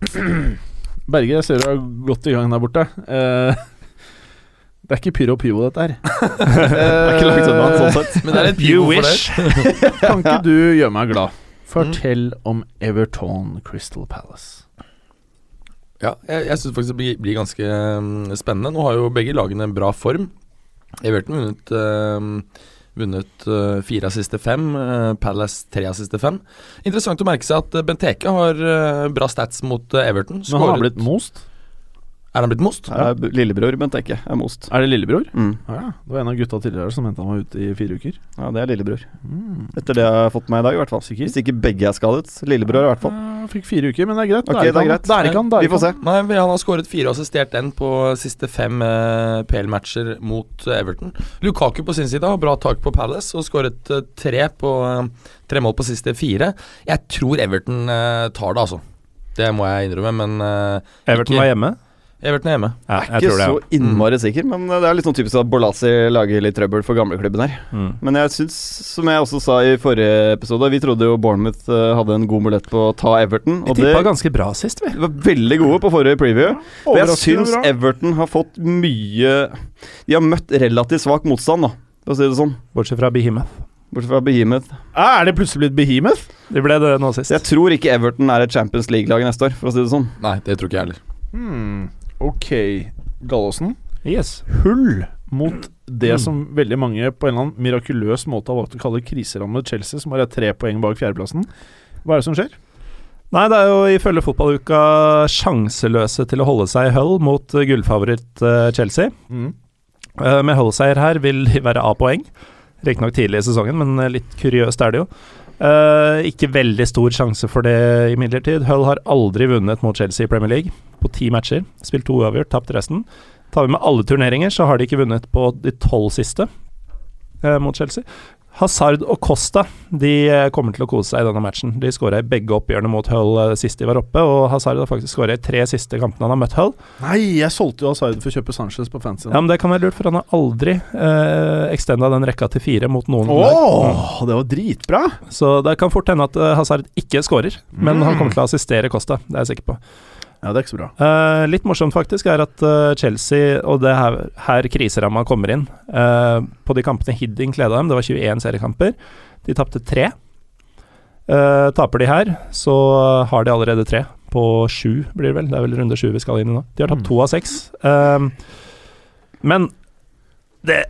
[SPEAKER 3] Berger, jeg ser du er godt i gang der borte. Eh, det er ikke pyro pivo, dette her. Eh,
[SPEAKER 6] Det er ikke langt unna, sånn sett.
[SPEAKER 5] Men det er litt
[SPEAKER 4] You
[SPEAKER 5] pivo Eh, for
[SPEAKER 4] wish!
[SPEAKER 5] det.
[SPEAKER 3] Kan ikke du gjøre meg
[SPEAKER 5] Mm.
[SPEAKER 3] glad? Fortell om Everton Crystal Palace.
[SPEAKER 5] Ja, jeg, jeg syns faktisk det blir, blir ganske mm, spennende. Nå har jo begge lagene en bra form. Everton vunnet eh, Vunnet eh, fire av siste fem, eh, Palace tre av siste fem. Interessant å merke seg at eh, Benteke har eh, bra stats mot eh, Everton.
[SPEAKER 3] Men han har
[SPEAKER 5] Skåret-
[SPEAKER 3] blitt most.
[SPEAKER 5] er han blitt most?
[SPEAKER 6] Her er b- Eh, lillebror Benteke. Er Eh, most.
[SPEAKER 3] Er det lillebror?
[SPEAKER 6] Mm.
[SPEAKER 3] Ja, Det var en av gutta tidligere som mente han var ute i fire uker.
[SPEAKER 6] Ja, det er lillebror. Etter det jeg har fått med meg i dag, i hvert fall.
[SPEAKER 3] Sikker?
[SPEAKER 6] Mm. Hvis ikke begge er skadet. Lillebror, i hvert fall.
[SPEAKER 3] Ja, fikk fire uker, men det er greit.
[SPEAKER 6] Ok, det er
[SPEAKER 3] ikke han.
[SPEAKER 6] greit.
[SPEAKER 3] Det er ikke han. Det er
[SPEAKER 6] Vi
[SPEAKER 3] ikke
[SPEAKER 6] får
[SPEAKER 3] han.
[SPEAKER 6] se.
[SPEAKER 5] Nei, vi- han har skåret fire og assistert én på siste fem eh, PL-matcher mot eh, Everton. Lukaku på sin side har bra tak på Palace og skåret eh, tre, på, eh, tre mål på siste fire. Jeg tror Everton eh, tar det, altså. Det må jeg innrømme, men eh,
[SPEAKER 4] Everton
[SPEAKER 5] Ikke-
[SPEAKER 4] var hjemme.
[SPEAKER 5] Everton er hjemme.
[SPEAKER 4] Ja, Mm.
[SPEAKER 6] Ikke
[SPEAKER 4] jeg tror det.
[SPEAKER 6] så innmari sikker, men eh, det er litt sånn typisk at Bolasi lager litt trøbbel for gamleklubben her.
[SPEAKER 4] Mm.
[SPEAKER 6] Men jeg syns, som jeg også sa i forrige episode, vi trodde jo Bournemouth eh, hadde en god mulighet på å ta Everton.
[SPEAKER 4] Vi
[SPEAKER 6] Og det
[SPEAKER 4] tippa ganske bra sist, vi.
[SPEAKER 6] de var veldig gode på forrige preview. Og jeg
[SPEAKER 3] Overraskende
[SPEAKER 6] syns
[SPEAKER 3] bra.
[SPEAKER 6] Everton har fått mye De har møtt relativt svak motstand, da, for å si det sånn.
[SPEAKER 4] Bortsett fra Behemoth.
[SPEAKER 6] Bortsett fra Behemoth.
[SPEAKER 3] Ah, Er det plutselig blitt Behemoth?
[SPEAKER 4] De ble det nå
[SPEAKER 6] Så jeg
[SPEAKER 4] sist.
[SPEAKER 6] tror ikke Everton er et Champions League-lag neste år, for å si det sånn.
[SPEAKER 5] Nei, det tror ikke jeg heller.
[SPEAKER 3] Hmm. Ok, Gallåsen.
[SPEAKER 4] Yes.
[SPEAKER 3] Hull mot
[SPEAKER 6] Hmm.
[SPEAKER 3] det som veldig mange på en eller annen mirakuløs måte har valgt å kalle kriserammet Chelsea, som bare er tre poeng bak fjerdeplassen. Hva er det som skjer?
[SPEAKER 4] Nei, det er jo ifølge fotballuka sjanseløse til å holde seg i hull mot eh, gullfavoritt eh, Chelsea.
[SPEAKER 3] Hmm.
[SPEAKER 4] Eh, Med Hull-seier her vil de være A-poeng. Riktignok tidlig i sesongen, men eh, litt kuriøst er det jo. Eh, ikke veldig stor sjanse for det imidlertid. Hull har aldri vunnet mot Chelsea i Premier League på ti matcher. Spilt to uavgjort, tapt resten. Tar vi med alle turneringer, så har de ikke vunnet på de tolv siste eh, mot Chelsea. Hazard og Costa de eh, kommer til å kose seg i denne matchen. De skåra i begge oppgjørene mot Hull eh, sist de var oppe, og Hazard har faktisk skåra i tre siste kampene han har møtt Hull.
[SPEAKER 3] Nei, jeg solgte jo Asaid for å kjøpe Sanchez på fancy.
[SPEAKER 4] Ja, men Det kan være lurt, for han har aldri eh, extenda den rekka til fire mot noen.
[SPEAKER 3] Åh,
[SPEAKER 4] lag.
[SPEAKER 3] det var dritbra!
[SPEAKER 4] Så det kan fort hende at eh, Hazard ikke skårer, men han kommer til å assistere Costa. Det er jeg sikker på.
[SPEAKER 3] Ja, det er ikke så bra.
[SPEAKER 4] Eh, litt morsomt faktisk er at eh, Chelsea, og det er her, her kriseramma kommer inn eh, På de kampene Hiddink leda dem, det var 21 seriekamper, de tapte tre. Eh, taper de her, så har de allerede tre. På sju blir det vel, det er vel runde sju vi skal inn i nå. De har tapt
[SPEAKER 3] Mm.
[SPEAKER 4] to av seks. Eh, men det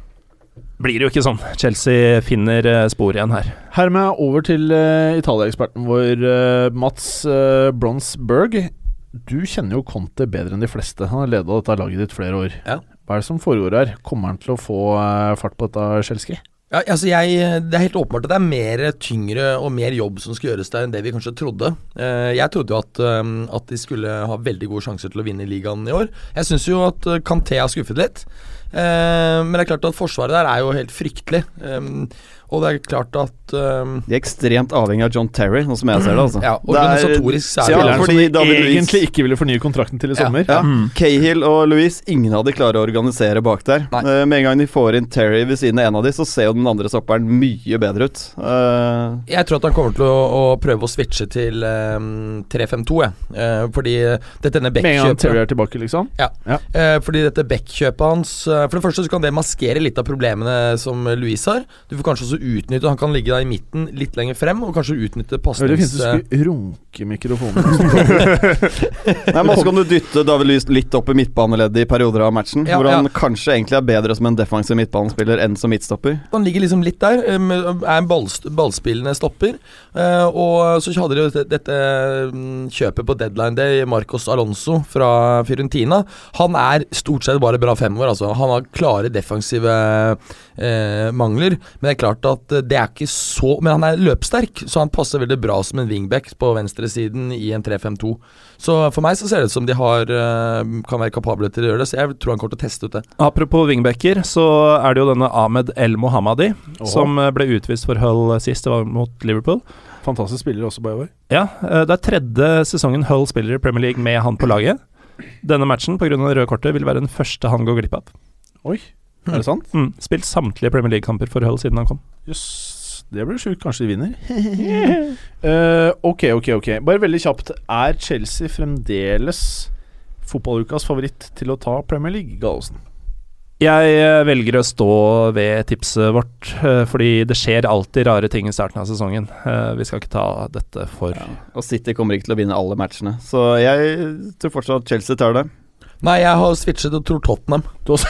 [SPEAKER 4] blir jo ikke sånn. Chelsea finner eh, spor igjen her.
[SPEAKER 3] Hermed over til uh, Italia-eksperten vår, eh, Mats eh, Bronsberg. Du kjenner jo Conte bedre enn de fleste. Han har leda dette laget ditt flere år.
[SPEAKER 5] Ja.
[SPEAKER 3] Hva er det som foregår her? Kommer han til å få eh, fart på dette Chelsea?
[SPEAKER 5] Ja, altså jeg, det er helt åpenbart at det er mer tyngre og mer jobb som skal gjøres der enn det vi kanskje trodde. Eh, Jeg trodde jo at, eh, at de skulle ha veldig gode sjanser til å vinne ligaen i år. Jeg syns jo at eh, Kanté har skuffet litt. Eh, Men det er klart at forsvaret der er jo helt fryktelig. Eh, Og det er klart at eh,
[SPEAKER 6] De er ekstremt avhengig av John Terry, sånn som jeg ser det. altså
[SPEAKER 5] Ja,
[SPEAKER 6] Det er-
[SPEAKER 5] organisatorisk så er det-
[SPEAKER 6] Ja, fordi David Luiz
[SPEAKER 3] egentlig ikke ville fornye kontrakten til i
[SPEAKER 5] Ja,
[SPEAKER 3] sommer.
[SPEAKER 6] ja. Cahill og Louise, ingen av de klarer å organisere bak der.
[SPEAKER 5] Nei.
[SPEAKER 6] Eh, med en gang de får inn Terry ved siden av en av de, så ser jo den andre stopperen mye bedre ut. Eh,
[SPEAKER 5] Jeg tror at han kommer til å, å prøve å switche til eh, 3-5-2, jeg. Eh, Fordi dette- denne
[SPEAKER 3] Med en gang
[SPEAKER 5] Beck-kjøpet
[SPEAKER 3] Terry er tilbake, liksom.
[SPEAKER 5] Eh, fordi dette Beck-kjøpet hans eh, eh, For det første så kan det maskere litt av problemene som Louise har. Du får kanskje også utnytte Han kan ligge der i midten litt lenger frem og kanskje utnytte
[SPEAKER 3] Det er veldig fint hvis
[SPEAKER 5] pasnings...
[SPEAKER 3] du skulle runke mikrofonen.
[SPEAKER 6] Nei, men også kan du dytte David Lys litt opp i midtbaneleddet i perioder av matchen.
[SPEAKER 5] Ja,
[SPEAKER 6] hvor han
[SPEAKER 5] ja.
[SPEAKER 6] kanskje egentlig er bedre som en defensiv midtbanespiller enn som midtstopper.
[SPEAKER 5] Han ligger liksom litt der, eh, med- er en ballst ballspillende stopper. eh, Og så hadde de jo dette, dette mm, kjøpet på deadline day, Marcos Alonso fra Fiorentina. Han er stort sett bare bra femover, altså. Han har klare defensive eh, mangler. Men det er klart at eh, det er ikke så Men han er løpssterk, så han passer veldig bra som en wingback på venstresiden i en 3-5-2. Så for meg så ser det ut som de har eh, kan være kapable til å gjøre det, så jeg tror han kommer til å teste ut det.
[SPEAKER 4] Apropos wingbacker, så er det jo denne Ahmed El Mohammadi som eh, ble utvist for Hull sist, det var mot Liverpool.
[SPEAKER 3] Fantastisk spiller også, by the way.
[SPEAKER 4] Ja, eh, det er tredje sesongen Hull spiller i Premier League med han på laget. Denne matchen pga. det røde kortet vil være den første han går glipp av.
[SPEAKER 3] Oi, er det sant?
[SPEAKER 4] Mm. Spilt samtlige Premier League-kamper for Hull siden han kom.
[SPEAKER 3] Jøss. Det blir sjukt. Kanskje de vinner. Eh, ok, ok, ok. Bare veldig kjapt. Er Chelsea fremdeles fotballukas favoritt til å ta Premier League, Gallosen?
[SPEAKER 4] Jeg eh, velger å stå ved tipset vårt, eh, fordi det skjer alltid rare ting i starten av sesongen. Eh, Vi skal ikke ta dette for
[SPEAKER 6] Og City kommer ikke til å vinne alle matchene. Så jeg tror fortsatt Chelsea tar det.
[SPEAKER 5] Nei, jeg har switchet og tror Tottenham.
[SPEAKER 3] Du også?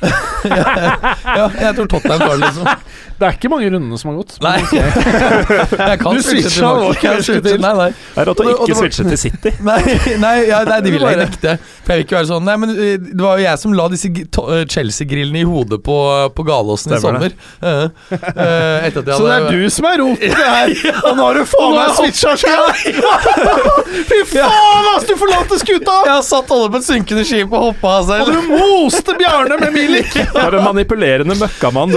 [SPEAKER 5] ja, jeg tror Tottenham tar det, liksom.
[SPEAKER 3] Det er ikke mange rundene som har gått.
[SPEAKER 5] Nei. jeg kan
[SPEAKER 3] Du
[SPEAKER 5] switche
[SPEAKER 3] switchet, det var
[SPEAKER 5] tilbake.
[SPEAKER 3] ikke helt
[SPEAKER 5] Jeg switchet- Nei, nei.
[SPEAKER 4] Det er rått å
[SPEAKER 5] Og det- og
[SPEAKER 4] ikke
[SPEAKER 5] det var-
[SPEAKER 4] switche til City.
[SPEAKER 5] Nei, nei, ja, nei, de vil jeg
[SPEAKER 3] Bare-
[SPEAKER 5] nekte. For jeg vil ikke være sånn Nei, men eh, det var jo jeg som la disse g- to- eh, Chelsea-grillene i hodet på, eh, på Galåsen i
[SPEAKER 4] Stemmer
[SPEAKER 5] sommer.
[SPEAKER 4] det.
[SPEAKER 5] Eh, eh, etter at jeg
[SPEAKER 3] Så det
[SPEAKER 5] hadde
[SPEAKER 3] er du som er roten her! Og nå har du faen
[SPEAKER 5] Nå har
[SPEAKER 3] meg
[SPEAKER 5] jeg
[SPEAKER 3] switcha sjøl! Fy faen, ass! Du forlater skuta!
[SPEAKER 5] Jeg har satt alle på et synkende skip og hoppa av
[SPEAKER 3] Og
[SPEAKER 5] selv.
[SPEAKER 3] du moste Bjarne med Milik!
[SPEAKER 4] For en manipulerende møkkamann du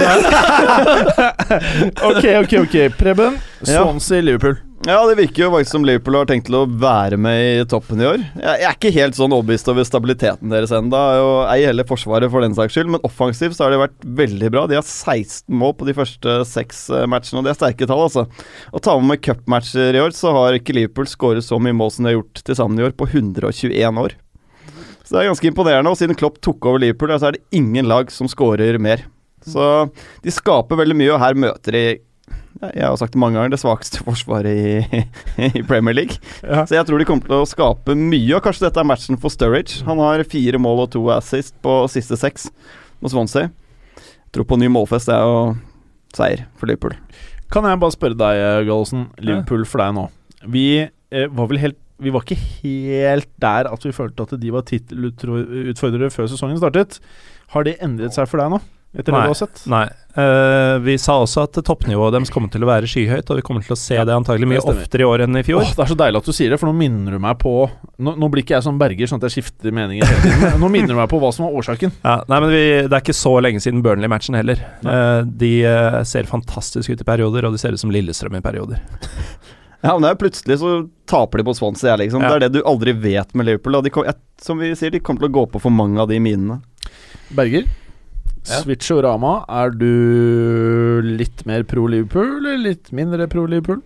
[SPEAKER 4] er.
[SPEAKER 3] Ok, ok, ok. Preben,
[SPEAKER 6] Ja.
[SPEAKER 3] Swansea-Liverpool.
[SPEAKER 6] Ja, det virker jo faktisk som Liverpool har tenkt til å være med i toppen i år. Jeg jeg er ikke helt sånn overbevist over stabiliteten deres ennå, og ei heller Forsvaret for den saks skyld, men offensivt så har de vært veldig bra. De har 16 mål på de første seks eh, matchene, og det er sterke tall, altså. Og tar man med cupmatcher i år, så har ikke Liverpool skåret så mye mål som de har gjort til sammen i år, på 121 år. Så det er ganske imponerende, og siden Klopp tok over Liverpool, så er det ingen lag som skårer mer. Så de skaper veldig mye, og her møter de ja, jeg har sagt det mange ganger, det svakeste forsvaret i, i Premier League.
[SPEAKER 3] Ja.
[SPEAKER 6] Så jeg tror de kommer til å skape mye, og kanskje dette er matchen for Sturridge. Han har fire mål og to assist på siste seks mot Swansea. Jeg tror på ny målfest er jo seier for Liverpool.
[SPEAKER 3] Kan jeg bare spørre deg, eh, Gallosen. Liverpool for deg nå. Vi eh, var vel helt Vi var ikke helt der at vi følte at de var tittelutfordrere før sesongen startet. Har det endret seg for deg nå? Etter
[SPEAKER 4] Nei.
[SPEAKER 3] det du har sett?
[SPEAKER 4] Nei. eh, vi sa også at toppnivået deres kommer til å være skyhøyt, og vi kommer til å se det antagelig mye
[SPEAKER 3] det stemmer.
[SPEAKER 4] oftere i år enn i fjor.
[SPEAKER 3] Åh, det er så deilig at du sier det, for nå minner du meg på Nå, nå blir ikke jeg som Berger, sånn at jeg skifter meninger hele tiden. Nå minner du meg på hva som var årsaken.
[SPEAKER 4] Ja, nei, men vi, Det er ikke så lenge siden Burnley-matchen heller. Eh, de eh, ser fantastisk ut i perioder, og de ser ut som Lillestrøm i perioder.
[SPEAKER 6] Ja, men det er plutselig så taper de på Swansea, liksom.
[SPEAKER 4] Ja.
[SPEAKER 6] Det er det du aldri vet med Liverpool. Og de, kom- jeg, som vi sier, de kommer til å gå på for mange av de minene.
[SPEAKER 3] Berger,
[SPEAKER 5] Ja.
[SPEAKER 3] Switchorama, er du litt mer pro Liverpool, eller litt mindre pro Liverpool?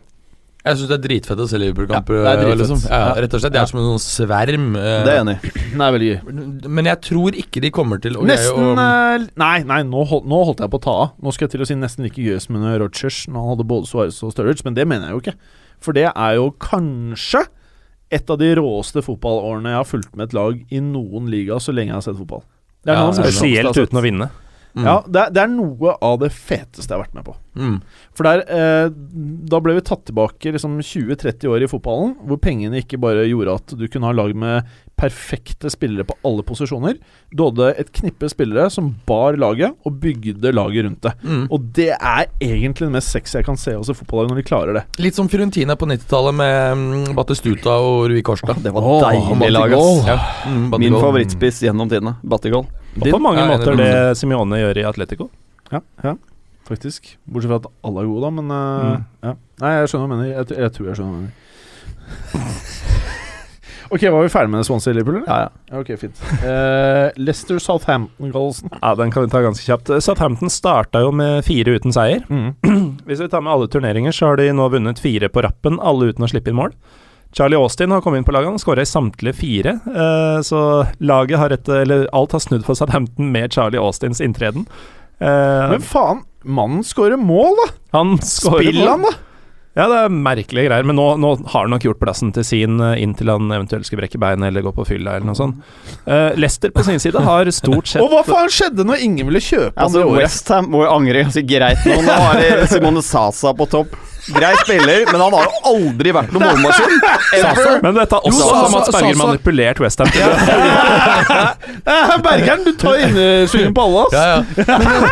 [SPEAKER 5] Jeg syns det er dritfett å se Liverpool-kamper.
[SPEAKER 3] Ja, det er dritfett.
[SPEAKER 5] liksom. ja,
[SPEAKER 3] Ja.
[SPEAKER 5] rett og slett. Det er som en sånn sverm. eh,
[SPEAKER 6] Det er jeg enig i.
[SPEAKER 3] Nei, veldig gøy.
[SPEAKER 5] Men jeg tror ikke de kommer til å
[SPEAKER 3] Nesten
[SPEAKER 5] å-
[SPEAKER 3] eh, Nei, nei, nå, hold, nå holdt jeg på å ta av. Nå skal jeg til å si nesten like gøy som under Rodgers når han hadde både Suarez og Sturridge, men det mener jeg jo ikke. For det er jo kanskje et av de råeste fotballårene jeg har fulgt med et lag i noen liga så lenge jeg har sett fotball. Det er
[SPEAKER 5] Ja,
[SPEAKER 3] noe av det morsomste jeg har
[SPEAKER 4] Spesielt
[SPEAKER 3] sett.
[SPEAKER 4] uten å vinne.
[SPEAKER 3] eh,
[SPEAKER 5] Mm.
[SPEAKER 3] Ja, det, er- det er noe av det feteste jeg har vært med på.
[SPEAKER 5] Mm.
[SPEAKER 3] For der, eh, da ble vi tatt tilbake liksom 20-30 år i fotballen, hvor pengene ikke bare gjorde at du kunne ha lag med perfekte spillere på alle posisjoner. Du hadde et knippe spillere som bar laget og bygde laget rundt det.
[SPEAKER 5] Mm.
[SPEAKER 3] Og det er egentlig det mest sexy jeg kan se hos et fotballag, når de klarer det.
[SPEAKER 5] Litt som Fiorentina på 90-tallet med mm, Battistuta og Rui Costa.
[SPEAKER 6] Det var
[SPEAKER 3] Åh,
[SPEAKER 6] deilig lag,
[SPEAKER 3] Battigol.
[SPEAKER 6] ass.
[SPEAKER 5] Ja, mm, Battigol.
[SPEAKER 6] Min favorittspiss gjennom tidene, Battigol.
[SPEAKER 4] Og på mange
[SPEAKER 5] Ja, jeg er
[SPEAKER 4] måter
[SPEAKER 5] enig
[SPEAKER 4] det
[SPEAKER 5] med
[SPEAKER 4] Simione gjør i Atletico.
[SPEAKER 3] Ja, ja faktisk. Bortsett fra at alle er gode, da, men eh, ja. Nei, jeg skjønner hva du mener. Jeg, tr- jeg tror jeg skjønner hva du mener. ok, var vi ferdig med Swansea-Liverpool, eller?
[SPEAKER 6] Ja, ja.
[SPEAKER 3] Ja, Ok, fint. Eh, Leicester Southampton-kallelsen.
[SPEAKER 4] Ja, Den kan vi ta ganske kjapt. Eh, Southampton starta jo med fire uten seier.
[SPEAKER 3] Mm.
[SPEAKER 4] Hvis vi tar med alle turneringer, så har de nå vunnet fire på rappen, alle uten å slippe inn mål. Charlie Austin har kommet inn på laget, han skåra i samtlige fire. Eh, så laget har et Eller alt har snudd for Southampton med Charlie Austins inntreden. Eh,
[SPEAKER 3] Men faen, mannen skårer mål, da!
[SPEAKER 4] han skårer
[SPEAKER 3] Spill
[SPEAKER 4] mål.
[SPEAKER 3] han, da!
[SPEAKER 4] Ja, det er merkelige greier, men nå, nå har han nok gjort plassen til sin eh, inntil han eventuelt skulle brekke beinet eller gå på fylla eller noe sånt. Eh, Leicester på sin side har stort sett
[SPEAKER 3] Og hva faen skjedde når ingen ville kjøpe han
[SPEAKER 6] Altså,
[SPEAKER 3] det året?
[SPEAKER 6] Westham må jo angre ganske greit nå. Nå har de Simone Sasa på topp. Grei spiller, men han har jo aldri vært noen målmaskin. Ever.
[SPEAKER 4] Men dette har også
[SPEAKER 5] Jo, Sasa-
[SPEAKER 4] Mats Berger
[SPEAKER 5] Sasa-
[SPEAKER 4] manipulert Westham til.
[SPEAKER 3] Eh, Bergeren, du tar innersvingen på alle, ass!
[SPEAKER 5] Ja, ja.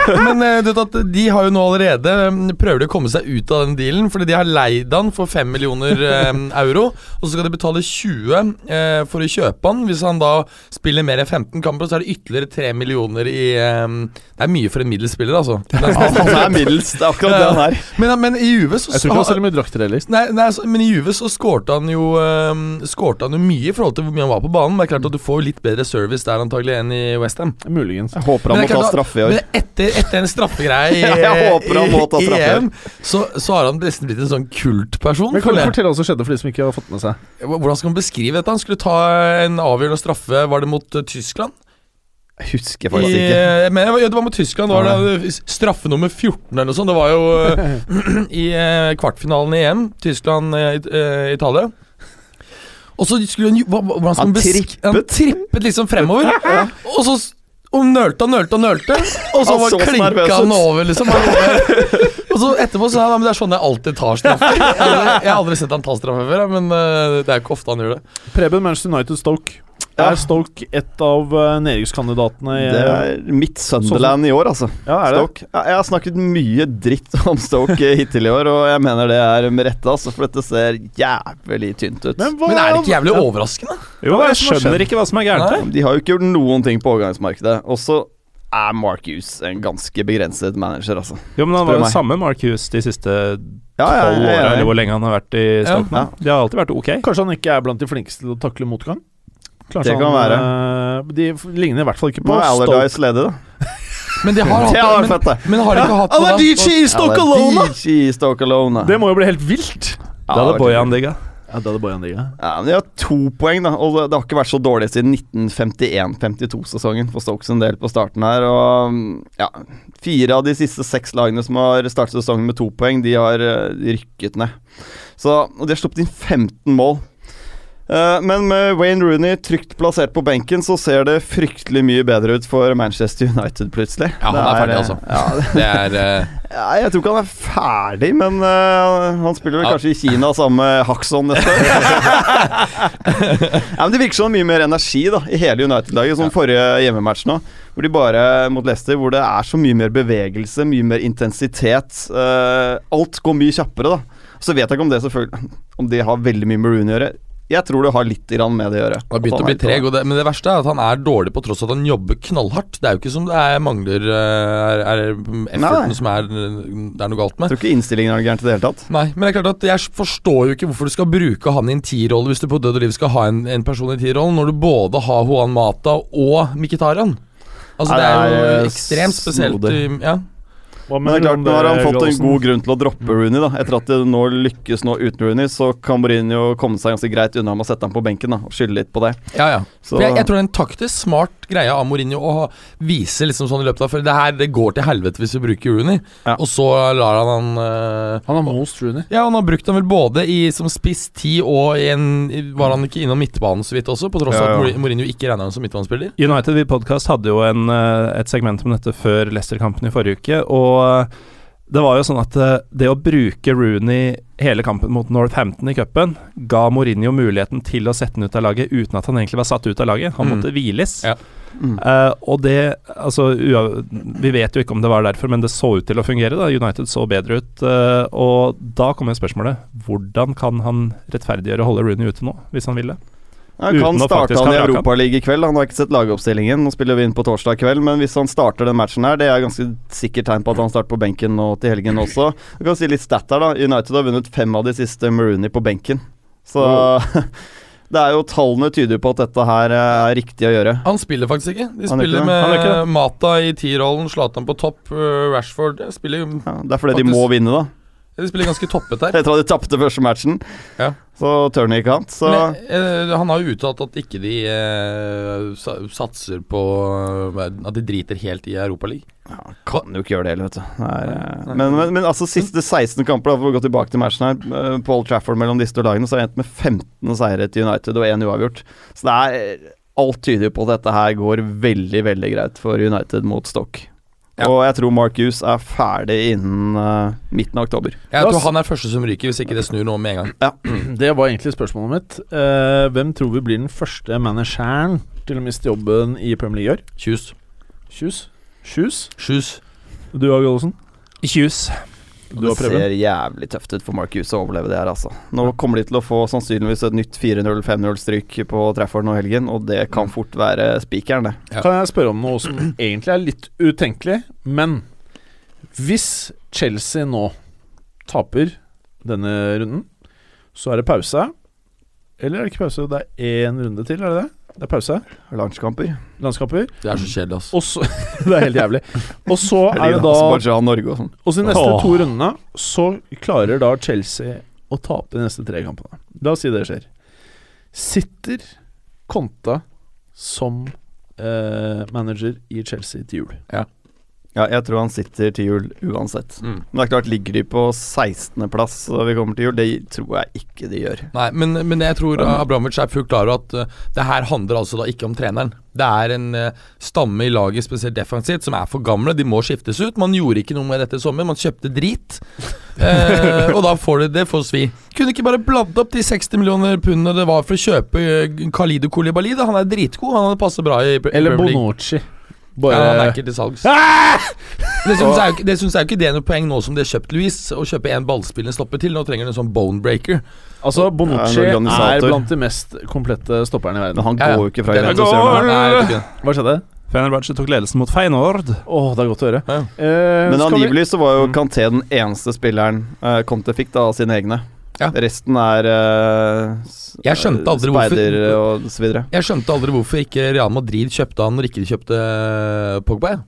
[SPEAKER 5] Men, men eh, du vet at de har jo nå allerede mm, prøver de å komme seg ut av den dealen. Fordi de har leid han for 5 millioner eh, euro, og så skal de betale 20 eh, for å kjøpe han. Hvis han da spiller mer enn 15 kamper, så er det ytterligere 3 millioner i eh, Det er mye for en middels spiller, altså.
[SPEAKER 6] Han han er middels. Det er akkurat det han er.
[SPEAKER 5] Men, men i UV så
[SPEAKER 3] Jeg tror ikke han selger mye drakter heller.
[SPEAKER 5] Nei, nei altså, men i Juve så skårte han jo ehm, Skårte han jo mye i forhold til hvor mye han var på banen. Men det er klart at du får jo litt bedre service der antagelig enn i Westham.
[SPEAKER 3] Muligens.
[SPEAKER 6] Jeg håper han må ta straffe i år.
[SPEAKER 5] Men etter, etter en straffegreie i,
[SPEAKER 6] Jeg håper han må ta
[SPEAKER 5] i- i
[SPEAKER 6] straffe.
[SPEAKER 5] EM, så, så har han nesten blitt en sånn kultperson.
[SPEAKER 3] Men kan du
[SPEAKER 5] føler jeg.
[SPEAKER 3] fortelle hva som skjedde for de som ikke har fått med seg?
[SPEAKER 5] Hvordan skal man beskrive dette? Han skulle ta en avgjørende straffe, var det mot eh, Tyskland?
[SPEAKER 6] Jeg husker
[SPEAKER 5] I,
[SPEAKER 6] faktisk ikke.
[SPEAKER 5] eh, men, ja, det var mot Tyskland. Det var det, straffe nummer 14 eller noe sånt. Det var jo eh, i eh, kvartfinalen i EM. eh, Tyskland-Italia. og så skulle han jo- hva- hva- hvordan skal
[SPEAKER 6] Han
[SPEAKER 5] man besk- Han trippet liksom fremover. Og så s- og nølte og nølte og nølte. Og så
[SPEAKER 6] Han
[SPEAKER 5] var
[SPEAKER 6] så så
[SPEAKER 5] klinka
[SPEAKER 6] nervøs ut.
[SPEAKER 5] han over, liksom. Og så etterpå sa han "Ja, men det er sånn jeg alltid tar straffer. Jeg har aldri- Jeg har aldri sett han ta straffer før, men eh, det er jo ikke ofte han gjør det.
[SPEAKER 3] Preben, Manchester United, Stoke.
[SPEAKER 6] Ja.
[SPEAKER 3] Er Stoke et av eh, nedrykkskandidatene? i-
[SPEAKER 6] Det er mitt Sunderland i år, altså.
[SPEAKER 3] ja, er det?
[SPEAKER 6] Stoke. Ja, Jeg har snakket mye dritt om Stoke eh, hittil i år, og jeg mener det er med rette, altså, for dette ser jævlig tynt ut.
[SPEAKER 3] Men, hva,
[SPEAKER 5] Men er det ikke jævlig overraskende?
[SPEAKER 4] Jo,
[SPEAKER 3] Hva er det
[SPEAKER 4] jeg
[SPEAKER 3] som har skjedd?
[SPEAKER 4] skjønner ikke hva som er gærent her.
[SPEAKER 5] Nei.
[SPEAKER 6] De har jo ikke gjort noen ting på overgangsmarkedet. Og så er Mark Hughes en ganske begrenset manager, altså.
[SPEAKER 4] Jo, men
[SPEAKER 6] Spør
[SPEAKER 4] han var jo
[SPEAKER 6] meg.
[SPEAKER 4] samme Mark Hughes de siste
[SPEAKER 6] Ja, ja,
[SPEAKER 4] tolv
[SPEAKER 6] ja, ja,
[SPEAKER 4] åra,
[SPEAKER 6] ja.
[SPEAKER 4] eller hvor lenge han har vært i Stoke nå.
[SPEAKER 6] Ja.
[SPEAKER 4] De har alltid vært ok.
[SPEAKER 3] Kanskje han ikke er blant de flinkeste til å takle motgang? Kanskje
[SPEAKER 6] Det kan
[SPEAKER 3] han, eh, De f- ligner i hvert fall ikke
[SPEAKER 6] Nå
[SPEAKER 3] på
[SPEAKER 6] er
[SPEAKER 3] Stoke.
[SPEAKER 6] Allardyce ledig, da.
[SPEAKER 5] Men de har
[SPEAKER 6] Det
[SPEAKER 5] hatt
[SPEAKER 6] var fett, det.
[SPEAKER 5] men, men har de ikke hatt noe da-
[SPEAKER 3] Allardyce i Stoke alone! da?
[SPEAKER 6] Allardyce i Stoke alone. da.
[SPEAKER 3] Det må jo bli helt vilt!
[SPEAKER 6] Ja,
[SPEAKER 4] Det hadde
[SPEAKER 6] vært-
[SPEAKER 4] Bojan digga.
[SPEAKER 3] Ja, det hadde Bojan digga.
[SPEAKER 6] Ja, men De har to poeng, da. Og det det har ikke vært så dårlig siden 1951-52-sesongen for Stokes en del på starten her. Og mm, ja, fire av de siste seks lagene som har startet sesongen med to poeng, de har eh, rykket ned. Så, og de har sluppet inn 15 mål. Eh, Men med Wayne Rooney trygt plassert på benken, så ser det fryktelig mye bedre ut for Manchester United, plutselig.
[SPEAKER 5] Ja, han er ferdig,
[SPEAKER 6] eh,
[SPEAKER 5] altså.
[SPEAKER 6] Ja,
[SPEAKER 5] Det er eh,
[SPEAKER 6] ja, jeg tror ikke han er ferdig, men eh, han spiller vel
[SPEAKER 5] Ja.
[SPEAKER 6] kanskje i Kina sammen med Haxon neste år. ja, men det virker som det er mye mer energi da, i hele United-laget, som forrige hjemmematch nå. Hvor de bare mot Leicester, hvor det er så mye mer bevegelse, mye mer intensitet. eh, alt går mye kjappere, da. Så vet jeg ikke om det selvfølgelig Om det har veldig mye med Rooney å gjøre. Jeg tror det har litt grann med det å gjøre.
[SPEAKER 5] Han har begynt
[SPEAKER 6] At
[SPEAKER 5] å
[SPEAKER 6] han
[SPEAKER 5] bli
[SPEAKER 6] er litt
[SPEAKER 5] treg, og det, men det verste er at han er dårlig på tross av at han jobber knallhardt. Det er jo ikke som det er mangler eh, Er, er
[SPEAKER 6] Nei, nei.
[SPEAKER 5] efforten som er, det er noe galt
[SPEAKER 6] Jeg
[SPEAKER 5] med.
[SPEAKER 6] tror ikke innstillingen er gæren i det hele tatt.
[SPEAKER 5] Nei, men det er klart at jeg forstår jo ikke hvorfor du skal bruke han i en tierrolle hvis du på død og liv skal ha en, en person i tierrollen, når du både har Juan Mata og Mkhitaryan. Altså,
[SPEAKER 6] Nei,
[SPEAKER 5] det er jo
[SPEAKER 6] det er
[SPEAKER 5] ekstremt spesielt.
[SPEAKER 6] snodig.
[SPEAKER 5] i- Ja.
[SPEAKER 3] Hva
[SPEAKER 6] Men det er
[SPEAKER 3] mener
[SPEAKER 6] klart,
[SPEAKER 3] du om
[SPEAKER 6] nå har han fått en
[SPEAKER 3] Gallosen?
[SPEAKER 6] god grunn til å droppe Rooney. da Etter at det nå lykkes nå uten Rooney, så kan Mourinho komme seg ganske greit unna med å sette ham på benken da og skylde litt på det.
[SPEAKER 5] Ja, ja.
[SPEAKER 6] Så-
[SPEAKER 5] For jeg, jeg tror det er en taktisk smart greie av Mourinho å ha- vise liksom sånn i løpet av For det her det går til helvete hvis vi bruker Rooney,
[SPEAKER 6] Ja.
[SPEAKER 5] og så lar han han eh,
[SPEAKER 3] Han har most Rooney.
[SPEAKER 5] Ja, han har brukt ham vel både i, som spiss ti og i en i- Var han ikke innom midtbanen så vidt også, på tross av
[SPEAKER 6] Ja, ja.
[SPEAKER 5] at Mourin- Mourinho ikke regner ham som midtbanespiller?
[SPEAKER 4] United Vi Podcast hadde jo en, eh, et segment om dette før Leicester-kampen i forrige uke. Og eh, det var jo sånn at eh, det å bruke Rooney hele kampen mot Northampton i cupen ga Mourinho muligheten til å sette han ut av laget uten at han egentlig var satt ut av laget. Han
[SPEAKER 5] Mm.
[SPEAKER 4] måtte hviles.
[SPEAKER 5] Ja.
[SPEAKER 6] Mm.
[SPEAKER 4] Eh, og det Altså, ua- vi vet jo ikke om det var derfor, men det så ut til å fungere. da United så bedre ut. eh, og da kommer spørsmålet hvordan kan han rettferdiggjøre å holde Rooney ute nå, hvis han vil det?
[SPEAKER 6] Han
[SPEAKER 4] Uten
[SPEAKER 6] kan
[SPEAKER 4] å
[SPEAKER 6] starte
[SPEAKER 4] faktisk
[SPEAKER 6] han i
[SPEAKER 4] ha vraka.
[SPEAKER 6] Europaligaen i kveld. Han har ikke sett lagoppstillingen. Nå spiller vi inn på torsdag kveld, men hvis han starter den matchen her, det er ganske sikkert tegn på at han starter på benken nå til helgen også. Vi kan si litt stat her, da. United har vunnet fem av de siste med Rooney på benken. Så det er jo tallene tyder jo på at dette her er riktig å gjøre.
[SPEAKER 5] Han spiller faktisk ikke. De
[SPEAKER 6] Han er ikke
[SPEAKER 5] spiller
[SPEAKER 6] det.
[SPEAKER 5] med
[SPEAKER 4] Han er ikke det.
[SPEAKER 5] Mata i T-rollen, Zlatan på topp, øh, Rashford eh, spiller jo
[SPEAKER 6] Ja, det er fordi
[SPEAKER 5] Faktisk-
[SPEAKER 6] de må vinne, da.
[SPEAKER 5] De spiller ganske toppet der.
[SPEAKER 6] Etter at de tapte første matchen,
[SPEAKER 5] Ja.
[SPEAKER 6] så Turney ikke annet. Så
[SPEAKER 5] Men, eh, han har jo uttalt at ikke de eh, sa- satser på eh, At de driter helt i Europaligaen.
[SPEAKER 6] kan jo ikke gjøre det heller, vet du. Det er, eh, men, men, men altså, siste 16 kamper, da, for å gå tilbake til matchen her, eh, på Old Trafford mellom disse to lagene, så har jeg endt med 15 seire til United og én uavgjort. Så det er eh, Alt tyder jo på at dette her går veldig, veldig greit for United mot Stoke.
[SPEAKER 5] Ja.
[SPEAKER 6] Og jeg tror Mark Hughes er ferdig innen eh, midten av oktober.
[SPEAKER 5] Jeg tror han er første som ryker, hvis ikke det snur nå med en gang.
[SPEAKER 3] Det var egentlig spørsmålet mitt. Eh, hvem tror vi blir den første manageren til å miste jobben i Premier League i år?
[SPEAKER 5] Kjus.
[SPEAKER 3] Kjus? Kjus?
[SPEAKER 5] Kjus.
[SPEAKER 3] Du, Agi Olsen?
[SPEAKER 4] Kjus.
[SPEAKER 3] Du har
[SPEAKER 6] det
[SPEAKER 3] prøvd.
[SPEAKER 6] ser jævlig tøft ut for Mark Hughes å overleve det her, altså. Nå kommer de til å få sannsynligvis et nytt 4-0-5-0-stryk på Trafford nå i helgen, og det kan fort være spikeren, det.
[SPEAKER 5] Ja.
[SPEAKER 3] Kan jeg spørre om noe som egentlig er litt utenkelig, men hvis Chelsea nå taper denne runden, så er det pause. Eller er det ikke pause? Det er én runde til, er det det? Det er pause.
[SPEAKER 6] Lunsjkamper.
[SPEAKER 3] Landskamper.
[SPEAKER 5] Det er så kjedelig, ass.
[SPEAKER 3] Og så Det er helt jævlig. Og så er det da
[SPEAKER 6] Aserbajdsjan, Norge og sånn.
[SPEAKER 3] Og så de neste
[SPEAKER 4] Åh.
[SPEAKER 3] to rundene så klarer da Chelsea å tape de neste tre kampene. La oss si det skjer. Sitter Conte som eh, manager i Chelsea til jul?
[SPEAKER 6] Ja, jeg tror han sitter til jul uansett.
[SPEAKER 5] Mm.
[SPEAKER 6] Men det er klart, ligger de på 16.-plass og vi kommer til jul? Det tror jeg ikke de gjør.
[SPEAKER 5] Nei, men, men jeg tror eh, Abramovic er fullt klar over at eh, det her handler altså da ikke om treneren. Det er en eh, stamme i laget, spesielt defensivt, som er for gamle. De må skiftes ut. Man gjorde ikke noe med dette i sommer. Man kjøpte drit. Eh, og da får det, det får svi. Kunne ikke bare bladd opp de 60 millioner pundene det var for å kjøpe eh, Khalidu Kolibali. Han er dritgod. Han passer bra i Pre-
[SPEAKER 3] Eller
[SPEAKER 5] Premier League.
[SPEAKER 3] Bonucci.
[SPEAKER 5] Ja, han er
[SPEAKER 3] Bare Ah!
[SPEAKER 5] ikke til salgs. Det syns jeg, jo ikke- det syns jeg jo ikke det er noe poeng nå som de har kjøpt Louis. Å kjøpe en ballspillende stopper til. Nå trenger de en sånn bone breaker.
[SPEAKER 3] Altså, Bonucci
[SPEAKER 6] Det er
[SPEAKER 3] er
[SPEAKER 6] en organisator.
[SPEAKER 3] blant de mest komplette stopperne i
[SPEAKER 6] Men
[SPEAKER 3] verden.
[SPEAKER 6] han
[SPEAKER 5] Ja, ja.
[SPEAKER 6] går jo ikke fra
[SPEAKER 5] Den er
[SPEAKER 6] Juventus.
[SPEAKER 5] god.
[SPEAKER 6] gjør han det?
[SPEAKER 5] Nei, jeg vet ikke.
[SPEAKER 3] Hva skjedde?
[SPEAKER 4] Fenerbahçe tok ledelsen mot Feyenoord.
[SPEAKER 3] Å, det er godt å høre.
[SPEAKER 5] Ja.
[SPEAKER 3] Eh,
[SPEAKER 6] Men
[SPEAKER 3] skal vi-
[SPEAKER 6] angivelig så var jo Kanté den eneste spilleren uh, Conte fikk da, av sine egne.
[SPEAKER 5] Ja.
[SPEAKER 6] Resten er eh, s-
[SPEAKER 5] Jeg skjønte aldri hvorfor-
[SPEAKER 6] speider og så videre.
[SPEAKER 5] Jeg skjønte aldri hvorfor ikke Real Madrid kjøpte han når ikke de kjøpte eh, Pogba. jeg.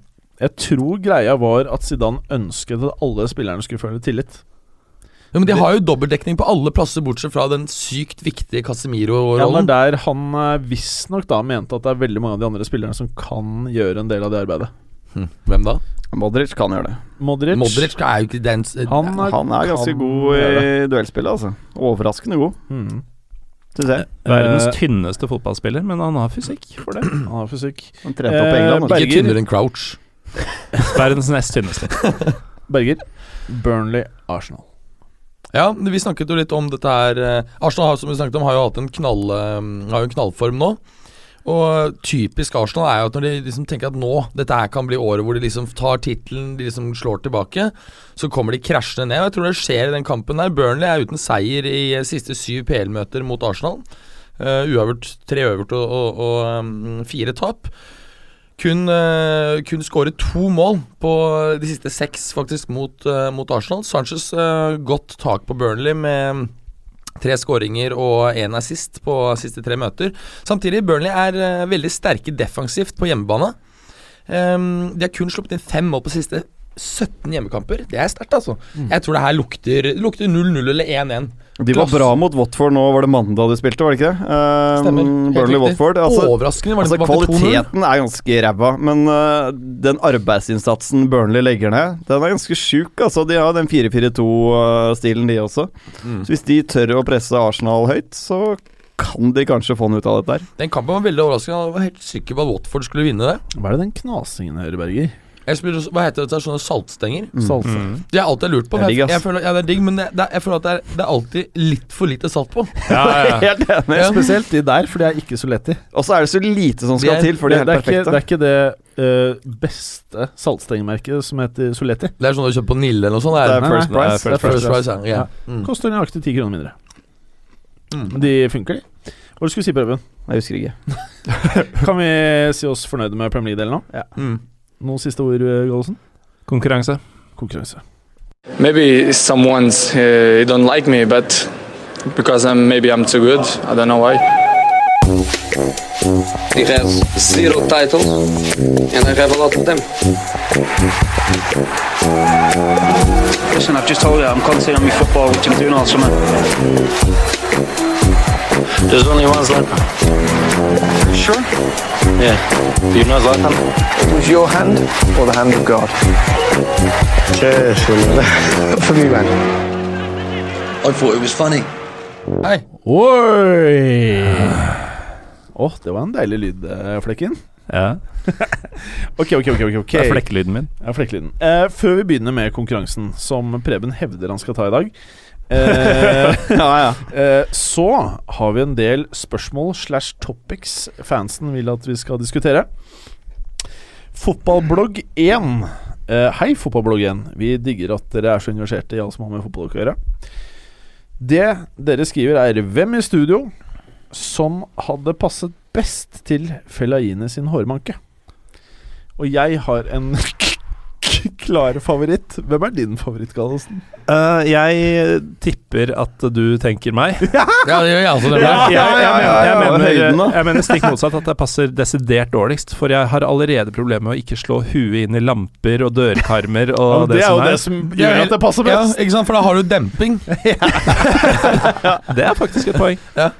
[SPEAKER 3] Jeg tror greia var at Zidane ønsket at alle spillerne skulle føle tillit.
[SPEAKER 5] Ja, men de har jo dobbeltdekning på alle plasser, bortsett fra den sykt viktige
[SPEAKER 3] Ja,
[SPEAKER 5] Casemiro-rollen.
[SPEAKER 3] det er der han eh, visstnok da mente at det er veldig mange av de andre spillerne som kan gjøre en del av det arbeidet.
[SPEAKER 5] Hm, Hvem da?
[SPEAKER 6] Modric kan gjøre det.
[SPEAKER 3] Modric,
[SPEAKER 5] Modric er jo ikke den s-
[SPEAKER 3] han,
[SPEAKER 5] eh,
[SPEAKER 3] er,
[SPEAKER 6] Han er ganske
[SPEAKER 3] kan
[SPEAKER 6] god
[SPEAKER 3] gjøre
[SPEAKER 6] i duellspillet, altså. Overraskende god,
[SPEAKER 3] Mhm.
[SPEAKER 6] syns jeg.
[SPEAKER 4] Verdens
[SPEAKER 3] Eh,
[SPEAKER 4] tynneste fotballspiller, men han har fysikk for det.
[SPEAKER 3] Han har fysikk.
[SPEAKER 6] Han trente opp i
[SPEAKER 3] Eh,
[SPEAKER 6] England. altså.
[SPEAKER 3] Berg-
[SPEAKER 6] vet du.
[SPEAKER 5] Ikke tynnere enn Crouch.
[SPEAKER 4] Verdens nest tynneste.
[SPEAKER 3] Berger. Burnley, Arsenal.
[SPEAKER 5] Ja, vi snakket jo litt om dette her eh, Arsenal har, som vi snakket om, har jo hatt en, knall, eh, har jo en knallform nå. Og typisk Arsenal er jo at når de liksom tenker at nå, dette her kan bli året hvor de liksom tar tittelen, de liksom slår tilbake, så kommer de krasjende ned. Og jeg tror det skjer i den kampen der. Burnley er uten seier i eh, siste syv PL-møter mot Arsenal. Eh, uavgjort, tre uavgjort og, og, og eh, fire tap. Kun, eh, kun skåret to mål på eh, de siste seks faktisk mot, eh, mot Arsenal. Sanchez eh, godt tak på Burnley med tre skåringer og én assist på siste tre møter. Samtidig, Burnley er eh, veldig sterke defensivt på hjemmebane. Ehm, de har kun sluppet inn fem mål på siste 17 hjemmekamper. Det er sterkt, altså. Jeg tror det her lukter det lukter 0-0 eller 1-1.
[SPEAKER 6] De var
[SPEAKER 5] Glass.
[SPEAKER 6] bra mot Watford nå, var det mandag de spilte, var det ikke det? Eh,
[SPEAKER 5] Stemmer. Helt riktig.
[SPEAKER 6] Burnley-Watford. Altså,
[SPEAKER 5] Overraskende var det
[SPEAKER 6] altså,
[SPEAKER 5] var det 2-0.
[SPEAKER 6] kvaliteten er ganske ræva, men eh, den arbeidsinnsatsen Burnley legger ned, den er ganske sjuk. Altså, de har den 4-4-2-stilen, eh, de også.
[SPEAKER 5] Mm.
[SPEAKER 6] Så hvis de tør å presse Arsenal høyt, så kan de kanskje få noe ut av dette her.
[SPEAKER 5] Den kampen var veldig overraskende. Jeg var helt sikker på at Watford skulle vinne det.
[SPEAKER 3] Hva er det den knasingen hører, Berger?
[SPEAKER 5] Jeg spiller, også- hva heter det, sånne saltstenger?
[SPEAKER 3] Salsa.
[SPEAKER 5] Det er alt jeg har lurt på.
[SPEAKER 6] Det er
[SPEAKER 5] men
[SPEAKER 6] digg,
[SPEAKER 5] Jeg,
[SPEAKER 6] ass.
[SPEAKER 5] jeg føler, ja, det er digg, men det, det, er- jeg føler at det er, det er alltid litt for lite salt på.
[SPEAKER 6] Helt enig.
[SPEAKER 5] Ja.
[SPEAKER 3] Spesielt de der, for de er ikke så lett i.
[SPEAKER 6] Og så er det så lite som
[SPEAKER 5] Det
[SPEAKER 6] skal
[SPEAKER 5] er-
[SPEAKER 6] til, for de er
[SPEAKER 3] det,
[SPEAKER 6] helt
[SPEAKER 3] er ikke, det
[SPEAKER 6] perfekte.
[SPEAKER 3] er ikke det eh, beste saltstengemerket som heter Soletti.
[SPEAKER 5] Det er sånn du kjøper på Nille eller noe sånt.
[SPEAKER 6] Det
[SPEAKER 5] Er
[SPEAKER 6] er
[SPEAKER 5] det?
[SPEAKER 6] first
[SPEAKER 3] Nei,
[SPEAKER 6] price.
[SPEAKER 3] det er
[SPEAKER 5] First Price, ja. ja. Mm.
[SPEAKER 3] Koster nøyaktig ti kroner mindre.
[SPEAKER 5] Mm.
[SPEAKER 3] Men de funker, de. Hva skulle du si, Preben?
[SPEAKER 6] Jeg husker ikke.
[SPEAKER 3] Kan vi si oss fornøyde med Premier League-delen nå?
[SPEAKER 5] Mm.
[SPEAKER 3] Noen siste ord, eh, Gallosen?
[SPEAKER 4] Konkurranse.
[SPEAKER 3] Konkurranse.
[SPEAKER 7] maybe someone's uh, don't like me but because i'm maybe i'm too good i don't know why
[SPEAKER 8] He has zero titles, and I have a lot of them.
[SPEAKER 9] listen, I've just told you I'm concentrating on my football, which I'm doing all summer. There's only one Zlatan. Sure? Yeah. Do you know Zlatan? It was your hand or the hand of God? Cheers. For me, man.
[SPEAKER 8] I thought it was funny.
[SPEAKER 5] Hei.
[SPEAKER 3] Oi! Åh, det var en deilig lyd, eh, Flekken.
[SPEAKER 4] Ja,
[SPEAKER 3] Ok, ok, ok. ok, ok.
[SPEAKER 4] Det er flekkelyden min.
[SPEAKER 3] Ja, flekkelyden. Eh, før vi begynner med konkurransen, som Preben hevder han skal ta i dag, eh,
[SPEAKER 6] Ja, ja.
[SPEAKER 3] eh, så har vi en del spørsmål slash topics fansen vil at vi skal diskutere. Fotballblogg 1. Eh, hei, Fotballblogg 1. Vi digger at dere er så universerte i alt som har med fotball å gjøre. Det dere skriver, er hvem i studio som hadde passet best til Fellaini sin hårmanke? Og jeg har en klar favoritt. Hvem er din favoritt, Gallosen?
[SPEAKER 4] Eh, jeg tipper at du tenker meg.
[SPEAKER 5] Ja, det gjør jeg også. Det
[SPEAKER 4] Jeg- jeg-
[SPEAKER 6] ja, ja, ja,
[SPEAKER 4] jeg mener-
[SPEAKER 6] høyden, da.
[SPEAKER 4] Jeg mener stikk motsatt, at det passer desidert dårligst. For jeg har allerede problemer med å ikke slå huet inn i lamper og dørkarmer og det, som er.
[SPEAKER 3] som
[SPEAKER 5] gjør at
[SPEAKER 3] det passer
[SPEAKER 5] Ja, ikke sant, for da har du demping.
[SPEAKER 4] Det er faktisk et poeng.
[SPEAKER 5] Ja.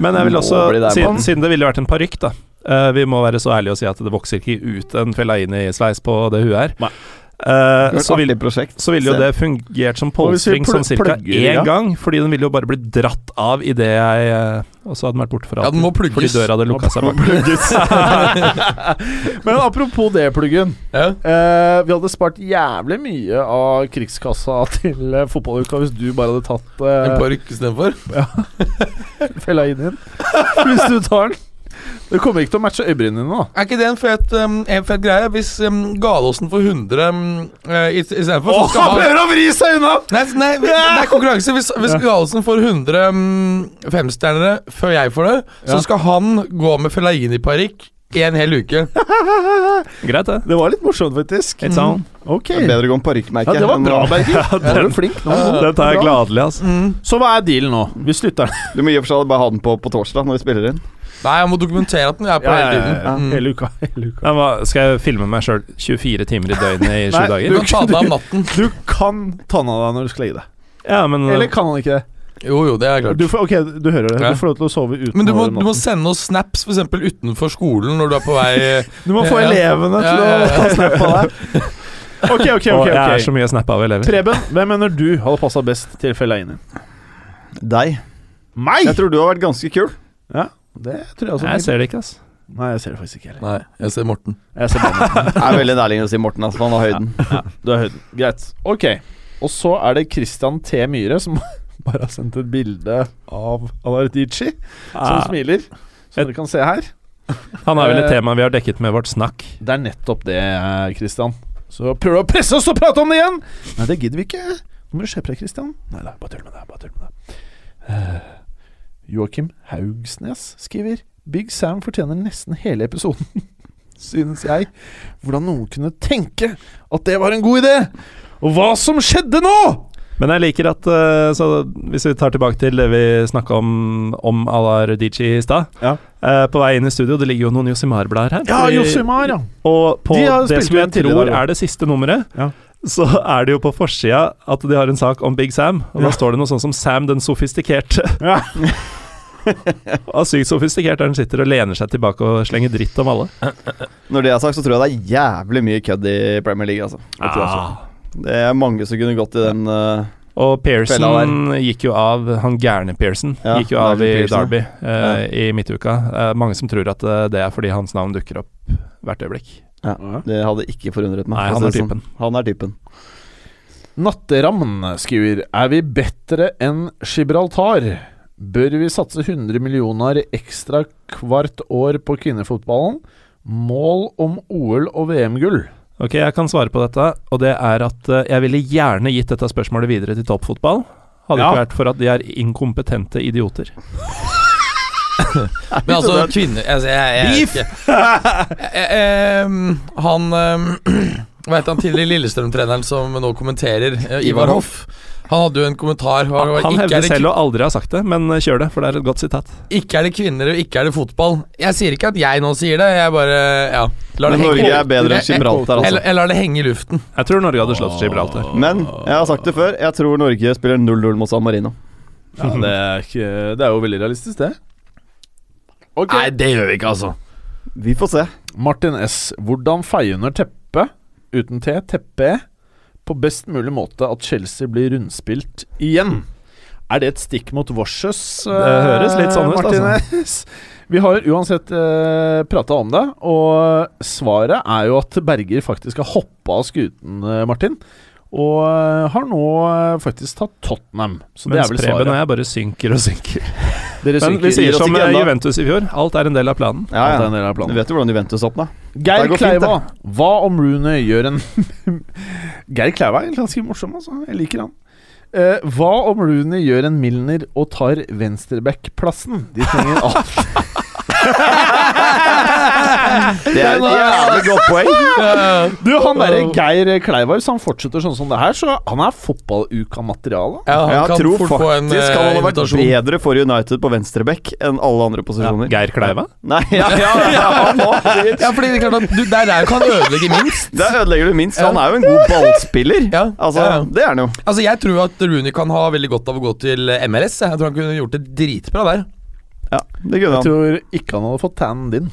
[SPEAKER 4] Men jeg vil
[SPEAKER 6] Må
[SPEAKER 4] også,
[SPEAKER 6] bli der,
[SPEAKER 4] siden,
[SPEAKER 6] mann.
[SPEAKER 4] siden det ville vært en parykk, da. eh, vi må være så ærlige og si at det vokser ikke ut en Fellaini-sveis på det huet her.
[SPEAKER 3] Nei.
[SPEAKER 4] Eh,
[SPEAKER 6] Det var et
[SPEAKER 4] så, vil,
[SPEAKER 6] artig prosjekt.
[SPEAKER 4] så ville jo
[SPEAKER 6] Se.
[SPEAKER 4] det fungert som
[SPEAKER 3] Og hvis vi
[SPEAKER 4] polstring sånn
[SPEAKER 3] plug-
[SPEAKER 4] cirka
[SPEAKER 3] plugger,
[SPEAKER 4] én
[SPEAKER 3] ja.
[SPEAKER 4] gang, fordi den ville jo bare bli dratt av idet jeg eh, Og så hadde den vært borte for
[SPEAKER 5] Ja, den
[SPEAKER 4] alltid.
[SPEAKER 5] må
[SPEAKER 4] fordi
[SPEAKER 5] plugges.
[SPEAKER 4] døra hadde lukka seg bak.
[SPEAKER 3] Men apropos det, Pluggen.
[SPEAKER 5] Ja.
[SPEAKER 3] Eh, vi hadde spart jævlig mye av krigskassa til eh, fotballuka hvis du bare hadde tatt
[SPEAKER 5] En
[SPEAKER 3] eh,
[SPEAKER 5] park istedenfor.
[SPEAKER 3] fella inn i den. Hvis du tar den. Det kommer ikke til å matche øyebrynene dine, da.
[SPEAKER 5] Er ikke det en fet, um, en fet greie? Hvis um, Galåsen får 100 um, uh, istedenfor så skal han-
[SPEAKER 3] å vri seg unna!
[SPEAKER 5] Nei, nei, det er konkurranse. Hvis, hvis Galesen får 100 mm, femstjernere før jeg får det, så skal han gå med Fellaini-parykk i en hel uke.
[SPEAKER 4] Greit, det.
[SPEAKER 3] Det var litt morsomt, faktisk. Mm,
[SPEAKER 4] It's on.
[SPEAKER 3] Ok.
[SPEAKER 6] Det er
[SPEAKER 3] Ja,
[SPEAKER 6] bedre å gå med parykkmerke.
[SPEAKER 3] det var
[SPEAKER 6] enn
[SPEAKER 3] bra,
[SPEAKER 6] å-
[SPEAKER 3] Berger. Da var du flink nå.
[SPEAKER 4] Den tar jeg
[SPEAKER 3] Bra.
[SPEAKER 4] gladelig, altså.
[SPEAKER 5] Mm.
[SPEAKER 3] Så hva er dealen nå? Vi slutter den
[SPEAKER 6] Du må i og for seg bare ha den på på torsdag når vi spiller inn.
[SPEAKER 5] Nei, jeg må dokumentere at den er på hele tiden.
[SPEAKER 3] Mm. hele uka. Hele uka.
[SPEAKER 4] Ja, hva- Skal jeg filme meg sjøl 24 timer i døgnet i sju
[SPEAKER 3] Nei,
[SPEAKER 5] Du
[SPEAKER 4] dager?
[SPEAKER 5] kan ta den av om natten.
[SPEAKER 3] Du kan ta den av deg når du skal legge deg.
[SPEAKER 4] Ja, men
[SPEAKER 3] Eller kan han ikke det?
[SPEAKER 5] Jo, jo, det er klart.
[SPEAKER 3] Du får, ok, du hører det.
[SPEAKER 5] Ja.
[SPEAKER 3] Du får lov til å sove uten
[SPEAKER 5] Men du må,
[SPEAKER 3] hår om
[SPEAKER 5] du må
[SPEAKER 3] natten.
[SPEAKER 5] sende oss snaps for eksempel, utenfor skolen når du er på vei
[SPEAKER 3] Du må få
[SPEAKER 5] Ja, ja.
[SPEAKER 3] elevene til
[SPEAKER 5] Ja, ja, ja.
[SPEAKER 3] å ta snap av deg. Ok, ok,
[SPEAKER 4] Å,
[SPEAKER 3] ok.
[SPEAKER 4] Jeg er så
[SPEAKER 3] ok
[SPEAKER 4] mye snap av elever.
[SPEAKER 3] Preben, hvem mener du hadde passa best til Fellaini?
[SPEAKER 6] Deg.
[SPEAKER 3] Meg!
[SPEAKER 6] Jeg tror du har vært ganske kul.
[SPEAKER 3] Det tror jeg også.
[SPEAKER 4] Jeg ser det ikke, altså.
[SPEAKER 3] Nei, jeg ser det faktisk ikke heller.
[SPEAKER 5] Nei, jeg ser Morten.
[SPEAKER 3] Jeg ser bare meg.
[SPEAKER 6] Det er veldig nærliggende å si Morten, altså. Han har høyden.
[SPEAKER 3] Du er høyden. Greit. Ok. Og så er det Christian T. Myhre som bare har sendt et bilde av Alardici, som
[SPEAKER 4] Ah.
[SPEAKER 3] smiler. Som dere kan se her.
[SPEAKER 4] Han er vel et
[SPEAKER 3] Eh,
[SPEAKER 4] tema vi har dekket med vårt snakk.
[SPEAKER 3] Det er nettopp det, eh, Christian. Så prøver du å presse oss til å prate om det igjen! Nei, det gidder vi ikke. Nå må du skjerpe deg, Christian. Nei da, bare tull med deg. Bare tull med deg. Eh, Joakim Haugsnes skriver Big Sam fortjener nesten hele episoden, synes jeg. Hvordan noen kunne tenke at det var en god idé! Og hva som skjedde nå!
[SPEAKER 4] Men jeg liker at eh, så Hvis vi tar tilbake til det vi snakka om om Alar Dici i stad.
[SPEAKER 3] Ja.
[SPEAKER 4] Eh, på vei inn i studio, det ligger jo noen Josimar-blader her.
[SPEAKER 3] Ja,
[SPEAKER 4] fordi-
[SPEAKER 3] Josimar, ja.
[SPEAKER 4] Og på
[SPEAKER 3] De har
[SPEAKER 4] det
[SPEAKER 3] spilt
[SPEAKER 4] som
[SPEAKER 3] jo
[SPEAKER 4] jeg
[SPEAKER 3] inn tidligere
[SPEAKER 4] tror
[SPEAKER 3] i dag, ja.
[SPEAKER 4] er det siste nummeret,
[SPEAKER 3] Ja.
[SPEAKER 4] så er det jo på forsida at de har en sak om Big Sam. Og da står det noe sånt som 'Sam den sofistikerte'.
[SPEAKER 3] Ja.
[SPEAKER 4] Og er sykt sofistikert der han sitter og lener seg tilbake og slenger dritt om alle.
[SPEAKER 6] Når det er sagt, så tror jeg det er jævlig mye kødd i Premier League, altså.
[SPEAKER 4] Ah.
[SPEAKER 6] Jeg tror også. Det er mange som kunne gått i den eh,
[SPEAKER 4] Og Pearson
[SPEAKER 6] Fella
[SPEAKER 4] gikk jo av, han gærne Pearson
[SPEAKER 6] Ja,
[SPEAKER 4] gikk jo av i
[SPEAKER 6] Nigel Pearson.
[SPEAKER 4] Derby eh, i midtuka. Eh, mange som tror at eh, det er fordi hans navn dukker opp hvert øyeblikk.
[SPEAKER 6] Det hadde ikke forundret meg.
[SPEAKER 4] Nei,
[SPEAKER 6] for å
[SPEAKER 4] han er
[SPEAKER 6] si det
[SPEAKER 4] typen.
[SPEAKER 6] sånn. Han er typen.
[SPEAKER 3] Natteravn skriver Er vi bedre enn Gibraltar? Bør vi satse 100 millioner ekstra hvert år på kvinnefotballen? Mål om OL og VM-gull.
[SPEAKER 4] Ok, jeg kan svare på dette, og det er at eh, jeg ville gjerne gitt dette spørsmålet videre til toppfotball. Hadde
[SPEAKER 3] Ja.
[SPEAKER 4] ikke vært for at de er inkompetente idioter.
[SPEAKER 5] Men altså, kvinner altså, jeg, Eh, jeg, jeg, jeg, jeg, jeg, em, eh, Han um, Hva heter han tidligere Lillestrøm-treneren som nå kommenterer? eh, Ivar Hoff. Han hadde jo en kommentar. hva-
[SPEAKER 4] Han,
[SPEAKER 5] hva-
[SPEAKER 4] han
[SPEAKER 5] ikke er
[SPEAKER 4] hevder
[SPEAKER 5] det
[SPEAKER 4] selv å aldri ha sagt det, men eh, kjør det, for det er et godt sitat.
[SPEAKER 5] Ikke er det kvinner, og ikke er det fotball. Jeg sier ikke at jeg nå sier det, jeg bare ja. lar det
[SPEAKER 6] Men
[SPEAKER 5] henge-
[SPEAKER 6] Norge er bedre enn
[SPEAKER 5] Jeg- jeg-
[SPEAKER 6] Gibraltar, altså.
[SPEAKER 5] Jeg, jeg lar det henge i luften.
[SPEAKER 4] Jeg tror Norge hadde slått Gibraltar.
[SPEAKER 6] Men jeg har sagt det før, jeg tror Norge spiller 0-0 mot San Marino.
[SPEAKER 3] Ja, det, er ikke, det er jo veldig realistisk, det. Nei, det gjør vi ikke, altså.
[SPEAKER 6] Vi får se.
[SPEAKER 3] Martin S. Hvordan feie under teppet, uten T, teppe, på best mulig måte at Chelsea blir rundspilt igjen? Er det et stikk mot Vorsøs? Det
[SPEAKER 4] høres litt sånn ut,
[SPEAKER 3] Vi har uansett eh, prata om det, og svaret er jo at Berger faktisk har hoppa av skuten, eh, Martin. Og eh, har nå eh, faktisk tatt Tottenham, så det
[SPEAKER 4] Mens
[SPEAKER 3] er vel
[SPEAKER 4] Preben og
[SPEAKER 3] svaret.
[SPEAKER 4] jeg bare synker og synker.
[SPEAKER 3] Dere
[SPEAKER 4] Men vi
[SPEAKER 3] synker-
[SPEAKER 4] sier
[SPEAKER 6] gir oss
[SPEAKER 4] som
[SPEAKER 6] ikke
[SPEAKER 4] eh,
[SPEAKER 6] ennå.
[SPEAKER 4] Juventus i fjor, alt er en del av planen.
[SPEAKER 6] Ja,
[SPEAKER 3] Alt er en
[SPEAKER 6] ja.
[SPEAKER 3] del av planen.
[SPEAKER 6] Du vet jo hvordan Juventus åpna.
[SPEAKER 3] Geir
[SPEAKER 6] Det går fint,
[SPEAKER 3] Kleiva, hva om Rooney gjør en Geir Kleiva er egentlig ganske morsom, altså. Jeg liker han. Eh, hva om Rooney gjør en Milner og tar venstreback-plassen? De trenger alt.
[SPEAKER 6] Det er et jævlig godt poeng.
[SPEAKER 3] Du, han derre Geir Kleiva, hvis han fortsetter sånn som det her, så han er fotballuka-materiale.
[SPEAKER 5] Ja, han
[SPEAKER 6] Jeg
[SPEAKER 5] kan
[SPEAKER 6] tror
[SPEAKER 5] fort få en
[SPEAKER 6] faktisk
[SPEAKER 5] eh,
[SPEAKER 6] han hadde vært
[SPEAKER 5] invitasjon.
[SPEAKER 6] bedre for United på venstreback enn alle andre posisjoner.
[SPEAKER 4] Geir Kleiva?
[SPEAKER 6] Nei, ja, ja, ja, han også.
[SPEAKER 5] Ja, fordi det er klart at du, der er jo ikke han ødelegger minst.
[SPEAKER 6] Der ødelegger du minst. Han er jo en god ballspiller.
[SPEAKER 5] Ja,
[SPEAKER 6] Altså,
[SPEAKER 5] ja, ja.
[SPEAKER 6] Det er han jo.
[SPEAKER 5] Altså, Jeg tror at Rooney kan ha veldig godt av å gå til MLS. Jeg tror han kunne gjort det dritbra der.
[SPEAKER 6] Ja, det kunne
[SPEAKER 3] Jeg
[SPEAKER 6] han.
[SPEAKER 3] tror ikke han hadde fått tannen din.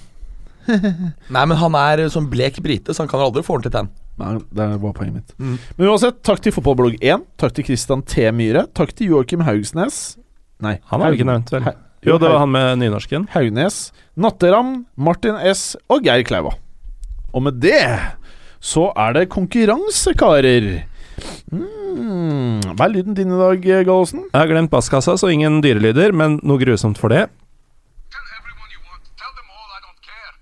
[SPEAKER 5] Nei, men han er sånn blek brite, så han kan aldri få ordentlig tann.
[SPEAKER 3] Nei, det var poenget mitt.
[SPEAKER 4] Mm.
[SPEAKER 3] Men uansett, takk til Fotballblogg1. Takk til Christian T. Myhre. Takk til Joakim Haugsnes. Nei,
[SPEAKER 4] Han er jo ikke nevnt, vel?
[SPEAKER 3] Hei.
[SPEAKER 4] Jo, det var han med nynorsken.
[SPEAKER 3] Haugnes, Natteram, Martin S og Geir Kleiva. Og med det så er det konkurranse, karer. Mm. Hva er lyden din i dag, Gallosen?
[SPEAKER 4] Jeg har glemt basskassa, så ingen dyrelyder, men noe grusomt for det.
[SPEAKER 10] Tell everyone you want. Tell them all I don't care.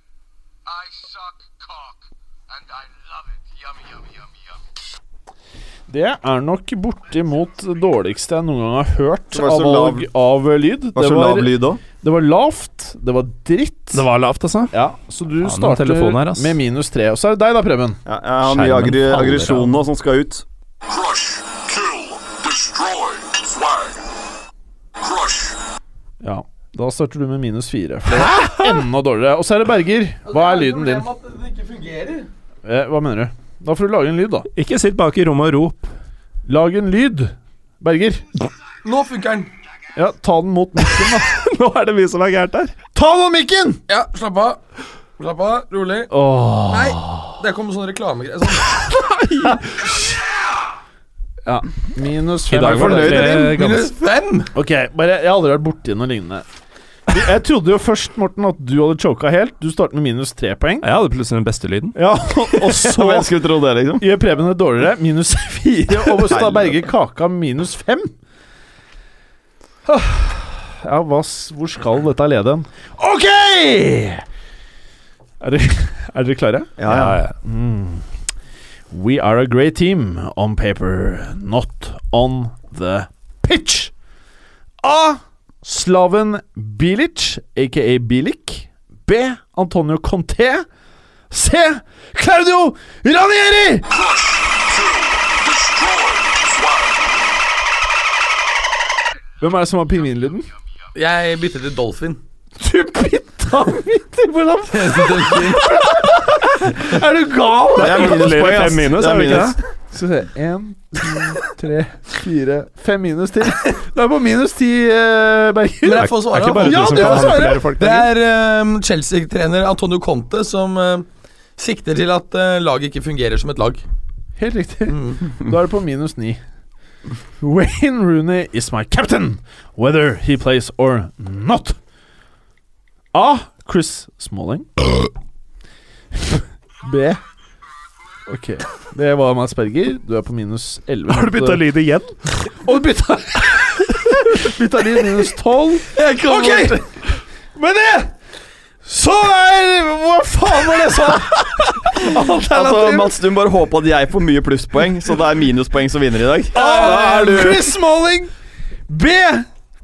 [SPEAKER 10] I suck cock. And I love it. Yum, yum, yum, yum.
[SPEAKER 3] Det er nok bortimot dårligste jeg noen gang har hørt
[SPEAKER 6] Det var så
[SPEAKER 3] av valg av lyd.
[SPEAKER 6] Var så lav lyd òg.
[SPEAKER 3] det var lavt, det var dritt.
[SPEAKER 4] Det var lavt, altså.
[SPEAKER 3] ja, så du
[SPEAKER 4] men
[SPEAKER 3] starter
[SPEAKER 4] telefonen her, ass.
[SPEAKER 3] med minus tre. Og så er det deg da, Preben.
[SPEAKER 6] Ja, jeg har mye
[SPEAKER 4] Skjermen
[SPEAKER 6] agri
[SPEAKER 4] faller av.
[SPEAKER 6] aggresjon nå som skal ut.
[SPEAKER 10] Crush, kill, destroy, swag. Crush.
[SPEAKER 3] Ja, Da starter du med minus fire. For det er enda dårligere. Og så er det Berger.
[SPEAKER 5] Altså,
[SPEAKER 3] Hva er lyden din? Eh, hva mener du? Da får du lage en lyd, da.
[SPEAKER 4] Ikke sitt bak i rommet og rop.
[SPEAKER 3] Lag en lyd, Berger.
[SPEAKER 5] Nå funker den!
[SPEAKER 3] Ja, ta den mot mikken, da.
[SPEAKER 4] Nå er det mye som er gærent her.
[SPEAKER 3] Ta den mot mikken!
[SPEAKER 5] Ja, slapp av. Slapp av, rolig.
[SPEAKER 3] Åh.
[SPEAKER 5] Nei, det kom sånn reklamegreie. Sånn.
[SPEAKER 3] Ja, minus
[SPEAKER 4] I
[SPEAKER 3] fem.
[SPEAKER 4] dag var det
[SPEAKER 6] fornøyd,
[SPEAKER 4] tre gamle-
[SPEAKER 5] Minus fem!
[SPEAKER 3] Ok, bare, jeg har aldri vært borti noe lignende. Jeg trodde jo først, Morten, at du hadde choka helt. Du starter med minus tre poeng.
[SPEAKER 4] Jeg hadde plutselig den beste lyden.
[SPEAKER 3] Ja, og så
[SPEAKER 6] Hvem skulle tro det, liksom?
[SPEAKER 3] gjør Preben det dårligere. Minus fire. Og så tar Berger kaka minus fem. Ah, Ja, hva, s- hvor skal dette lede hen? OK! Er dere, er dere klare? Mm.
[SPEAKER 6] Ja, ja.
[SPEAKER 3] We are a great team on paper, not on the pitch. A. Slaven Bilic, aka Bilic. B. Antonio Conté. C. Claudio Ranieri! Hvem er det som har pingvinlyden?
[SPEAKER 5] Jeg bytter til Dolphin.
[SPEAKER 3] Du bytta midt i hvordan Er du gal?
[SPEAKER 6] Det er minuspoeng, ass.
[SPEAKER 4] Fem minus,
[SPEAKER 6] Det
[SPEAKER 4] er det ikke
[SPEAKER 6] minus.
[SPEAKER 3] Skal vi se Én, to, tre, fire, fem minus til. Du er på minus ti, eh, Berger.
[SPEAKER 5] Men jeg får svare.
[SPEAKER 4] Det er ikke bare du
[SPEAKER 3] Ja,
[SPEAKER 4] som
[SPEAKER 3] det
[SPEAKER 4] kan
[SPEAKER 3] var svaret.
[SPEAKER 4] manipulere folk.
[SPEAKER 5] Det er ehm, Chelsea-trener Antonio Conte som ehm, sikter til at eh, laget ikke fungerer som et lag. Mm.
[SPEAKER 3] Helt riktig. Da er det på minus ni. Wayne Rooney is my captain, whether he plays or not. A. Chris Smalling. B. Ok, det var Mads Berger. Du er på minus 11. Har
[SPEAKER 4] lyd igjen?
[SPEAKER 3] Og du bytta Bytta lyd minus 12. Ok! Med det så er Hva faen var det jeg sa?
[SPEAKER 6] Altså, Mats, du må bare håpe at jeg får mye plusspoeng, så det er minuspoeng som vinner i dag. Da er du
[SPEAKER 3] Chris Smalling! B!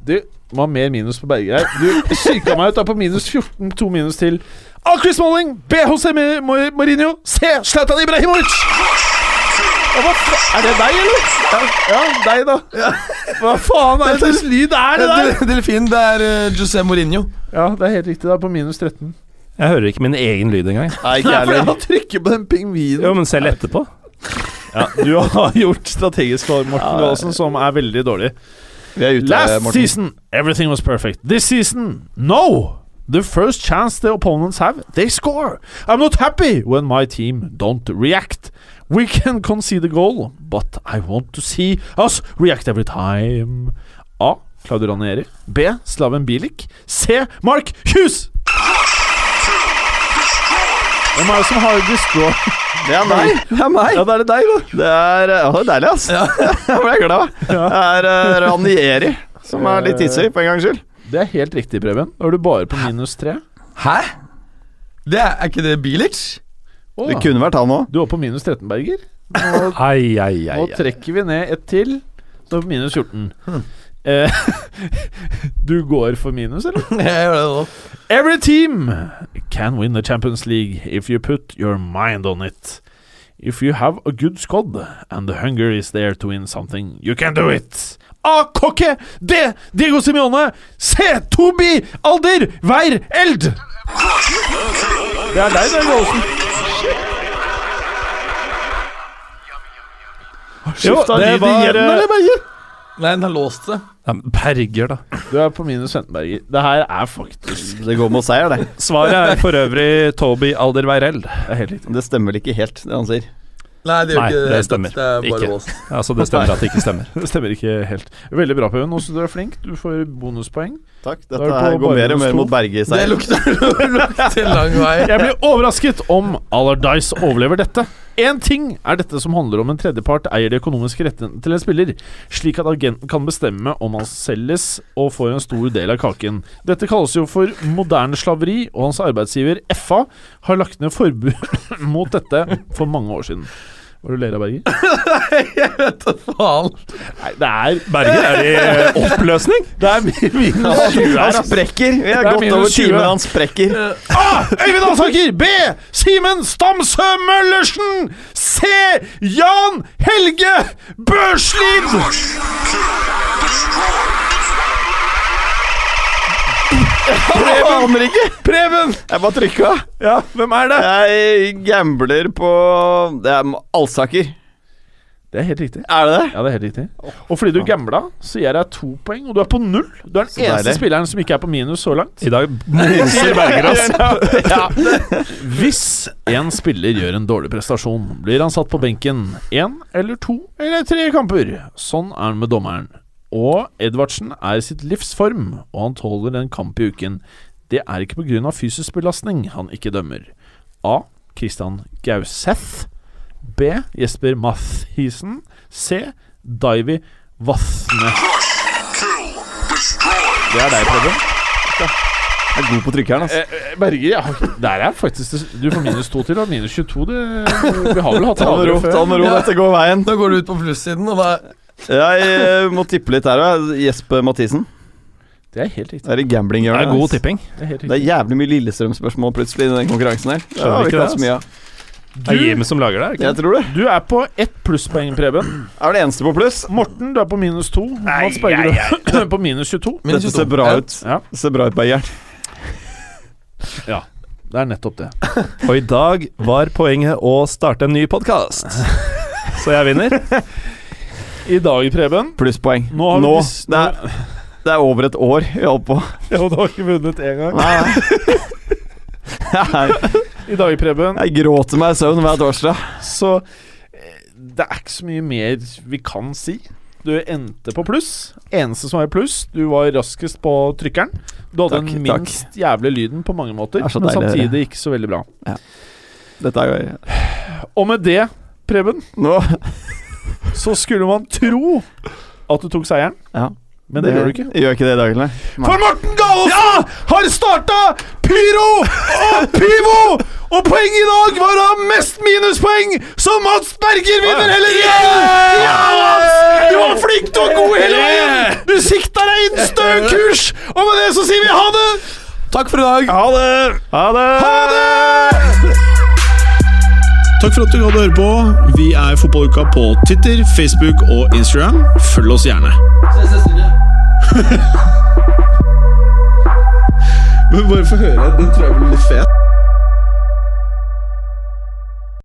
[SPEAKER 3] Du må ha mer minus på Berger her. Du psyka meg ut. Du er på minus 14. To minus til. A. Chris Smalling. B. José Mourinho. C. Zlatan Ibrahimovic. Hva fa er det deg, eller? Ja, ja deg, da. Hva faen er det slags lyd er det der?
[SPEAKER 5] Delfin, det er eh, José Mourinho.
[SPEAKER 3] Ja, det er helt riktig. Det er på minus 13.
[SPEAKER 4] Jeg hører ikke min egen lyd engang.
[SPEAKER 6] Nei, ikke
[SPEAKER 3] Nei,
[SPEAKER 6] jeg
[SPEAKER 3] for jeg
[SPEAKER 6] heller.
[SPEAKER 3] har trykket på den pingvinen.
[SPEAKER 4] Jo, men selv etterpå.
[SPEAKER 3] Ja, du har gjort strategisk valg, Morten Gaasen, som er veldig dårlig.
[SPEAKER 6] Vi er ute,
[SPEAKER 3] Last
[SPEAKER 6] Morten.
[SPEAKER 3] season, everything was perfect. This season, no! The first chance the opponents have, they score. I'm not happy when my team don't react. We can concede a goal, but I want to see us react every time. A. Claudio Ranieri. B. Slaven Bilic. C. Mark Hughes! Hvem er det som har destroy?
[SPEAKER 6] Det er meg! Det er meg!
[SPEAKER 3] Ja, da er det deg, da.
[SPEAKER 6] Det er ja, det er deilig, ass. Jeg ble glad. Det er eh, Ranieri som er litt hissig, for en gangs skyld.
[SPEAKER 3] Det er helt riktig, Preben. Da er du bare på minus tre.
[SPEAKER 5] Hæ? Det er, er ikke det Bilic?
[SPEAKER 3] Å,
[SPEAKER 6] Det kunne vært han òg.
[SPEAKER 3] Du var på minus 13, Berger.
[SPEAKER 4] Ai, ai, ai.
[SPEAKER 3] Nå trekker vi ned ett til, så er vi på minus 14. Eh, du går for minus, eller?
[SPEAKER 5] Jeg gjør det nå.
[SPEAKER 3] Every team can win the Champions League if you put your mind on it. If you have a good squad and the hunger is there to win something, you can do it! A. Kokke! D. Diego Simione! C. Tobi Alder! Vær Eld! Det er deg, Dag Aasen.
[SPEAKER 6] Skifta
[SPEAKER 3] det
[SPEAKER 6] lyd
[SPEAKER 3] var- eh,
[SPEAKER 6] igjen, eller, Berger?
[SPEAKER 5] Nei, den har låst seg.
[SPEAKER 4] eh, Ja, men Berger, da.
[SPEAKER 3] Du er på minus 15, Berger. Det her er faktisk
[SPEAKER 6] Det går mot seier, det.
[SPEAKER 4] Svaret er for øvrig Toby Alderweireld.
[SPEAKER 3] Det er helt riktig.
[SPEAKER 6] Det stemmer vel ikke helt, det han sier.
[SPEAKER 5] Nei, det gjør
[SPEAKER 4] Nei,
[SPEAKER 5] ikke
[SPEAKER 4] det stemmer.
[SPEAKER 5] Det er bare
[SPEAKER 4] Ikke.
[SPEAKER 5] låst.
[SPEAKER 4] Altså, det stemmer at det ikke stemmer.
[SPEAKER 3] Det stemmer ikke helt. Veldig bra, Pauen. Også du er flink. Du får bonuspoeng.
[SPEAKER 6] Takk.
[SPEAKER 3] Da er
[SPEAKER 6] Dette
[SPEAKER 3] det
[SPEAKER 6] her
[SPEAKER 3] på
[SPEAKER 6] går mer og
[SPEAKER 3] Barbados
[SPEAKER 6] mer
[SPEAKER 3] to.
[SPEAKER 6] mot
[SPEAKER 5] Det
[SPEAKER 6] Berge-seier.
[SPEAKER 5] lukter, lukter lang vei.
[SPEAKER 3] Jeg blir overrasket om Allardyce overlever dette. Én ting er dette som handler om en tredjepart eier de økonomiske rettene til en spiller, slik at agenten kan bestemme om han selges og får en stor del av kaken. Dette kalles jo for moderne slaveri, og hans arbeidsgiver FA har lagt ned forbud mot dette for mange år siden. Var du ler av Berger?
[SPEAKER 5] Faen.
[SPEAKER 3] Nei, det er
[SPEAKER 4] Berger er i eh, oppløsning!
[SPEAKER 3] Det er altså- min- minus 20 her,
[SPEAKER 6] Han
[SPEAKER 3] ass.
[SPEAKER 6] sprekker! Vi
[SPEAKER 3] Det
[SPEAKER 6] har
[SPEAKER 3] er
[SPEAKER 6] gått
[SPEAKER 3] minus
[SPEAKER 6] over
[SPEAKER 3] 20.
[SPEAKER 6] timen, han sprekker.
[SPEAKER 3] A. Ah, Øyvind Alsaker. B. Simen Stamsø Møllersen. C. Jan Helge Børslid.
[SPEAKER 6] Jeg aner ikke!
[SPEAKER 3] Preben!
[SPEAKER 6] Jeg bare trykka.
[SPEAKER 3] Ja, hvem er det?
[SPEAKER 6] Jeg gambler på Det er Alsaker.
[SPEAKER 3] Det er helt riktig.
[SPEAKER 6] Er det det?
[SPEAKER 3] Ja, det er helt riktig. Og fordi du gambla, så gir jeg deg to poeng, og du er på null. Du er den eneste
[SPEAKER 6] deilig.
[SPEAKER 3] spilleren som ikke er på minus så langt.
[SPEAKER 4] I dag moser Berger oss.
[SPEAKER 3] Hvis en spiller gjør en dårlig prestasjon, blir han satt på benken én eller to eller tre kamper. Sånn er han med dommeren. Og Edvardsen er i sitt livs form, og han tåler en kamp i uken. Det er ikke pga. fysisk belastning han ikke dømmer. A. Christian Gauseth. B. Jesper Mathisen. C. Divy Vatne. Det er deg, Preben.
[SPEAKER 6] Jeg er god på trykkeren, altså.
[SPEAKER 3] Eh, Berger, ja. der er faktisk det- Du får minus to til og minus 22. Det, vi har vel hatt
[SPEAKER 6] Ta med
[SPEAKER 3] andre
[SPEAKER 6] ro, ta med ro,
[SPEAKER 5] Ja.
[SPEAKER 6] dette går veien.
[SPEAKER 5] Da går du ut på plussiden, og da
[SPEAKER 6] Jeg eh, må tippe litt her òg. Jesper Mathisen.
[SPEAKER 3] Det er helt riktig.
[SPEAKER 6] Det er i
[SPEAKER 4] Det
[SPEAKER 6] gamblinghjørnet.
[SPEAKER 4] er god tipping.
[SPEAKER 3] Det er helt
[SPEAKER 6] Det
[SPEAKER 3] riktig.
[SPEAKER 6] er jævlig mye Lillestrøm-spørsmål plutselig i den konkurransen her. Det har vi
[SPEAKER 4] ikke det,
[SPEAKER 6] ikke hatt så mye
[SPEAKER 3] altså.
[SPEAKER 6] av.
[SPEAKER 4] Det er Jim som lager det, er det ikke?
[SPEAKER 6] Jeg tror det.
[SPEAKER 3] Du er på ett plusspoeng, Preben.
[SPEAKER 6] Er det eneste på pluss.
[SPEAKER 3] Morten, du er på minus to. Mats Berger du er på minus 22.
[SPEAKER 5] Minus
[SPEAKER 6] Dette
[SPEAKER 5] 22.
[SPEAKER 6] ser bra
[SPEAKER 5] Ja.
[SPEAKER 6] ut.
[SPEAKER 3] Ja.
[SPEAKER 6] Det ser bra ut, Bergeren.
[SPEAKER 3] Det er nettopp det.
[SPEAKER 4] Og i dag var poenget å starte en ny podkast. Så jeg vinner.
[SPEAKER 3] I dag, Preben
[SPEAKER 6] Plusspoeng.
[SPEAKER 3] Nå har vi
[SPEAKER 6] Nå.
[SPEAKER 3] dis-
[SPEAKER 6] Det er, det er over et år vi holdt på.
[SPEAKER 3] Jo, du har ikke vunnet én gang.
[SPEAKER 6] Nei, nei. Jeg,
[SPEAKER 3] I dag, Preben,
[SPEAKER 6] jeg gråter meg i søvn hver torsdag.
[SPEAKER 3] så eh, Det er ikke så mye mer vi kan si. Du endte på pluss. Eneste som var i pluss, du var raskest på trykkeren. Du hadde
[SPEAKER 6] Takk,
[SPEAKER 3] den
[SPEAKER 6] takk.
[SPEAKER 3] minst jævlig lyden på mange måter,
[SPEAKER 6] Det er så
[SPEAKER 3] men
[SPEAKER 6] deilig å høre.
[SPEAKER 3] samtidig ikke så veldig bra.
[SPEAKER 6] Dette er jo
[SPEAKER 3] Og med det, Preben,
[SPEAKER 6] Nå
[SPEAKER 3] så skulle man tro at du tok seieren,
[SPEAKER 6] Ja.
[SPEAKER 3] men det, gjør du ikke.
[SPEAKER 6] Gjør ikke det i dag, nei.
[SPEAKER 3] For Morten Gallosen har starta pyro og pivo! Og poenget i dag var å ha mest minuspoeng, så Mats Berger vinner hele igjen! Ja, Mats! Du var flink du var god hele veien! Du sikta deg inn stø kurs, og med det så sier vi ha det!
[SPEAKER 5] Takk for i dag.
[SPEAKER 6] Ha det! Ha det!
[SPEAKER 3] Ha det! Takk for at du hadde høre på. Vi er Fotballuka på Titter, Facebook og Instagram. Følg oss gjerne.
[SPEAKER 11] Ses neste uke.
[SPEAKER 3] Men bare få høre. Den tror jeg blir litt fet.